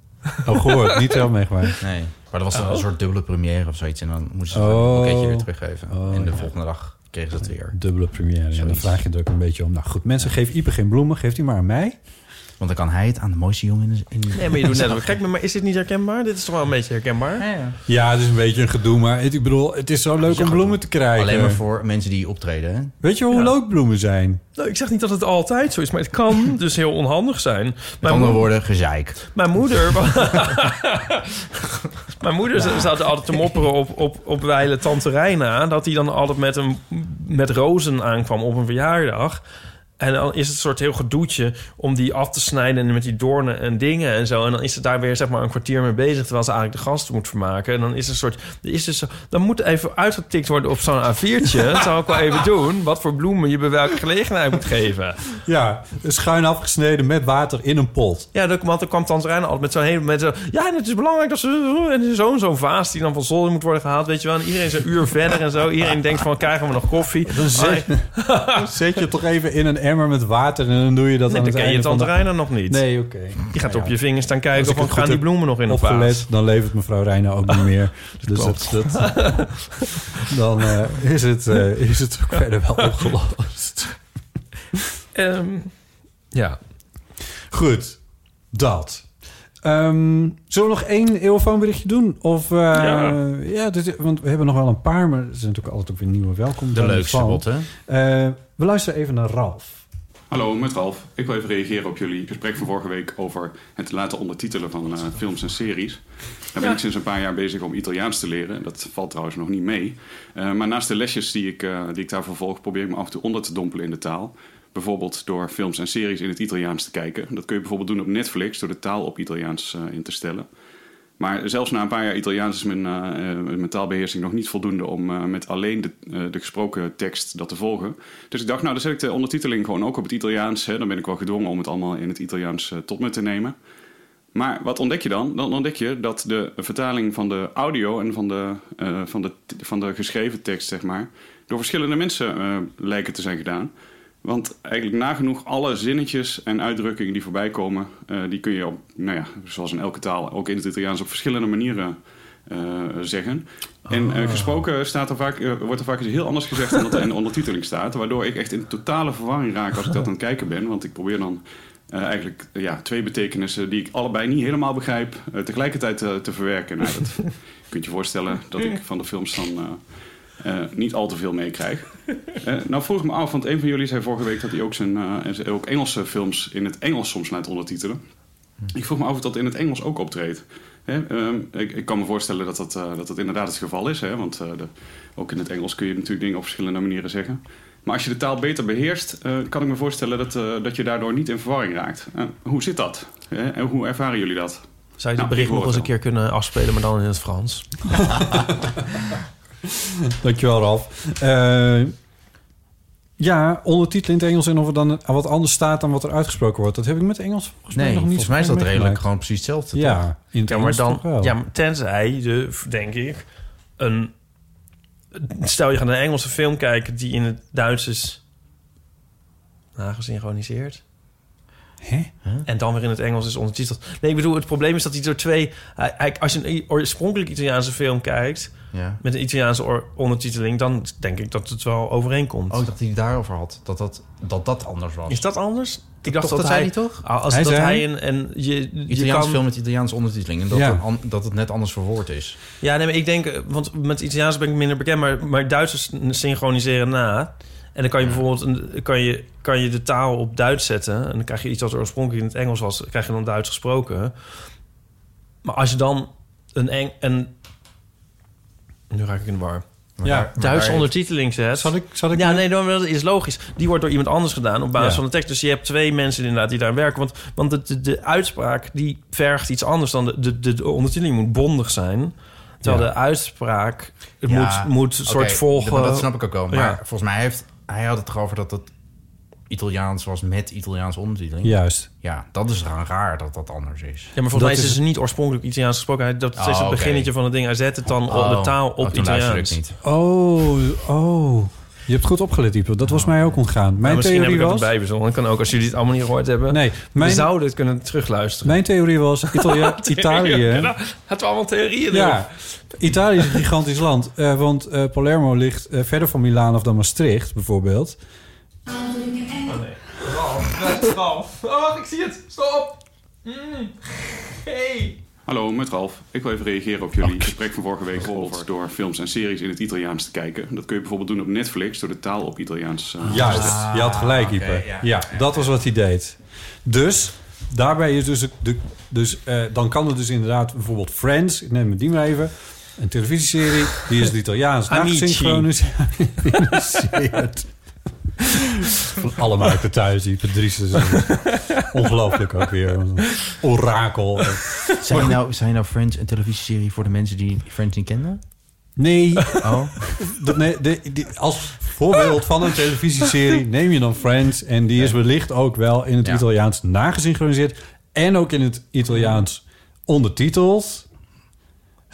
Oh, gehoord, niet zelf meegemaakt.
Nee, maar dat was dan
Oh.
een soort dubbele première of zoiets. En dan moesten ze het
Oh.
boeketje weer teruggeven.
Oh,
en de
ja. Mm.
volgende dag kregen ze het weer.
Dubbele première. Ja, dan
Zoiets.
vraag je het ook een beetje om. Nou goed, mensen, geef Ipe geen bloemen. Geef die maar aan mij.
Want dan kan hij het aan de mooiste jongen in de... in de-
Nee, maar je doet net wel gek. Maar is dit niet herkenbaar? Dit is toch wel een beetje herkenbaar?
Ja, het is een beetje een gedoe. Maar het, ik bedoel, het is zo leuk om bloemen te krijgen.
Alleen maar voor mensen die optreden, hè?
Weet je hoe leuk bloemen zijn?
Nou, ik zeg niet dat het altijd zo is, maar het kan dus heel onhandig zijn.
Met
Mijn
andere
moeder-
woorden, gezeik.
Mijn moeder... mijn moeder ze- zat altijd te mopperen op, op, op wijle tante Reina... dat hij dan altijd met, een, met rozen aankwam op een verjaardag... En dan is het een soort heel gedoetje om die af te snijden... en met die doornen en dingen en zo. En dan is ze daar weer zeg maar, een kwartier mee bezig... terwijl ze eigenlijk de gasten moet vermaken. En dan is er een soort... Er is dus, zo- dan moet even uitgetikt worden op zo'n A4'tje. Dat zou ik wel even doen. Wat voor bloemen je bij welke gelegenheid moet geven.
Ja, schuin afgesneden met water in een pot.
Ja, dat, want dan kwam Tante Reina altijd met zo'n hele... Met zo, ja, en het is belangrijk dat ze... En zo'n zo'n vaas die dan van zolder moet worden gehaald, weet je wel. En iedereen is een uur verder en zo. Iedereen denkt van, krijgen we nog koffie? Oh,
Dan zet, dan zet je het toch even in een emmer met water en Ah. dan doe je dat
Nee,
aan
dan
het
ken je
einde van
Tante
de-
Reina nog niet.
Nee, oké.
Je gaat
Nou
op
ja.
je vingers staan
Als
kijken
ik
van,
het goed eh,
gaan die
heb
bloemen nog in de
opgelet,
vaas?
dan levert mevrouw Reina ook niet meer. dus dat, dat, dan eh, is, het, eh, is het ook verder wel opgelost.
Ehm, ja.
Goed, dat. Ehm, zullen we nog één eeuwfoonberichtje doen? Of, eh,
Ja.
ja. dit is- want we hebben nog wel een paar, maar er zijn natuurlijk altijd ook weer nieuwe welkom.
De
bij
leukste,
van.
Botte.
Eh, we luisteren even naar Ralf.
Hallo, met Ralf. Ik wil even reageren op jullie gesprek van vorige week over het laten ondertitelen van eh, films en series. Daar ben
Ja.
ik sinds een paar jaar bezig om Italiaans te leren. Dat valt trouwens nog niet mee. Eh, maar naast de lesjes die ik, eh, die ik daarvoor volg, probeer ik me af en toe onder te dompelen in de taal. Bijvoorbeeld door films en series in het Italiaans te kijken. Dat kun je bijvoorbeeld doen op Netflix door de taal op Italiaans eh, in te stellen. Maar zelfs na een paar jaar Italiaans is mijn, eh, eh, mijn taalbeheersing nog niet voldoende om eh, met alleen de, eh, de gesproken tekst dat te volgen. Dus ik dacht, nou, dan zet ik de ondertiteling gewoon ook op het Italiaans. Hè. Dan ben ik wel gedwongen om het allemaal in het Italiaans eh, tot me te nemen. Maar wat ontdek je dan? Dan ontdek je dat de vertaling van de audio en van de, eh, van de, van de geschreven tekst, zeg maar, door verschillende mensen eh, lijken te zijn gedaan. Want eigenlijk nagenoeg alle zinnetjes en uitdrukkingen die voorbij komen, eh, die kun je op, nou ja, zoals in elke taal, ook in het Italiaans op verschillende manieren eh, zeggen. En eh, gesproken staat er vaak, eh, wordt er vaak eens heel anders gezegd dan dat er in de ondertiteling staat. Waardoor ik echt in totale verwarring raak als ik dat aan het kijken ben. Want ik probeer dan eh, eigenlijk eh, ja, twee betekenissen die ik allebei niet helemaal begrijp, eh, tegelijkertijd eh, te verwerken. Nou, dat je kunt je voorstellen dat ik van de films dan eh, eh, niet al te veel meekrijg. Eh, nou vroeg ik me af, want een van jullie zei vorige week dat hij ook, zijn, eh, ook Engelse films in het Engels soms laat ondertitelen. Ik vroeg me af of dat in het Engels ook optreedt. Hè, ehm, ik, ik kan me voorstellen dat dat, eh, dat dat inderdaad het geval is. Hè, want eh, de- ook in het Engels kun je natuurlijk dingen op verschillende manieren zeggen. Maar als je de taal beter beheerst, eh, kan ik me voorstellen dat, eh, dat je daardoor niet in verwarring raakt. Eh, hoe zit dat? Hè, en hoe ervaren jullie dat?
Zou je
Nou,
dit bericht
ik
nog
hoor
eens een
het
keer kunnen afspelen, maar dan in het Frans?
Dankjewel, Ralf. Eh, ja, ondertitelen in het Engels en of er dan wat anders staat dan wat er uitgesproken wordt. Dat heb ik met Engels volgens mij
Nee,
nog niet.
volgens mij is dat redelijk
meegemaakt.
gewoon precies hetzelfde,
Ja,
toch?
in het
Ja, maar
Engels
dan,
toch wel.
ja, maar tenzij je, denk ik, een. Stel je gaat een Engelse film kijken die in het Duits is nagesynchroniseerd.
Hè?
En dan weer in het Engels is ondertiteld. Nee, ik bedoel, het probleem is dat hij door twee. hij- hij- Als je een i- oorspronkelijk Italiaanse film kijkt.
Ja.
met een Italiaanse or- ondertiteling. dan denk ik dat het wel overeenkomt.
Oh, dat hij het daarover had. Dat dat, dat, dat anders was.
Is dat anders? Ik
Toch,
dacht dat,
dat
hij, Ah,
zei hij toch?
Als
Hij
dat
zei-
hij een. een je, je
Italiaans
kan-
film met Italiaans ondertiteling. En dat,
Ja.
het an- dat het net anders verwoord is.
Ja, nee, maar ik denk, eh, want met Italiaans ben ik minder bekend, maar, maar Duitsers synchroniseren na. En dan kan je bijvoorbeeld een, kan je, kan je de taal op Duits zetten. En dan krijg je iets wat er oorspronkelijk in het Engels was, krijg je dan Duits gesproken. Maar als je dan een eng. Een, nu raak ik in de war.
Maar daar-
Ja,
maar daar
Duits
heeft-
ondertiteling zet. Zal ik, zal ik ja, nee, dan- dat is logisch. Die wordt door iemand anders gedaan op basis
Ja.
van de tekst. Dus je hebt twee mensen inderdaad die daar werken. Want, want de, de, de uitspraak die vergt iets anders dan de, de, de, de ondertiteling moet bondig zijn. Terwijl
Ja.
de uitspraak het
Ja,
moet, moet een
oké,
soort volgen.
Maar dat snap ik ook wel. Maar
Ja.
volgens mij heeft hij had het erover dat het Italiaans was met Italiaanse ondertiteling.
Juist.
Ja, dat is dan raar dat dat anders is.
Ja, maar volgens mij is het dus niet oorspronkelijk Italiaans gesproken. Hij- Dat
Oh,
is het
oké.
beginnetje van het ding. Hij zet het dan
Oh,
op de taal op
oh, toen luisterde ik
Italiaans.
niet.
Oh, oh. Je hebt goed opgelet, Ipe. Dat was mij ook ontgaan.
Maar
Mijn
Oh, Nou, misschien heb
theorie
ik dat
was...
erbij verzonnen. Dat kan ook als jullie het allemaal niet gehoord hebben. Nee,
mijn-
We zouden het kunnen terugluisteren.
Mijn theorie was Italia, Italië.
Het we allemaal theorieën
Ja, Italië is een gigantisch land. eh, want eh, Palermo ligt eh, verder van Milaan of dan Maastricht, bijvoorbeeld.
Ralf, Ralf. Oh, wacht, ik zie het. Stop. Hey.
Hallo, met Ralf. Ik wil even reageren op jullie gesprek van vorige week over door films en series in het Italiaans te kijken. Dat kun je bijvoorbeeld doen op Netflix door de taal op Italiaans. eh,
Juist,
te zetten.
je had gelijk, Ipe. Ah, ja, dat was wat hij deed. Dus daarbij is dus... De, dus eh, dan kan het dus inderdaad bijvoorbeeld Friends... Ik neem het die maar even. Een televisieserie, die is het Italiaans.
Amici.
nagesynchroniseerd. Van alle markten thuis, die Patrice. Ongelooflijk ook weer. Wat een Orakel.
Zijn nou, zijn nou Friends een televisieserie voor de mensen die Friends niet kenden?
Nee.
Oh.
Dat- nee, de- die- als voorbeeld van een televisieserie neem je dan Friends. En die is wellicht ook wel in het
Ja.
Italiaans nagesynchroniseerd. En ook in het Italiaans ondertiteld.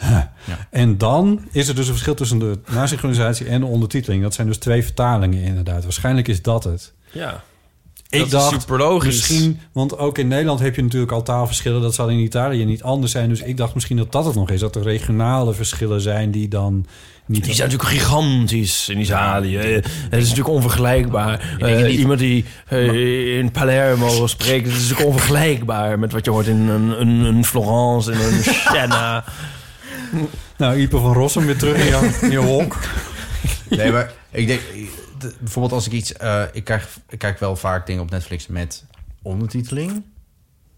Huh. En dan is er dus een verschil tussen de nasynchronisatie en de ondertiteling. Dat zijn dus twee vertalingen inderdaad. Waarschijnlijk is dat het.
Ja.
Ik
Dat is
dacht
superlogisch.
misschien, want ook in Nederland heb je natuurlijk al taalverschillen. Dat zal in Italië niet anders zijn. Dus ik dacht misschien dat dat het nog is. Dat er regionale verschillen zijn die dan niet.
Die zijn natuurlijk gigantisch in Italië. Eh, Het is natuurlijk onvergelijkbaar.
denk het
Eh,
niet.
iemand die eh, in Palermo spreekt, het is natuurlijk onvergelijkbaar met wat je hoort in een, een, een Florence, in een Siena.
Nou, Ipe van Rossum weer terug in jouw, in jouw honk.
Nee, maar Ik denk, d- bijvoorbeeld als ik iets... eh, ik, krijg, ik kijk wel vaak dingen op Netflix met ondertiteling.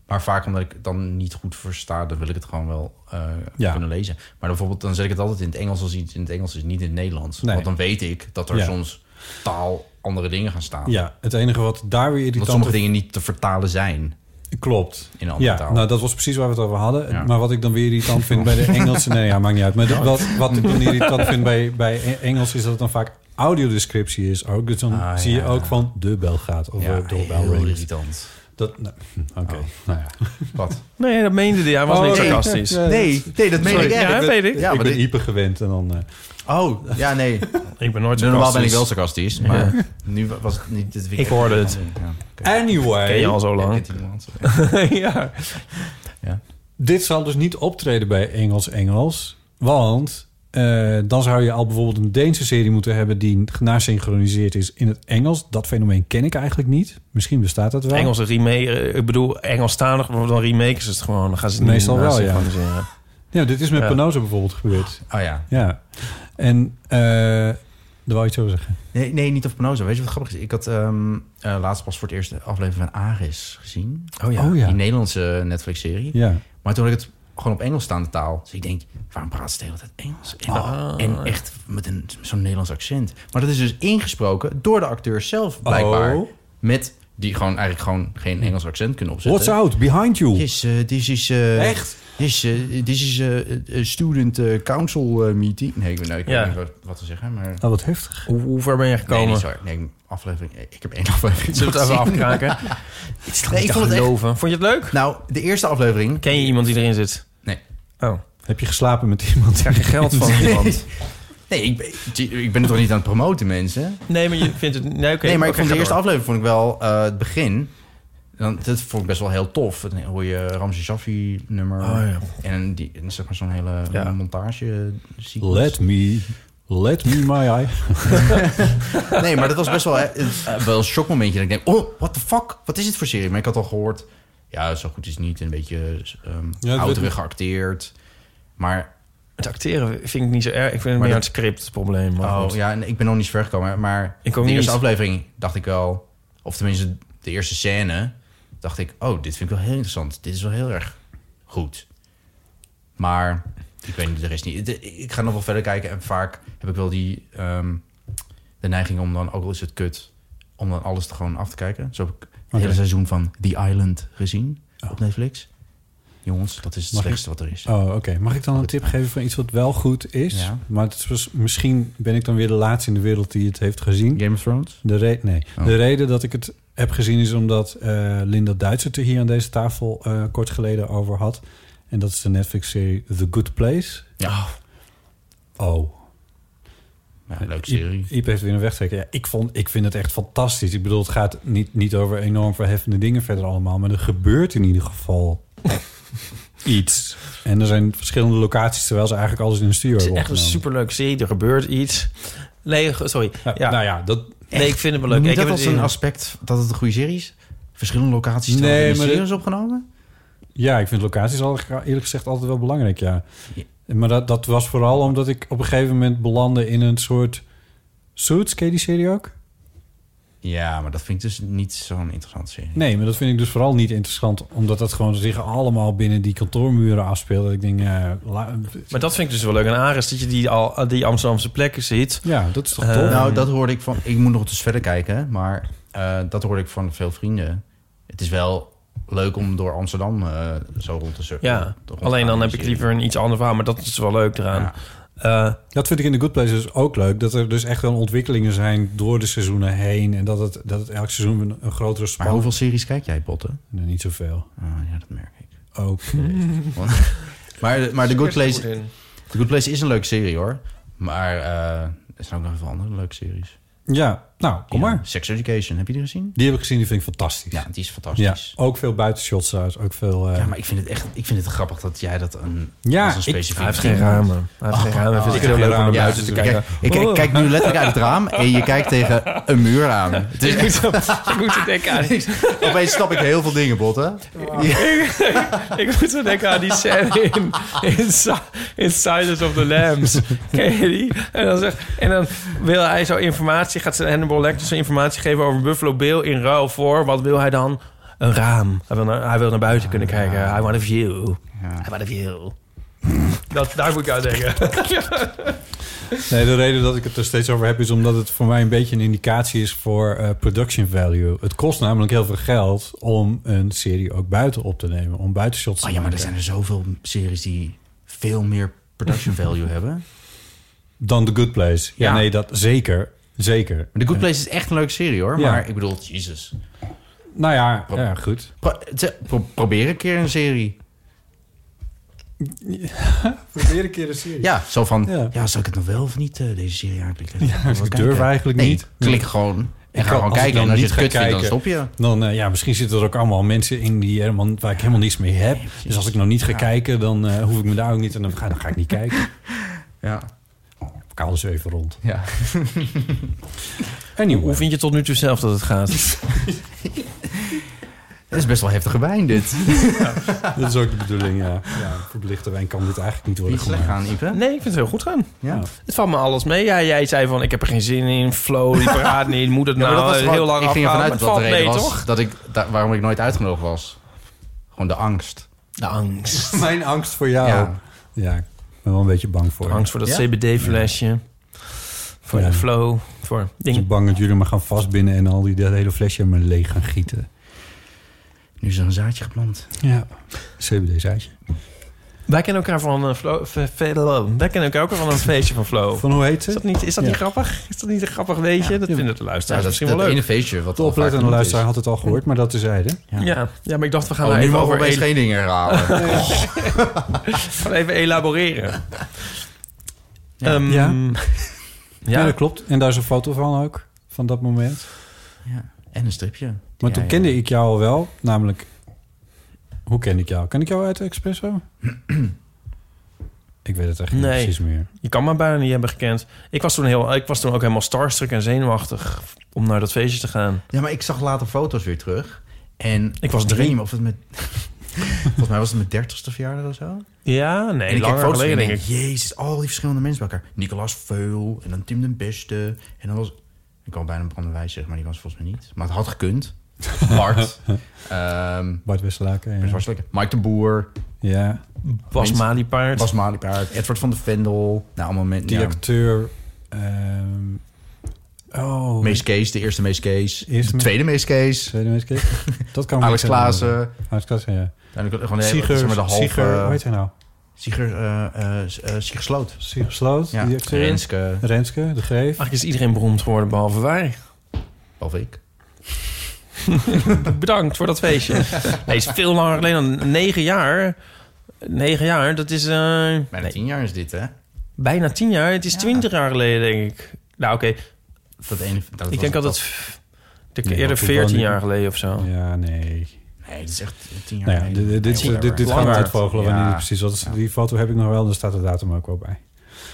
Maar vaak omdat ik het dan niet goed versta, dan wil ik het gewoon wel eh,
Ja.
kunnen lezen. Maar bijvoorbeeld, dan zet ik het altijd in het Engels als iets in het Engels is, niet in het Nederlands.
Nee.
Want dan weet ik dat er
Ja.
soms taal andere dingen gaan staan.
Ja, het enige wat daar weer irritant...
Omdat sommige dingen niet te vertalen zijn.
Klopt.
In een andere
Ja,
taal.
nou dat was precies waar we het over hadden.
Ja.
Maar wat ik dan weer irritant vind bij de Engelse... Nee, ja, maakt niet uit. Maar de- wat, wat ik dan irritant vind bij, bij E- Engels is dat het dan vaak audiodescriptie is ook. Dus dan
Ah,
zie je
ja.
ook van de bel gaat of eh,
Ja,
de doorbel
heel
ringt.
irritant. Oh.
Dat, nou, hm, Oké, nou ja.
Wat?
Nee, dat meende hij. Hij was
Oh,
niet
nee.
sarcastisch.
Ja,
Nee, nee, dat meen
Sorry.
ik echt.
Ja,
Ik ben-
weet ik.
Ja,
ik
maar
ben
dit-
hyper gewend en dan... eh,
Oh, ja, nee.
Ik ben nooit
Normaal
sarcastisch.
ben ik wel sarcastisch, maar
Ja.
nu was het niet dit weekend.
Ik hoorde het.
Anyway.
Ken je al zo lang. ja.
Dit zal dus niet optreden bij Engels-Engels. Want eh, dan zou je al bijvoorbeeld een Deense serie moeten hebben... die genasynchroniseerd is in het Engels. Dat fenomeen ken ik eigenlijk niet. Misschien bestaat dat wel.
Engelse remake, eh, ik bedoel Engelstalig, maar dan remake is het gewoon. Dan gaan ze het niet
Meestal
naast
wel, ja.
synchroniseren.
Ja, dit is met
Ja.
Penosa bijvoorbeeld gebeurd.
Oh ja.
Ja. En eh daar wou je iets over zeggen.
Nee, nee, niet over Penosa. Weet je wat grappig is? Ik had ehm, eh, laatst pas voor het eerst de aflevering van Aris gezien.
Oh ja. Oh ja.
Die Nederlandse Netflix-serie.
Ja.
Maar toen had ik het gewoon op Engels staande taal. Dus ik denk, waarom praat ze de hele tijd Engels? En,
Ah.
en echt met een, zo'n Nederlands accent. Maar dat is dus ingesproken door de acteurs zelf, blijkbaar.
Oh.
Met, die gewoon eigenlijk gewoon geen Engels accent kunnen opzetten.
What's out? Behind you.
Yes, eh, this is... eh,
Echt?
This, eh, this is eh, eh, student eh, council eh, meeting. Nee, ik, weet- nou, ik
Ja.
weet niet wat, wat te zeggen, maar...
Oh, wat heftig.
Hoe, hoe ver ben je gekomen?
Nee, niet zo. Nee, aflevering. Ik heb één aflevering.
Zullen we het even
gezien.
afkraken? Het is toch niet te geloven. Vond je het leuk?
Nou, de eerste aflevering.
Ken je iemand die erin zit?
Nee.
Oh.
Heb je geslapen met iemand?
Krijg je geld van iemand?
Nee, ik, ben- ik ben het toch niet aan het promoten, mensen?
Nee, maar je vindt het... Nee, oké.
nee, maar ik
Oké,
vond de
ga
eerste
door.
aflevering vond ik wel eh, het begin. Dan, dat vond ik best wel heel tof. Dan hoor je Ramses Shaffi nummer.
Oh, ja.
En die, en zeg maar zo'n hele
Ja.
montage. sequence.
Let me... Let me my eye.
nee, maar dat was best wel, eh, eh, wel een shockmomentje. Dat ik denk, oh, what the fuck? Wat is dit voor serie? Maar ik had al gehoord, ja, zo goed is het niet. Een beetje ehm
Ja, het
ouderig
werd-
geacteerd. Maar...
Het acteren vind ik niet zo erg. Ik vind het
Maar
meer
dat-
het script het probleem. maar
Oh
goed.
ja, en ik ben nog niet zo ver gekomen. Maar
Ik ook
de eerste
niet.
aflevering dacht ik wel... Of tenminste, de eerste scène dacht ik... Oh, dit vind ik wel heel interessant. Dit is wel heel erg goed. Maar ik weet niet, de rest niet. De- Ik ga nog wel verder kijken. En vaak heb ik wel die... ehm, de neiging om dan, ook al is het kut... om dan alles er gewoon af te kijken. Zo heb ik het
Oké.
hele seizoen van The Island gezien op Netflix. Jongens, dat is het
Mag ik-
slechtste wat er is.
Oh, oké. Mag ik dan een tip geven van iets wat wel goed is?
Ja.
Maar het is, dus- misschien ben ik dan weer de laatste in de wereld die het heeft gezien.
Game of Thrones?
De re- nee.
Oh.
De reden dat ik het heb gezien is omdat eh, Linda Duits het er hier aan deze tafel eh, kort geleden over had. En dat is de Netflix-serie The Good Place.
Ja.
Oh.
Ja, leuke serie.
Iep heeft weer een wegtrekker. Ja, ik, vond, ik vind het echt fantastisch. Ik bedoel, het gaat niet, niet over enorm verheffende dingen verder allemaal. Maar er gebeurt in ieder geval iets. En er zijn verschillende locaties, terwijl ze eigenlijk alles in een studio
Het is
hebben
echt een
opgenomen.
superleuke serie. Er gebeurt iets. Nee, ge- sorry. Ja,
nou ja, dat...
Nee, ik vind het wel leuk.
Noem
ik
je dat
heb
als
het
een
in-
aspect dat het een goede serie is? Verschillende locaties nee,
Nee,
terwijl
maar
maar
dit-
series opgenomen?
Ja, ik vind locaties al eerlijk gezegd altijd wel belangrijk, ja. Maar dat, dat was vooral omdat ik op een gegeven moment belandde in een soort... Suits, ken je die serie ook?
Ja, maar dat vind ik dus niet zo'n interessante serie.
Nee, maar dat vind ik dus vooral niet interessant. Omdat dat gewoon zich allemaal binnen die kantoormuren afspeelt. Dat Ik denk, eh, la-
Maar dat vind ik dus wel leuk aan Ares. Dat je die, al, die Amsterdamse plekken ziet.
Ja, dat is toch
Eh,
nou, dat hoorde ik van... Ik moet nog eens verder kijken, maar eh, dat hoorde ik van veel vrienden. Het is wel leuk om door Amsterdam eh, zo rond te surfen.
Ja, alleen dan heb ik liever een iets ander verhaal. Maar dat is wel leuk eraan. Eh,
Dat vind ik in The Good Place dus ook leuk. Dat er dus echt wel ontwikkelingen zijn door de seizoenen heen. En dat het, dat het elk seizoen een, een grotere span...
Maar hoeveel series kijk jij, Botten?
Nee, niet zoveel.
ja, dat merk ik.
Oké.
maar, maar The, Good
Super
Place,
goed in.
The Good Place is een leuke serie, hoor. Maar eh, er zijn ook nog veel andere leuke series.
Ja, Nou, kom maar.
Sex Education, heb je die gezien?
Die heb ik gezien, die vind ik fantastisch.
Ja, die is fantastisch.
Ja, ook veel buitenshots uit, ook veel... eh,
Ja, maar ik vind het echt ik vind het grappig dat jij dat een,
Ja,
als een
ik-
specifiek
Hij heeft
ding
geen
noemt.
ramen. Hij
Oh.
heeft geen ramen. Hij vindt
Oh,
het
ik heb
heel leuk
ramen.
om naar
dus
buiten te kijken.
Ik, kijk- ik kijk nu
Oh.
letterlijk uit het raam en je kijkt tegen een muur aan. Het is
Ik moet
echt,
zo- ik moet zo denken aan die,
opeens snap ik heel veel dingen, Botte.
ik, ik moet zo denken aan die scène in, in, Sa- in Silence of the Lambs. Ken je die? En dan, zegt, en dan wil hij zo informatie... gaat zijn Hannibal Lecter zo informatie geven over Buffalo Bill... in ruil voor, wat wil hij dan? Een raam. Hij wil naar, hij wil naar buiten kunnen kijken. I want a view. I want a view. Dat, daar moet ik aan denken.
Nee, de reden dat ik het er steeds over heb is omdat het voor mij een beetje een indicatie is voor eh, production value. Het kost namelijk heel veel geld om een serie ook buiten op te nemen, om buitenshots te
Oh ja, maar er
maken.
zijn er zoveel series die veel meer production value hebben.
Dan The Good Place. Ja,
Ja.
nee, dat zeker. Zeker.
The Good
Eh,
Place is echt een leuke serie hoor,
Ja.
maar ik bedoel, jezus.
Nou ja,
Oh,
ja goed.
Pro- te- pro- probeer een keer een serie.
Probeer een keer een serie.
Ja, zo van, ja. zal ik het nog wel of niet, eh, deze serie aanklikken?
Ja,
Wil wel
ik durf
kijken.
eigenlijk
Nee,
niet.
klik gewoon en ga
Ik kan-
gewoon
als ik
kijken.
dan
En als je
niet
het kut
ga
vindt, dan stop
kijken,
je.
Dan, eh, ja, misschien zitten er ook allemaal mensen in die helemaal, waar ik helemaal niks mee heb. dus als ik nog niet ga kijken, dan eh, hoef ik me daar ook niet... En dan ga, dan ga ik niet kijken.
Ja.
Ik haal dus even rond.
Ja.
Anyway.
Hoe vind je tot nu toe zelf dat het gaat?
Het is best wel heftige wijn, dit.
Dat is ook de bedoeling, ja. ja voor de lichte wijn kan dit eigenlijk niet worden gemaakt.
Nee, ik vind het heel goed gaan.
Ja.
Het valt me alles mee. Ja, jij zei van, ik heb er geen zin in. Flow, die paraat niet. Moet het
Ja, maar
nou
dat was gewoon-
heel lang
Ik ging ervan
afgaan,
uit
maar
dat
het
dat de
valt mee,
reden was
toch?
dat ik, da- waarom ik nooit uitgenodigd was. Gewoon de angst.
De angst.
Mijn angst voor jou. Ja.
Ja.
ik ben wel een beetje bang voor.
Angst voor dat
Ja?
CBD-flesje. Voor
Ja.
de flow. Voor
Ik ben
dingen.
bang dat jullie me gaan vastbinden en al die dat hele flesje me leeg gaan gieten.
Nu is er een zaadje geplant.
Ja. CBD-zaadje.
Wij kennen elkaar van eh, een flow. fe- fe- lo- Wij kennen elkaar ook van een feestje van flow.
Van hoe heet het?
Is dat niet, is dat
Ja.
niet grappig? Is dat niet een grappig weetje? Dat vinden de luisteraars
Ja, dat-
misschien wel
dat
leuk.
ene feestje wat
De
al vaak
oplettende
genoemd
luisteraar
is.
had het al gehoord, maar dat tezijde.
Ja. Ja. maar ik dacht, we gaan
Oh,
er
nu
even
mogen we
over
opeens geen dingen herhalen.
We gaan even elaboreren. Ja.
ja.
ja.
Ja, dat klopt. En daar is een foto van ook, van dat moment.
En een stripje.
Maar
Ja,
toen
ja.
kende ik jou al wel, namelijk... Hoe ken ik jou? Ken ik jou uit de Expresso? ik weet het echt niet
Nee.
precies meer.
Je kan me bijna niet hebben gekend. Ik was toen, heel, ik was toen ook helemaal starstruck en zenuwachtig om naar dat feestje te gaan.
Ja, maar ik zag later foto's weer terug. En
Ik was
weet
drie.
niet Of het met, volgens mij was het mijn dertigste verjaardag of zo.
Ja,
en
nee,
ik heb
langer
foto's
geleden
en
denk ik.
Jezus, al die verschillende mensen bij elkaar. Nicolas Veul en dan Tim den Beste. En dan was... Ik wou bijna Brandewijs zeggen, maar die was het volgens mij niet. Maar het had gekund. Bart. ehm
Bart Wesselaken.
Bert
Ja.
Wasselik, Mike de Boer.
ja.
Bas Maliepaard.
Bas Maliepaard. Edward van de Vendel. Nou, allemaal mensen.
Die
Ja.
acteur... ehm, oh,
Mees Kees, de eerste Mees Kees.
Eerste
de
Mees-
tweede Mees Kees.
tweede mensen keek. Dat kan me
Alex
niet herinneren.
Klaassen.
Alex Klaassen, ja.
Uiteindelijk gewoon de hele-
Sieger,
zeg maar de halve...
Sieger, hoe heet hij nou?
Sieger, eh, eh, s- eh, Sieger Sloot.
Sieger Sloot,
Ja.
die acteur.
Renske.
Renske, de Greef.
Eigenlijk is iedereen beroemd geworden, behalve wij.
Behalve ik.
Bedankt voor dat feestje. Nee, het is veel langer geleden dan negen jaar. Negen jaar, dat is... eh,
Bijna tien jaar is dit, hè?
Bijna tien jaar. Het is twintig jaar geleden, denk ik. Nou, oké.
Dat ene, dat was
Ik denk
het
altijd... de
Nee,
eerder
want toen kwam
veertien
die-
jaar geleden of
oh.
zo.
Ja, nee.
Nee, dit is echt tien jaar
Nou ja,
geleden.
dit, dit,
Nee,
dit,
whatever.
dit, dit gaan we
Langer.
uitvogelen wanneer
Ja.
die precies wat is. Die foto heb ik nog wel, daar staat de datum ook wel bij.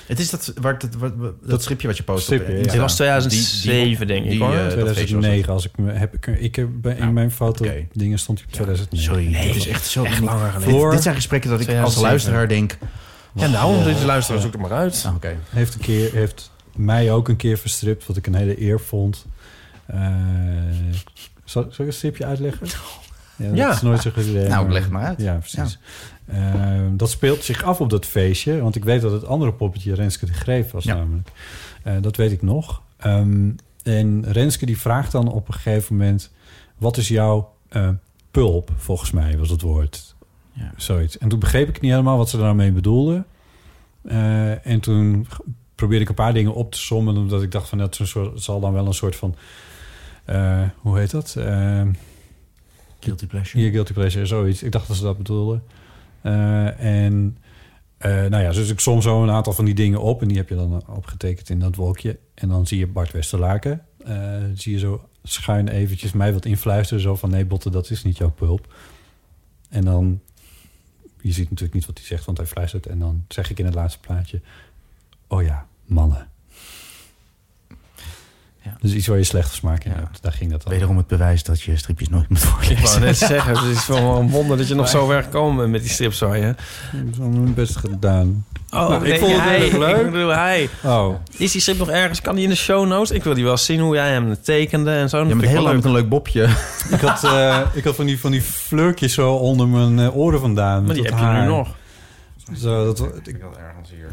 Het is dat, waar, dat, wat- wat- dat stripje wat je post
stripje, ja. eh,
op.
Het
was 2007 denk ik, hoor.
2009, als ik me heb ik, ik heb bij, in mijn foto
oké.
dingen stond die op 2009.
Sorry, dit is echt zo
echt langer
Dit-
geleden.
Dit, zijn gesprekken dat ik als
2007.
luisteraar denk...
Ja, nou, deze luisteraar zoek er maar uit.
Nou,
Ah, Oké.
Heeft een keer heeft mij ook een keer verstript, wat ik een hele eer vond. Eh, zal, zal ik een stripje uitleggen? Ja, dat
Ja.
is nooit zo goed idee.
Nou, leg het maar uit.
Ja, precies. Eh, dat speelt zich af op dat feestje. Want ik weet dat het andere poppetje Renske de Greef was
Ja.
namelijk. Eh, dat weet ik nog. Ehm, en Renske die vraagt dan op een gegeven moment... wat is jouw eh, pulp, volgens mij was het woord.
Ja.
Zoiets. En toen begreep ik niet helemaal wat ze daarmee bedoelde. Eh, en toen g- probeerde ik een paar dingen op te sommen... omdat ik dacht van dat is een soort- zal dan wel een soort van... eh, hoe heet dat? Ehm,
Guilty pleasure.
hier guilty pleasure, zoiets. Ik dacht dat ze dat bedoelden. Eh, en eh, Eh, nou ja, dus ik som zo een aantal van die dingen op. En die heb je dan eh, opgetekend in dat wolkje. En dan zie je Bart Westerlaken. eh, zie je zo schuin eventjes mij wat influisteren. Zo van, nee Botte, dat is niet jouw pulp. En dan... Je ziet natuurlijk niet wat hij zegt, want hij fluistert. En dan zeg ik in het laatste plaatje... Oh ja, mannen. Dus iets waar je slechte smaak in hebt. Daar ging dat dan.
Wederom het bewijs dat je stripjes nooit moet voorlezen.
Ik wou net zeggen, het is wel een wonder dat je nog zo ver gekomen bent met die strips, hoor je.
Zo'n best gedaan.
Oh,
Nou, ik
nee,
vond het
hij,
heel erg leuk.
Ik bedoel, hij.
Oh.
Is die strip nog ergens? Kan die in de show notes? Ik wil die wel zien hoe jij hem tekende en zo. Ja,
bent heel lang met
een leuk bobje.
Ik had, eh, ik had van, die, van die fleurtjes zo onder mijn eh, oren vandaan.
Maar
met
die
dat
heb je nu
haar.
nog.
Zo, dat,
Ik
ik,
denk dat ergens hier.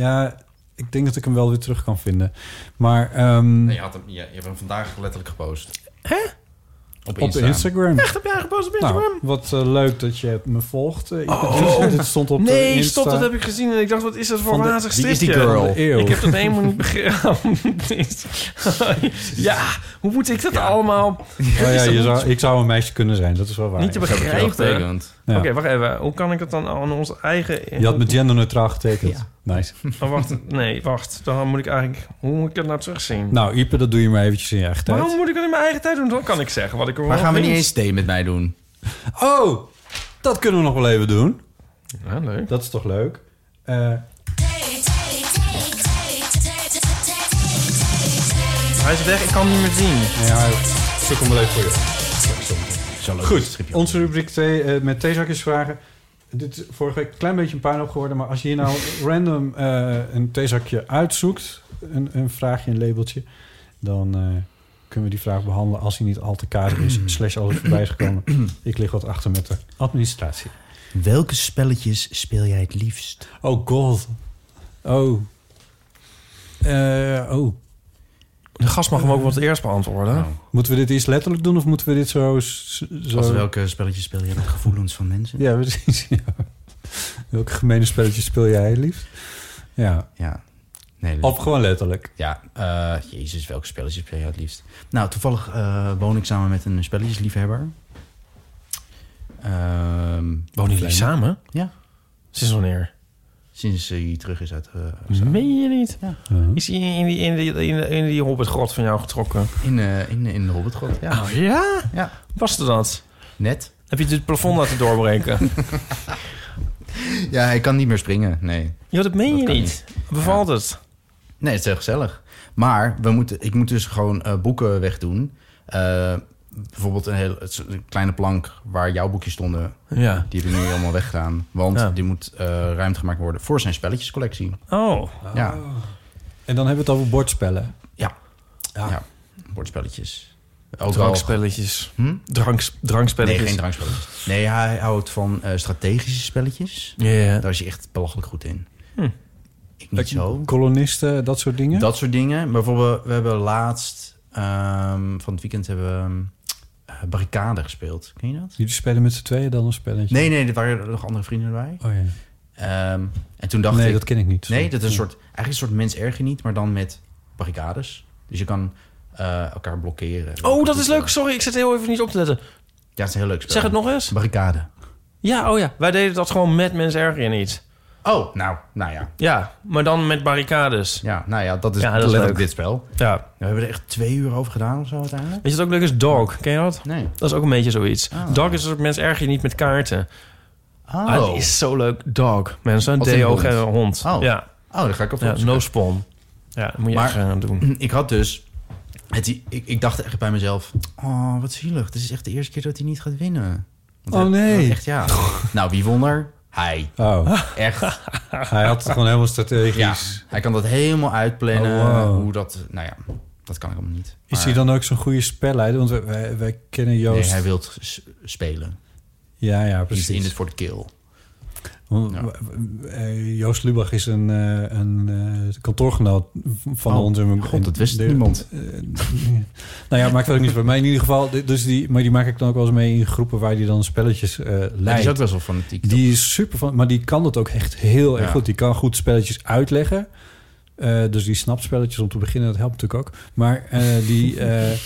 ja, ik denk dat ik hem wel weer terug kan vinden. Maar ehm,
Nee, je, had hem, je, je hebt hem vandaag letterlijk gepost.
Hè?
Op
op,
Insta.
Instagram.
Echt, heb jij gepost op Instagram? Oh.
Nou, wat eh, leuk dat je me volgt. Eh, ik- dit stond op eh,
nee,
Insta.
stop, dat heb ik gezien. En ik dacht, wat is dat voor
Van de-
wazig
wie is
stripje?
die girl? Van de eeuw.
Ik heb dat helemaal niet begrepen. ja, hoe moet ik dat allemaal...
Oh ja,
Is dat
je
niet-
zou, ik zou een meisje kunnen zijn, dat is wel waar.
Niet te
Ik heb het
begrijpen.
wel getekend. Ja.
Oké, wacht even. Hoe kan ik dat dan aan ons eigen...
Je had me genderneutraal getekend. Nice.
Oh, wacht. Nee, wacht. Dan moet ik eigenlijk... Hoe moet ik dat nou terugzien?
Nou, Ipe, dat doe je maar eventjes in je eigen tijd.
Waarom moet ik dat in mijn eigen tijd doen? Dan kan ik zeggen wat ik ervan
Maar gaan we niet
vind.
eens thee met mij doen? Oh, dat kunnen we nog wel even doen.
Ja, leuk.
Dat is toch leuk? Eh,
Hij is weg, ik kan hem niet meer zien.
Ja, zoek hem wel even voor je. Goed, onze rubriek thee, eh, met theezakjes vragen. Dit is vorige week een klein beetje een puinhoop geworden... maar als je hier nou random eh, een theezakje uitzoekt... Een, een vraagje, een labeltje... dan eh, kunnen we die vraag behandelen als hij niet al te kader is... slash alles voorbij is gekomen. Ik lig wat achter met de administratie.
Welke spelletjes speel jij het liefst?
Oh god. Oh. Eh, oh.
De gast mag hem ook wel het eerst beantwoorden.
Moeten we dit eerst letterlijk doen of moeten we dit zo... s- zo...
Als welke spelletjes speel je met gevoelens van mensen?
Ja, precies. ja. Welke gemene spelletjes speel jij het liefst? Ja.
ja. Nee,
Of gewoon letterlijk.
Ja, eh, jezus, welke spelletjes speel jij het liefst? Nou, toevallig eh, woon ik samen met een spelletjesliefhebber. Wonen
jullie samen?
Ja.
Sinds wanneer?
Sinds eh, hij terug is uit... eh,
Meen je niet?
Ja.
Is hij in die, in die, in die, in die hobbitgrot van jou getrokken?
In, eh, in, in de Hobbitgrot, ja.
Mhm. Oh ja?
Ja.
Was er dat?
Net.
Heb je het plafond laten doorbreken?
Ja, hij kan niet meer springen, nee.
ja, dat meen je
kan
niet.
niet.
Bevalt het?
Nee, het is heel gezellig. Maar we moeten, ik moet dus gewoon eh, boeken wegdoen. Eh, bijvoorbeeld een, heel, het is een kleine plank waar jouw boekjes stonden.
Ja.
Die heb ik nu allemaal weggedaan. Want
Ja.
die moet eh, ruimte gemaakt worden voor zijn spelletjescollectie.
Oh.
Ja.
En dan hebben we het over bordspellen.
Ja. ja. Bordspelletjes.
Drankspelletjes.
Hm?
Dranks, drankspelletjes.
Nee, geen drankspelletjes. Nee, hij houdt van eh, strategische spelletjes.
Ja, ja.
Daar is hij echt belachelijk goed in.
Hm.
Ik niet zo.
Kolonisten, dat soort dingen.
Dat soort dingen. Bijvoorbeeld, we hebben laatst ehm, van het weekend hebben we ehm, eh, barricade gespeeld. Ken je dat?
Jullie spelen met z'n tweeën dan een spelletje?
Nee, nee, er waren nog andere vrienden erbij.
Oh ja.
Ehm, en toen dacht
Nee,
ik...
dat ken ik niet.
Nee, dat is een
Ja.
Hm.
soort, eigenlijk een soort mens erger niet, maar dan met barricades. Dus je kan eh, elkaar blokkeren.
Oh, dat is leuk. Sorry, ik zit heel even niet op te letten.
Ja, het is een heel leuk spel.
Zeg het nog eens.
Barricade.
Ja, oh ja. Wij deden dat gewoon met mensen erger in iets.
Oh, nou, nou ja.
Ja, maar dan met barricades.
Ja, nou ja, dat is
Ja, dat is
letterlijk
leuk.
dit spel.
Ja.
We hebben er echt twee uur over gedaan of zo uiteindelijk. Oh.
Weet je wat ook leuk is? Dog. Ken je dat?
Nee.
Dat is ook een beetje zoiets.
Ah.
Dog is een soort mens erger niet met kaarten.
Oh.
Ah, dat is zo leuk. Dog. Mensen,
Als in
D-O-G,
hond.
hond.
Oh.
Ja.
Oh, dan ga ik op
Ja, no spawn. Ja, dat moet je
Maar-
echt gaan doen.
Ik had dus... Het, ik, ik dacht echt bij mezelf... Oh, wat zielig. Dit is echt de eerste keer dat hij niet gaat winnen. Want
Oh,
hij-
nee.
Echt, ja. nou, wie won er? Hij.
Oh.
Echt.
Hij had het gewoon helemaal strategisch.
Ja, hij kan dat helemaal uitplannen.
Oh, wow.
Hoe dat... Nou ja, dat kan ik allemaal niet.
Is hij dan ook zo'n goede spelleider? Want wij, wij, wij kennen
Nee,
Joost...
hij wil spelen.
Ja, ja,
Hij is
precies.
in het voor de kill.
Want,
Ja.
w- w- eh, Joost Lubach is een, eh, een eh, kantoorgenoot van
Oh,
ons. En-
God, dat wist
de-
niemand.
eh, nou ja, maakt ook niet uit. Maar in ieder geval, di- dus die, maar die maak ik dan ook wel eens mee in groepen waar die dan spelletjes eh leidt.
Hij is ook wel zo fanatiek.
Die is super van, maar die kan dat ook echt heel erg
Ja.
goed. Die kan goed spelletjes uitleggen. Eh, dus die snapspelletjes om te beginnen, dat helpt natuurlijk ook. Maar, eh, die, eh,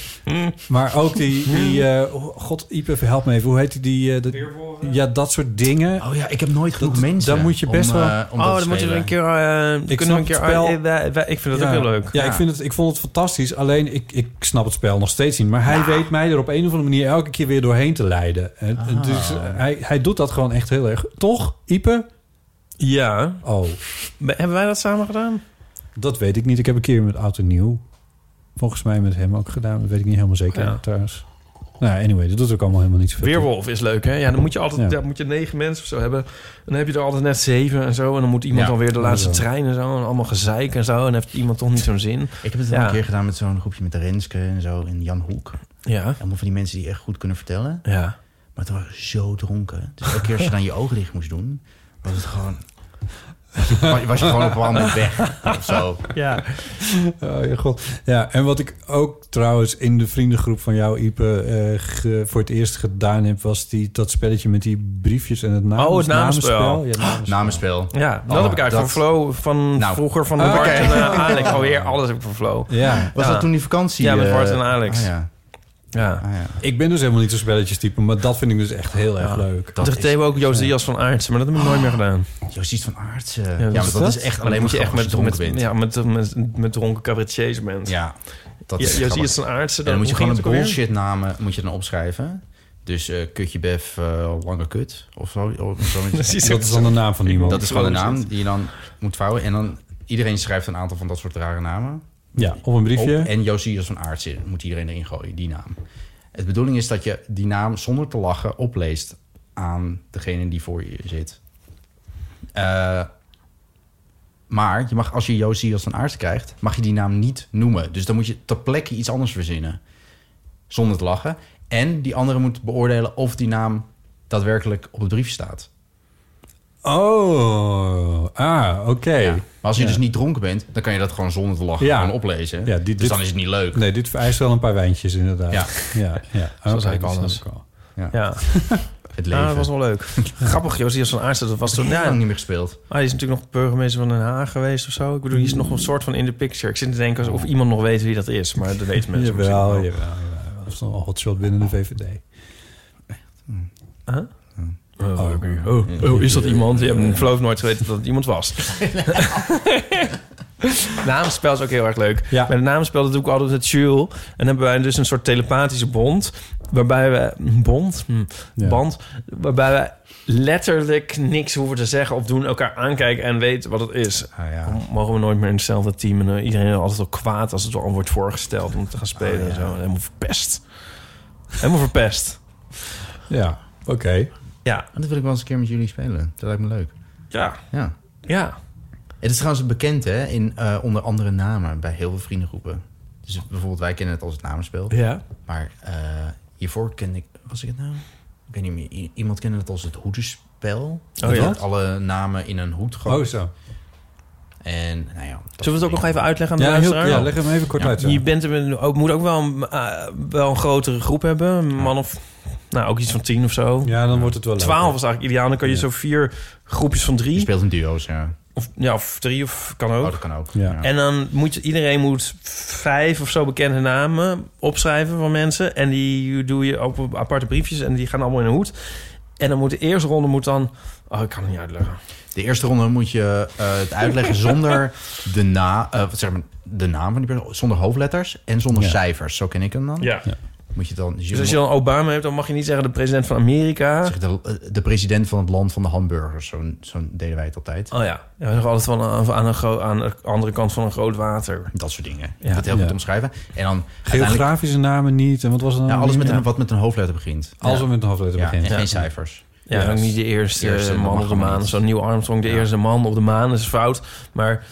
maar ook die... die eh, God, Ipe, help me even. Hoe heet die? die eh, dat- ja, dat soort dingen. Oh
ja, ik heb nooit genoeg
mensen
Daar moet je
om,
best wel...
eh, om dat Oh, te dan moeten we spelen. een keer, eh, kunnen
Ik
we
snap
een
het
keer-
spel.
eh, wij- wij- ik vind dat
ja.
ook heel leuk.
Ja,
Ja.
Ik, vind het, ik vond het fantastisch. Alleen, ik, ik snap het spel nog steeds niet. Maar hij weet mij er op een of andere manier elke keer weer doorheen te leiden. En,
Ah.
Dus eh, hij, hij doet dat gewoon echt heel erg. Toch, Ipe?
Ja.
Oh.
Hebben wij dat samen gedaan?
Dat weet ik niet. Ik heb een keer met Oud en Nieuw... volgens mij met hem ook gedaan. Dat weet ik niet helemaal zeker
Ja.
trouwens. Nou, anyway, dat doet ook allemaal helemaal niet zoveel. toe.
Weerwolf is leuk, hè? Ja, dan moet je altijd
Ja.
daar moet je negen mensen of zo hebben. Dan heb je er altijd net zeven en zo. En dan moet iemand
Ja,
dan weer de laatste
inderdaad.
trein en zo. En allemaal gezeik en zo. En heeft iemand toch niet zo'n zin.
Ik heb het wel
ja.
een keer gedaan met zo'n groepje met de Renske en zo en Jan Hoek.
Ja.
Allemaal van die mensen die echt goed kunnen vertellen.
Ja.
Maar toen waren ze zo dronken. Dus elke keer als je dan je ogen dicht moest doen, was het gewoon... Was je, was je gewoon op een bepaald moment weg of zo.
Ja.
Oh, ja, god. Ja, en wat ik ook trouwens in de vriendengroep van jou, Ipe, eh, ge- voor het eerst gedaan heb, was die, dat spelletje met die briefjes en het naam,
Oh, het namenspel.
Ja,
namenspel.
Ja, dat heb ik eigenlijk van Flo van vroeger van de
Ah,
Bart
Oh, oké.
en eh, Alex. Alweer alles heb ik van Flo.
Ja.
Was dat toen die vakantie,
Ja, met
eh,
Bart en Alex.
ah, ja. Ah,
Ja.
Ik ben dus helemaal niet zo'n spelletjestype, maar dat vind ik dus echt heel
Ah,
erg leuk.
Dat deden we ook Joost Dias van Aartsen, maar dat heb ik nooit meer gedaan. dus
Joost Dias van Aartsen? Ja,
wat
Ah. maar dat is echt
Dan
alleen
moet
maar grappig als je
met,
dronken
met, ja, met, met, met dronken cabaretiers bent.
Ja, dat
Ja,
is
Joost
grappig.
Dias van Aartsen,
En dan moet je
hoe
gewoon
ging
een
het ook alweer?
bullshit namen moet je dan opschrijven. Dus eh, kutje bef, eh, lange kut of zo. Of zo
Precies. Dat is dan de naam van iemand.
Dat is gewoon de naam die je dan moet vouwen. En dan iedereen schrijft een aantal van dat soort rare namen.
Ja, op een briefje.
Op- en Josias van Aartsen moet iedereen erin gooien, die naam. Het bedoeling is dat je die naam zonder te lachen opleest aan degene die voor je zit. Eh, maar je mag, als je Josias van Aartsen krijgt, mag je die naam niet noemen. Dus dan moet je ter plekke iets anders verzinnen. Zonder te lachen. En die andere moet beoordelen of die naam daadwerkelijk op het briefje staat. eh.
Oh, ah, oké.
Maar als je
Ja.
dus niet dronken bent, dan kan je dat gewoon zonder te lachen
Ja.
gewoon oplezen.
Ja, dit-
dus
dit-
dan is het niet leuk.
Nee, dit vereist wel een paar wijntjes inderdaad.
Ja.
ja, ja.
Zo
Oké,
zei ik
dat snap
alles.
ik al.
Ja. Het
Ah, nou, dat was wel leuk. Grappig, Josias van Aartsen. Dat was
Heb
toen
ik heel lang niet meer gespeeld.
Ah, die is natuurlijk nog burgemeester van Den Haag geweest of zo. Ik bedoel, die is nog een soort van in de picture. Ik zit te denken of iemand nog weet wie dat is, maar dat weten mensen.
Jawel,
misschien wel.
jawel, jawel. Dat is dan een hotshot binnen de VVD.
Huh? Oh, oké. oh, oh, is dat iemand? Je hebt ik geloof nooit geweten dat het iemand was. Namenspel is ook heel erg leuk. Bij de namenspel dat doe ik altijd met Jules. En dan hebben wij dus een soort telepathische bond. Waarbij we... Bond? Hm, Band. Waarbij wij letterlijk niks hoeven te zeggen of doen. Elkaar aankijken en weten wat het is. Dan Mogen we nooit meer in hetzelfde team. En eh, iedereen is altijd al kwaad als het al wordt voorgesteld om te gaan spelen. en zo. Helemaal verpest. Helemaal verpest.
Ja, oké.
Ja.
Dat wil ik wel eens een keer met jullie spelen. Dat lijkt me leuk.
Ja.
Ja.
Ja.
Het is trouwens bekend, hè, in, eh, onder andere namen bij heel veel vriendengroepen. Dus bijvoorbeeld, wij kennen het als het namenspel.
Ja.
Maar eh, hiervoor kende ik... Was ik het nou? Ik weet niet meer. I- Iemand kende het als het hoedenspel.
Oh, ja?
Dat alle namen in een hoed gooien.
Oh, zo.
En, nou ja... dat
Zullen we het ook
soort
nog even
dingen.
uitleggen aan de luisteraar? Ja.
Ja.
Je bent er met- ook, moet ook wel een, eh, wel een grotere groep hebben. Een man of... Nou, ook iets van tien of zo.
Ja, dan wordt het wel
Twaalf
leuker.
is eigenlijk ideaal. Dan kan je zo vier groepjes van drie... Je
speelt in duo's, ja.
Of, ja, of drie, of kan ook.
Oh, dat kan ook.
Ja.
En dan moet je, iedereen moet vijf of zo bekende namen opschrijven van mensen. En die doe je op aparte briefjes en die gaan allemaal in een hoed. En dan moet de eerste ronde moet dan... Oh, ik kan het niet uitleggen.
De eerste ronde moet je eh, het uitleggen zonder de, na, eh, wat zeg maar, de naam van die persoon. Zonder hoofdletters en zonder
Ja.
cijfers. Zo ken ik hem dan.
Ja.
Moet je dan,
Dus als je dan Obama hebt, dan mag je niet zeggen de president van Amerika.
Zeg de, eh, de president van het land van de hamburgers. Zo'n zo deden wij het altijd.
Oh ja, ja nog altijd van aan, aan, een gro- aan de andere kant van een groot water.
Dat soort dingen.
Ja.
Dat heel
Ja.
goed omschrijven. En dan uiteindelijk-
Geografische namen niet. En wat was er dan?
ja, alles
weer?
met
Ja.
een, wat met een hoofdletter begint.
Alles wat met een hoofdletter
Ja,
begint.
En
Ja.
geen cijfers.
Oh, Ja, ook niet de eerste, man op de maan. Zo'n nieuw Armstrong, de
Ja.
eerste man op de maan is fout. Maar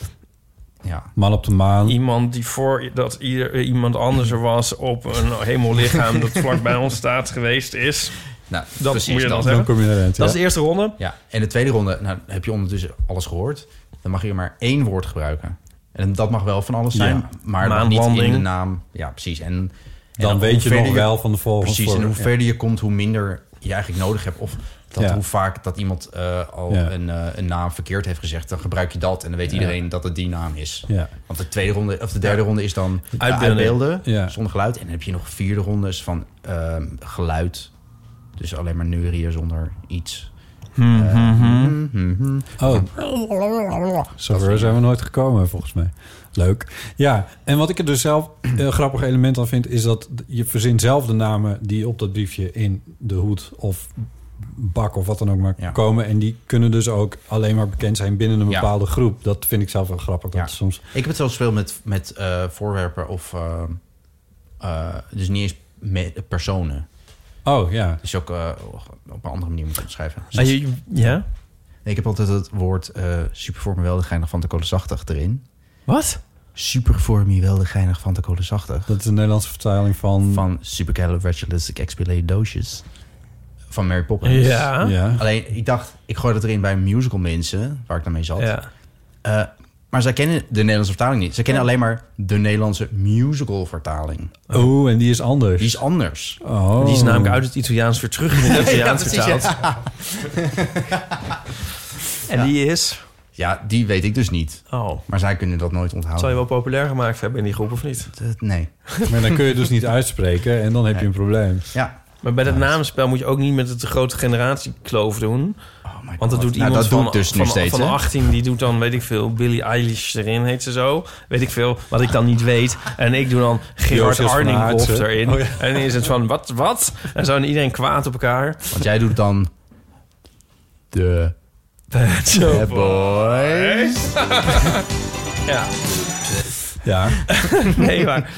ja.
Man op de maan.
iemand die voor dat ieder, iemand anders er was op een hemellichaam dat vlakbij ons staat geweest is.
Nou,
dat
precies
moet je dan
dat.
zeggen.
Dan kom je eruit,
dat
ja.
is de eerste ronde.
Ja, en de tweede ronde, nou heb je ondertussen alles gehoord. Dan mag je maar één woord gebruiken. En dat mag wel van alles zijn,
Ja.
maar dat mag niet in
Maanlanding.
de naam. Ja, precies. En, en
Dan
hoe
weet je
verder
nog wel van de volgende
Precies, en
vorm,
hoe
ja.
verder je komt, hoe minder je eigenlijk nodig hebt. Of dat
Ja.
hoe vaak dat iemand eh, al
Ja.
een, eh, een naam verkeerd heeft gezegd. Dan gebruik je dat en dan weet
Ja.
iedereen dat het die naam is.
Ja.
Want de tweede ronde of de derde
Ja.
ronde is dan
Uitbeelden.
uitbeelden, uitbeelden
Ja.
zonder geluid. En dan heb je nog vierde rondes van ehm, geluid. Dus alleen maar neurieën zonder iets.
Hmm,
Eh,
hmm,
hmm, hmm, hmm.
Oh, zover Oh. zijn we nooit gekomen volgens mij. Leuk. Ja, en wat ik er dus zelf een grappig element aan vind... is dat je verzint zelf de namen die op dat briefje in de hoed of bak of wat dan ook maar komen. En die kunnen dus ook alleen maar bekend zijn binnen een
Ja.
bepaalde groep. Dat vind ik zelf wel grappig. Dat
Ja.
soms...
Ik heb het zelfs veel met, met eh, voorwerpen of... eh, eh, dus niet eens met personen.
Oh, ja.
Dus je ook eh, op een andere manier moet schrijven.
Ah, je- ja?
Nee, ik heb altijd het woord eh superformuweldigeinig van de kolensachtig erin.
Wat?
Superformuweldigeinig van de kolensachtig.
Dat is een Nederlandse vertaling van...
Van supercalifragilisticexpialidocious. Van Mary Poppins.
Ja. Ja.
Alleen, ik dacht, ik gooi dat erin bij musical mensen, waar ik dan mee zat.
Ja.
Eh, maar zij kennen de Nederlandse vertaling niet. Ze kennen
Ja.
alleen maar de Nederlandse musical vertaling.
Oh, en die is anders.
Die is anders.
Oh.
Die is namelijk uit het Italiaans weer terug in het Italiaans
Ja, precies,
vertaald.
ja.
En die is?
Ja, die weet ik dus niet.
Oh.
Maar zij kunnen dat nooit onthouden.
Zou je wel populair gemaakt hebben in die groep of niet?
nee.
Maar dan kun je dus niet uitspreken en dan heb je een probleem.
Ja.
Maar bij dat namenspel moet je ook niet met de grote generatiekloof doen. Want dat doet
Nou,
iemand
dat
van,
doe ik dus nu
van,
steeds,
van
hè?
18, die doet dan, weet ik veel, Billie Eilish erin, heet ze zo. Weet ik veel, wat ik dan niet weet. En ik doe dan Gerard
Jozef van
Arninghoff
Aartsen.
erin.
Oh, ja.
En dan is het van, wat, wat? En zo en iedereen kwaad op elkaar.
Want jij doet dan de
Bad
Shop Boys.
ja.
Ja.
nee, maar...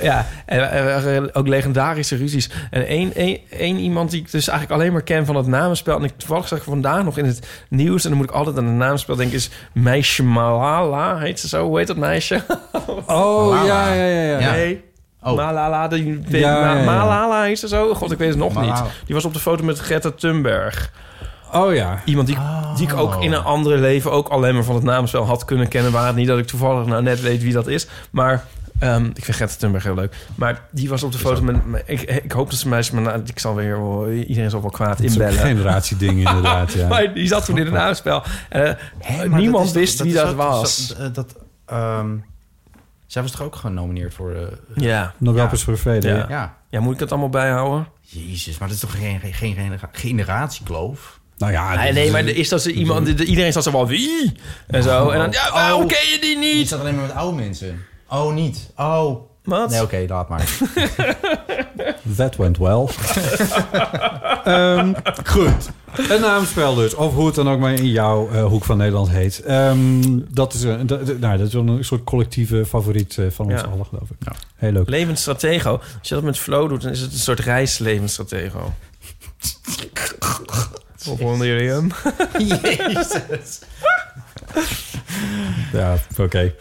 Ja, en eh, er waren ook legendarische ruzies. En één, één, één iemand die ik dus eigenlijk alleen maar ken van het namenspel... en ik toevallig zag ik vandaag nog in het nieuws... en dan moet ik altijd aan het namenspel denken... is Meisje Malala, heet ze zo? Hoe heet dat meisje?
Oh, ja, ja, ja, ja. Ja.
Nee.
Oh.
Malala, die,
Ja, ja, ja.
Malala heet ze zo? God, ik weet het nog
Malala.
niet. Die was op de foto met Greta Thunberg.
Oh ja.
Iemand die, die ik
Oh.
ook in een andere leven ook alleen maar van het naamspel had kunnen kennen. Waar het niet dat ik toevallig nou net weet wie dat is. Maar ehm, ik vind Greta Thunberg heel leuk. Maar die was op de foto met... met- Ik, ik hoop dat ze meisje... Maar nou, ik zal weer... wel- Iedereen zal wel kwaad
Het is ook
inbellen.
een generatieding inderdaad, ja.
maar die zat toen in het naamspel. Eh,
Maar
niemand
dat is
wist
toch-
wie
is
dat
ook zo-
was.
eh, dat, ehm, zij was toch ook genomineerd voor... eh,
Ja.
Nobelprijs voor de vrede,
Ja.
ja.
Ja.
ja, moet ik dat allemaal bijhouden?
Jezus, maar dat is toch geen, geen, geen genera- generatiekloof?
Nou ja...
Ah, nee, nee, maar er is dat ze iemand, de- de- iedereen zat zo wel wie en zo. En dan, ja, waarom ken je die niet?
Je zat alleen maar met oude mensen. Oh, niet. Oh.
Wat?
Nee, oké, laat maar.
That went well. Ehm, goed. Een naamspel dus. Of hoe het dan ook maar in jouw eh, hoek van Nederland heet. Ehm, dat, is een, dat, dat- nou, dat is wel een soort collectieve favoriet eh, van ons
Ja.
allen, geloof ik. Heel leuk.
Levensstratego. Als je dat met flow doet, dan is het een soort reislevensstratego. Of onder jullie hem?
Jezus.
Ja, oké.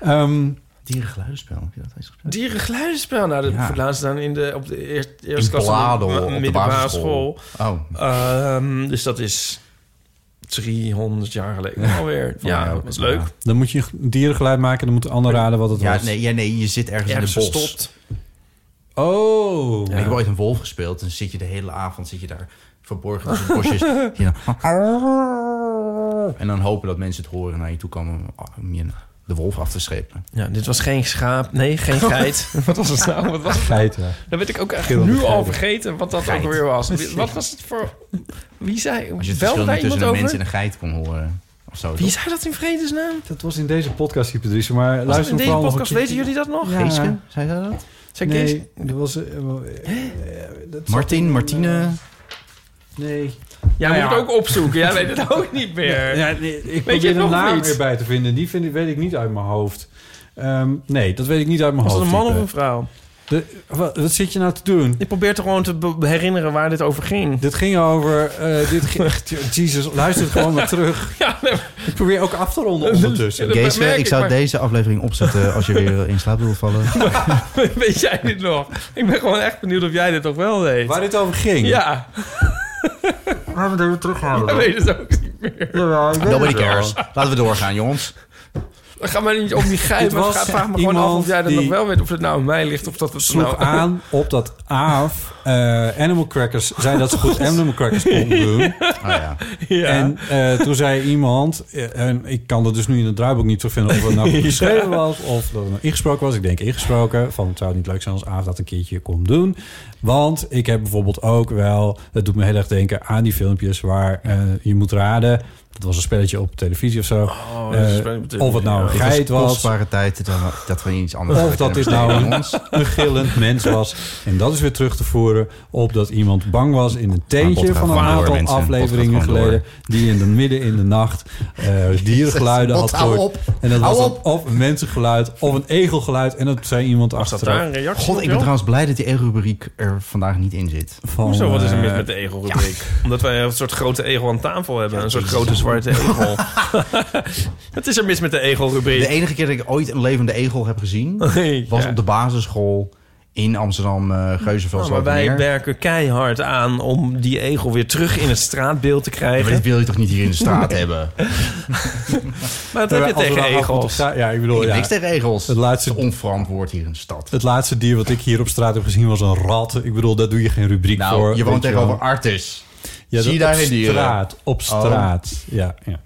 Ehm,
Dierengeluidenspel, heb je dat eens gespeeld?
Dierengeluidenspel. Nou, dat
Ja.
voor laatst dan in de, op de eerst, eerste klas
Bladel,
mi-
op de
middelbare
basisschool. Oh.
Ehm, dus dat is 300 jaar geleden alweer.
Van
Ja,
mij ook.
dat was leuk.
Ja. Dan moet je een dierengeluid maken. Dan moet de ander raden wat het
Ja,
was.
nee, ja, nee, je zit ergens,
Ergens
in het bos.
verstopt.
Oh.
Ik heb ooit een wolf gespeeld. En dan zit je de hele avond zit je daar verborgen tussen bosjes.
Ja.
en dan hopen dat mensen het horen en naar je toe komen om je de wolf af te schepen.
Ja, dit was geen schaap. Nee, geen geit. wat was het nou? Wat was het nou?
Geit, ja.
Dan weet ik ook echt
Schitterend
nu al
geiten.
vergeten wat dat
Geit.
ook weer was. Wat was het voor... Wie zei...
Als je het
belde
verschil
daar iemand
niet tussen een
over?
mens en een geit kon horen. Of zo.
Wie zei dat in vredesnaam?
Dat was in deze podcast, Hyperdrice. Maar
Was
luister
het in deze
vooral nog
podcast,
een keer-
weten jullie dat nog?
Ja. Geeske?
Zei zij dat?
Zei ik Geeske?
Nee, dat was... eh, eh, eh, dat zat
Martin,
in,
Martine.
eh, nee.
Jij
Nou
moet
ja.
het ook opzoeken. Jij weet het ook niet meer.
Ja, nee, ik
weet je
probeer
het
een
nog
naam
niet?
weer bij te vinden. Die vind, ik- weet ik niet uit mijn hoofd. Ehm, nee, dat weet ik niet uit mijn
Was het
hoofd.
een man of
type.
een vrouw?
De- wat, wat zit je nou te doen?
Ik probeer toch gewoon te be- herinneren waar dit over ging.
Dit ging over... eh dit ging, Jesus, luister het gewoon maar terug. Ik probeer ook af te ronden ondertussen.
Geeske, ik zou deze aflevering opzetten als je weer in slaap wil vallen.
Weet jij dit nog? Ik ben gewoon echt benieuwd of jij dit toch wel weet.
Waar dit over ging?
Ja.
Laten we het even terughalen.
Jij weet het ook niet meer.
Nobody cares. Laten we doorgaan, jongens.
Ga maar niet om die
Het
gein, maar
was
ga, vraag me gewoon af
iemand
of jij dat
die
nog wel weet. Of het nou aan mij ligt of dat het nou...
sloeg aan op dat Aaf eh, Animal Crackers zei dat ze goed Animal Crackers kon doen.
Oh,
ja. En eh, toen zei iemand, eh, en ik kan dat dus nu in het draaiboek niet zo vinden of het nou goed
Ja.
geschreven was of dat het nou ingesproken was. Ik denk ingesproken, van het zou niet leuk zijn als Aaf dat een keertje kon doen. Want ik heb bijvoorbeeld ook wel, dat doet me heel erg denken aan die filmpjes waar eh, je moet raden. Dat was een spelletje op televisie of zo.
Oh, dat is
Eh,
een spelletje op televisie,
of het nou een
ja. Dit is
geit was.
kostbare tijd dat we- dat we iets anders
Of
uit
dat
hebben
is nou
besteden aan
een,
ons.
een gillend mens was. En dat is weer terug te voeren op dat iemand bang was in een teentje
podcast
van een
gewoon door,
aantal
mensen.
afleveringen
Podcast gewoon
geleden. Die in de midden in de nacht eh, dierengeluiden had
Bot, hou
gehoord.
op.
En dat
Hou
was dan of een mensengeluid of een egelgeluid. En dat zei iemand achteraf.
God, ik ben trouwens blij dat die ego-rubriek er vandaag niet in zit.
Hoezo, wat is er mis
Eh,
met de egelrubriek? Omdat wij een soort grote egel aan tafel hebben. Een soort grote zwarte egel. Wat is er mis met de egelrubriek?
De e- enige keer dat ik ooit een levende egel heb gezien... was op de basisschool in Amsterdam, eh Geuzenveld.
Nou, maar wij
Zoutmeer.
werken keihard aan om die egel weer terug in het straatbeeld te krijgen.
Maar dit wil je toch niet hier in de straat hebben?
Maar
eh,
dat heb je tegen
nou
egels.
Ja, ik bedoel,
Ik heb
Oh, ja.
niks tegen egels.
Het laatste-
Het is onverantwoord hier in de stad.
Het laatste dier wat ik hier op straat heb gezien was een rat. Ik bedoel, daar doe je geen rubriek
Nou,
voor.
je
weet
woont tegenover
wel.
Artis.
Ja,
Zie je
dat
daar
op
geen dieren?
straat, op
Oh.
straat. Ja, ja.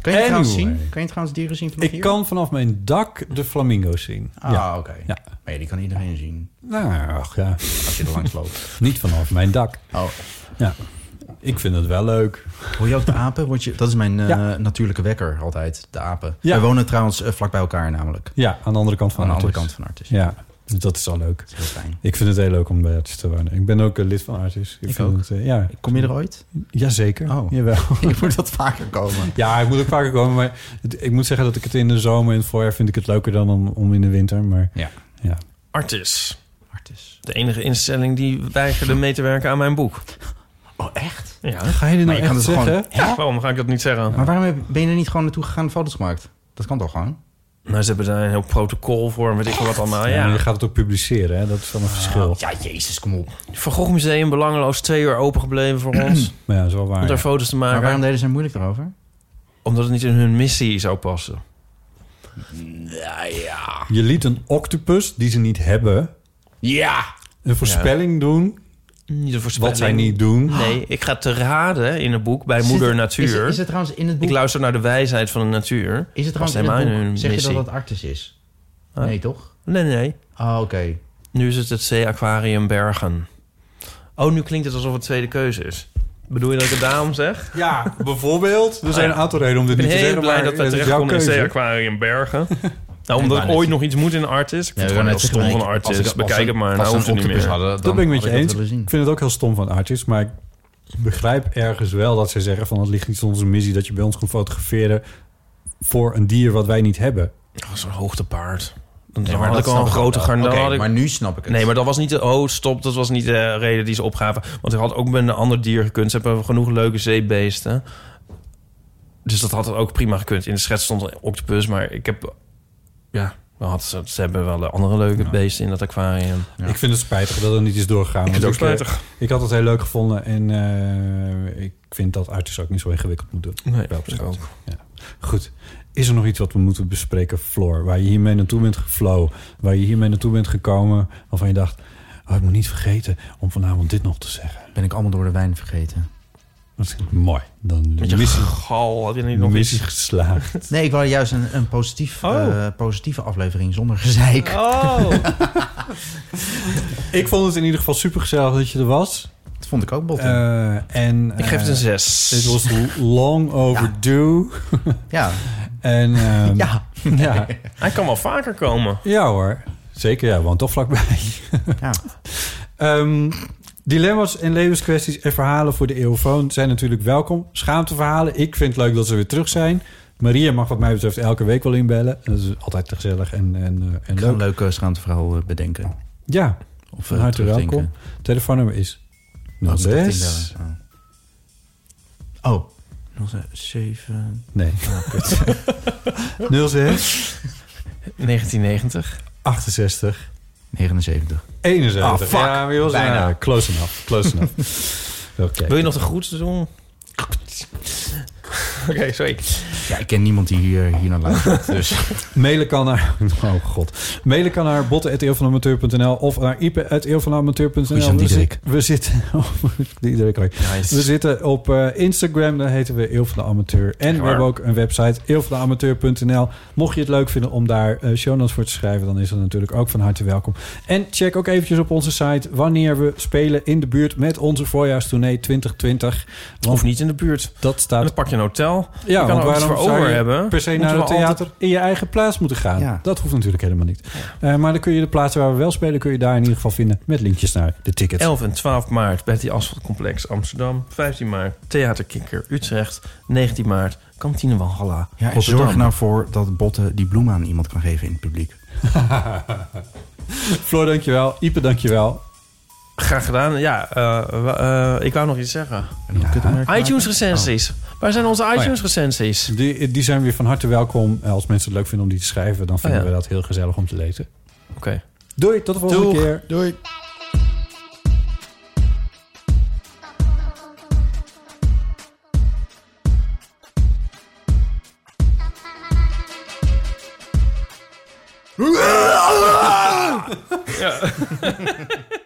Kan je het trouwens
Anyway.
zien? Kan je trouwens dieren zien vanaf
Ik
hier?
kan vanaf mijn dak de flamingo's zien.
Ah,
ja.
oké.
Ja.
Maar ja, die kan iedereen zien.
Nou, ach ja.
Als je er langs loopt.
Niet vanaf mijn dak.
Oh.
Ja. Ik vind het wel leuk.
Hoor je ook de apen? Word je, dat is mijn eh,
Ja.
natuurlijke wekker altijd, de apen.
Ja.
We wonen trouwens eh, vlak bij elkaar namelijk.
Ja, aan de andere kant van
Aan de andere
Artis.
kant van Artis.
Ja, dus dat is al leuk.
heel fijn.
Ik vind het heel leuk om bij Artis te wonen. Ik ben ook eh, lid van Artis.
Ik
vind
ook.
het, eh, ja.
Kom je er ooit?
Jazeker. Oh. Jawel.
Ik moet dat vaker komen.
Ja, ik moet ook vaker komen. Maar het- ik moet zeggen dat ik het in de zomer en het voorjaar vind ik het leuker dan om, om in de winter. Maar
ja.
ja.
Artis. Artis. De enige instelling die weigerde mee te werken aan mijn boek.
Oh, echt?
Ja.
Ga je dit
Maar
nou
je kan
echt
het gewoon-
zeggen?
Ja, waarom ga ik dat niet zeggen?
Maar waarom heb- ben je er niet gewoon naartoe gegaan en foto's gemaakt? Dat kan toch gewoon?
Nou, ze hebben daar een heel protocol voor en weet ik veel wat allemaal.
Ja,
Ja.
maar je gaat het ook publiceren, hè? dat is wel een verschil.
Ah, Ja, jezus, kom op.
Van Gogh Museum belangeloos twee uur open gebleven voor ons.
Maar ja, dat is wel waar.
om daar
ja.
foto's te maken.
Maar waarom deden ze er moeilijk erover?
Omdat het niet in hun missie zou passen.
Ja, ja.
Je liet een octopus die ze niet hebben
Ja!
een voorspelling doen.
Niet een voorspelling.
Wat zij niet doen.
Nee, ik ga te raden in het boek bij
Zit-
Moeder
Is,
Natuur.
het- is het trouwens in het boek...
ik luister naar de wijsheid van de natuur.
is het
Past
trouwens in het
helemaal
boek...
hun
Zeg je dat
missie.
dat Artis is?
Huh?
Nee, toch?
Nee, nee, nee.
Ah, oké.
Nu is het het Zee-Aquarium Bergen. Oh, nu klinkt het alsof het tweede keuze is. Bedoel je dat ik het daarom zeg?
Ah. Ja, bijvoorbeeld. Er zijn
ja.
een aantal redenen om
Ik ben
dit niet te
heel
zeggen.
blij dat
maar
wij
het is
terechtkomen in het
jouw keuze.
Zee-Aquarium Bergen. Nou,
Ik
omdat
wou
ik
net
ooit nog iets moet in artis. Ik vind het
wou
gewoon heel
net zeggen,
stom van
ik- als ik-
artis.
als
Bekijk
ik-
het maar.
als
Nou
we
hoeft
een
het niet meer.
octopus hadden, dan
Dat ben ik met
had
je
ik dat
eens.
willen zien.
Ik vind het ook heel stom van artists, maar ik begrijp ergens wel dat ze zeggen van het ligt niet in onze missie dat je bij ons gaat fotograferen voor een dier wat wij niet hebben.
Oh, Zo'n hoogtepaard. Dan
Nee, maar
had
dat
ik al een
snap ik
grote
wel.
garnaal.
Oké,
had ik-
maar nu snap ik het.
Nee, maar dat was niet de... Oh, stop. Dat was niet de reden die ze opgaven. Want ik had ook met een ander dier gekund. Ze hebben genoeg leuke zeebeesten. Dus dat had het ook prima gekund. In de schets stond een octopus, maar ik heb... Ja, we had, ze ze hebben wel de andere leuke beesten in dat aquarium.
Ik vind het spijtig dat het niet is doorgegaan.
Ik vind het
want
ook
eh,
spijtig.
Ik had het heel leuk gevonden en eh, ik vind dat artists ook niet zo ingewikkeld moeten doen.
Nee,
Wel op
ik
zich.
ook.
Ja. Goed. Is er nog iets wat we moeten bespreken, Floor? Waar je hiermee naartoe bent geflow, waar je hiermee naartoe bent gekomen, waarvan je dacht, oh, ik moet niet vergeten om vanavond dit nog te zeggen.
Ben ik allemaal door de wijn vergeten.
Dat is mooi. Dan
Met je
missie,
gal had je niet nog
missie
iets...
geslaagd.
Nee, ik wou juist een, een positief, eh, positieve aflevering zonder gezeik.
Oh!
Ik vond het in ieder geval super gezellig dat je er was.
Dat vond ik ook bot.
Eh, en,
ik geef het een
eh,
zes.
Dit was long overdue.
ja.
En, ehm,
Ja.
ja.
Hij kan wel vaker komen.
Ja hoor. Zeker, ja, want toch vlakbij.
ja.
Ehm, dilemma's en levenskwesties en verhalen voor de eeuwfoon zijn natuurlijk welkom. Schaamteverhalen. Ik vind het leuk dat ze weer terug zijn. Maria mag wat mij betreft elke week wel inbellen. Dat is altijd gezellig en, en, eh, en
Ik ga een
leuk.
leuk eh, schaamteverhaal eh, bedenken.
Ja,
Of
van
eh,
harte
terugdenken.
welkom. Telefoonnummer is...
Oh,
Nog
moet ik echt
best.
inbellen? Oh. Oh. 07.
Nee. 06
1990.
68
79.
71.
Ah, fuck.
Ja, maar je was
Bijna.
ja, close enough. Close enough. Oké.
Wil je nog de groetste doen? Oké, sorry.
Ja, ik ken niemand die hier, hier naar luistert. Dus.
Mailen kan naar... Oh god. Mailen kan naar botten.eeuwvanamateur.nl of naar
Goeie
ipe.eeuwvanamateur.nl.
aan
We,
Diederik.
zi- we zitten... Oh, Diederik, hoi.
Nice.
We zitten op eh, Instagram, daar heten we Eeuw van de Amateur. En we
waar.
hebben ook een website, eeuwvanamateur.nl. Mocht je het leuk vinden om daar eh show notes voor te schrijven... dan is dat natuurlijk ook van harte welkom. En check ook eventjes op onze site wanneer we spelen in de buurt... met onze voorjaarstournee 2020.
Of niet in de buurt.
Dat staat...
dan pak je een hotel. Je
Ja,
kan
want
er ook iets
waarom
voor
zou
over
je
hebben?
per se
Moeten
naar
we
het theater
altijd-
in je eigen plaats moeten gaan?
Ja.
Dat hoeft natuurlijk helemaal niet. Eh, maar dan kun je de plaatsen waar we wel spelen... kun je daar in ieder geval vinden met linkjes naar de tickets.
11 en 12 maart bij het Asfaltcomplex Amsterdam. 15 maart Theaterkikker Utrecht. 19 maart Kantine Walhalla.
Ja, en
Rotterdam.
zorg nou voor dat Botten die bloemen aan iemand kan geven in het publiek.
Floor, dankjewel. Ipe, dankjewel.
Graag gedaan. Ja, eh, wa- eh, ik wou nog iets zeggen. iTunes recensies.
Oh.
Waar zijn onze iTunes recensies?
Die, die zijn weer van harte welkom. Eh, Als mensen het leuk vinden om die te schrijven... dan vinden
Oh ja.
we dat heel gezellig om te lezen.
Oké.
Doei, tot de volgende
Doeg.
keer. Doei.
Ja.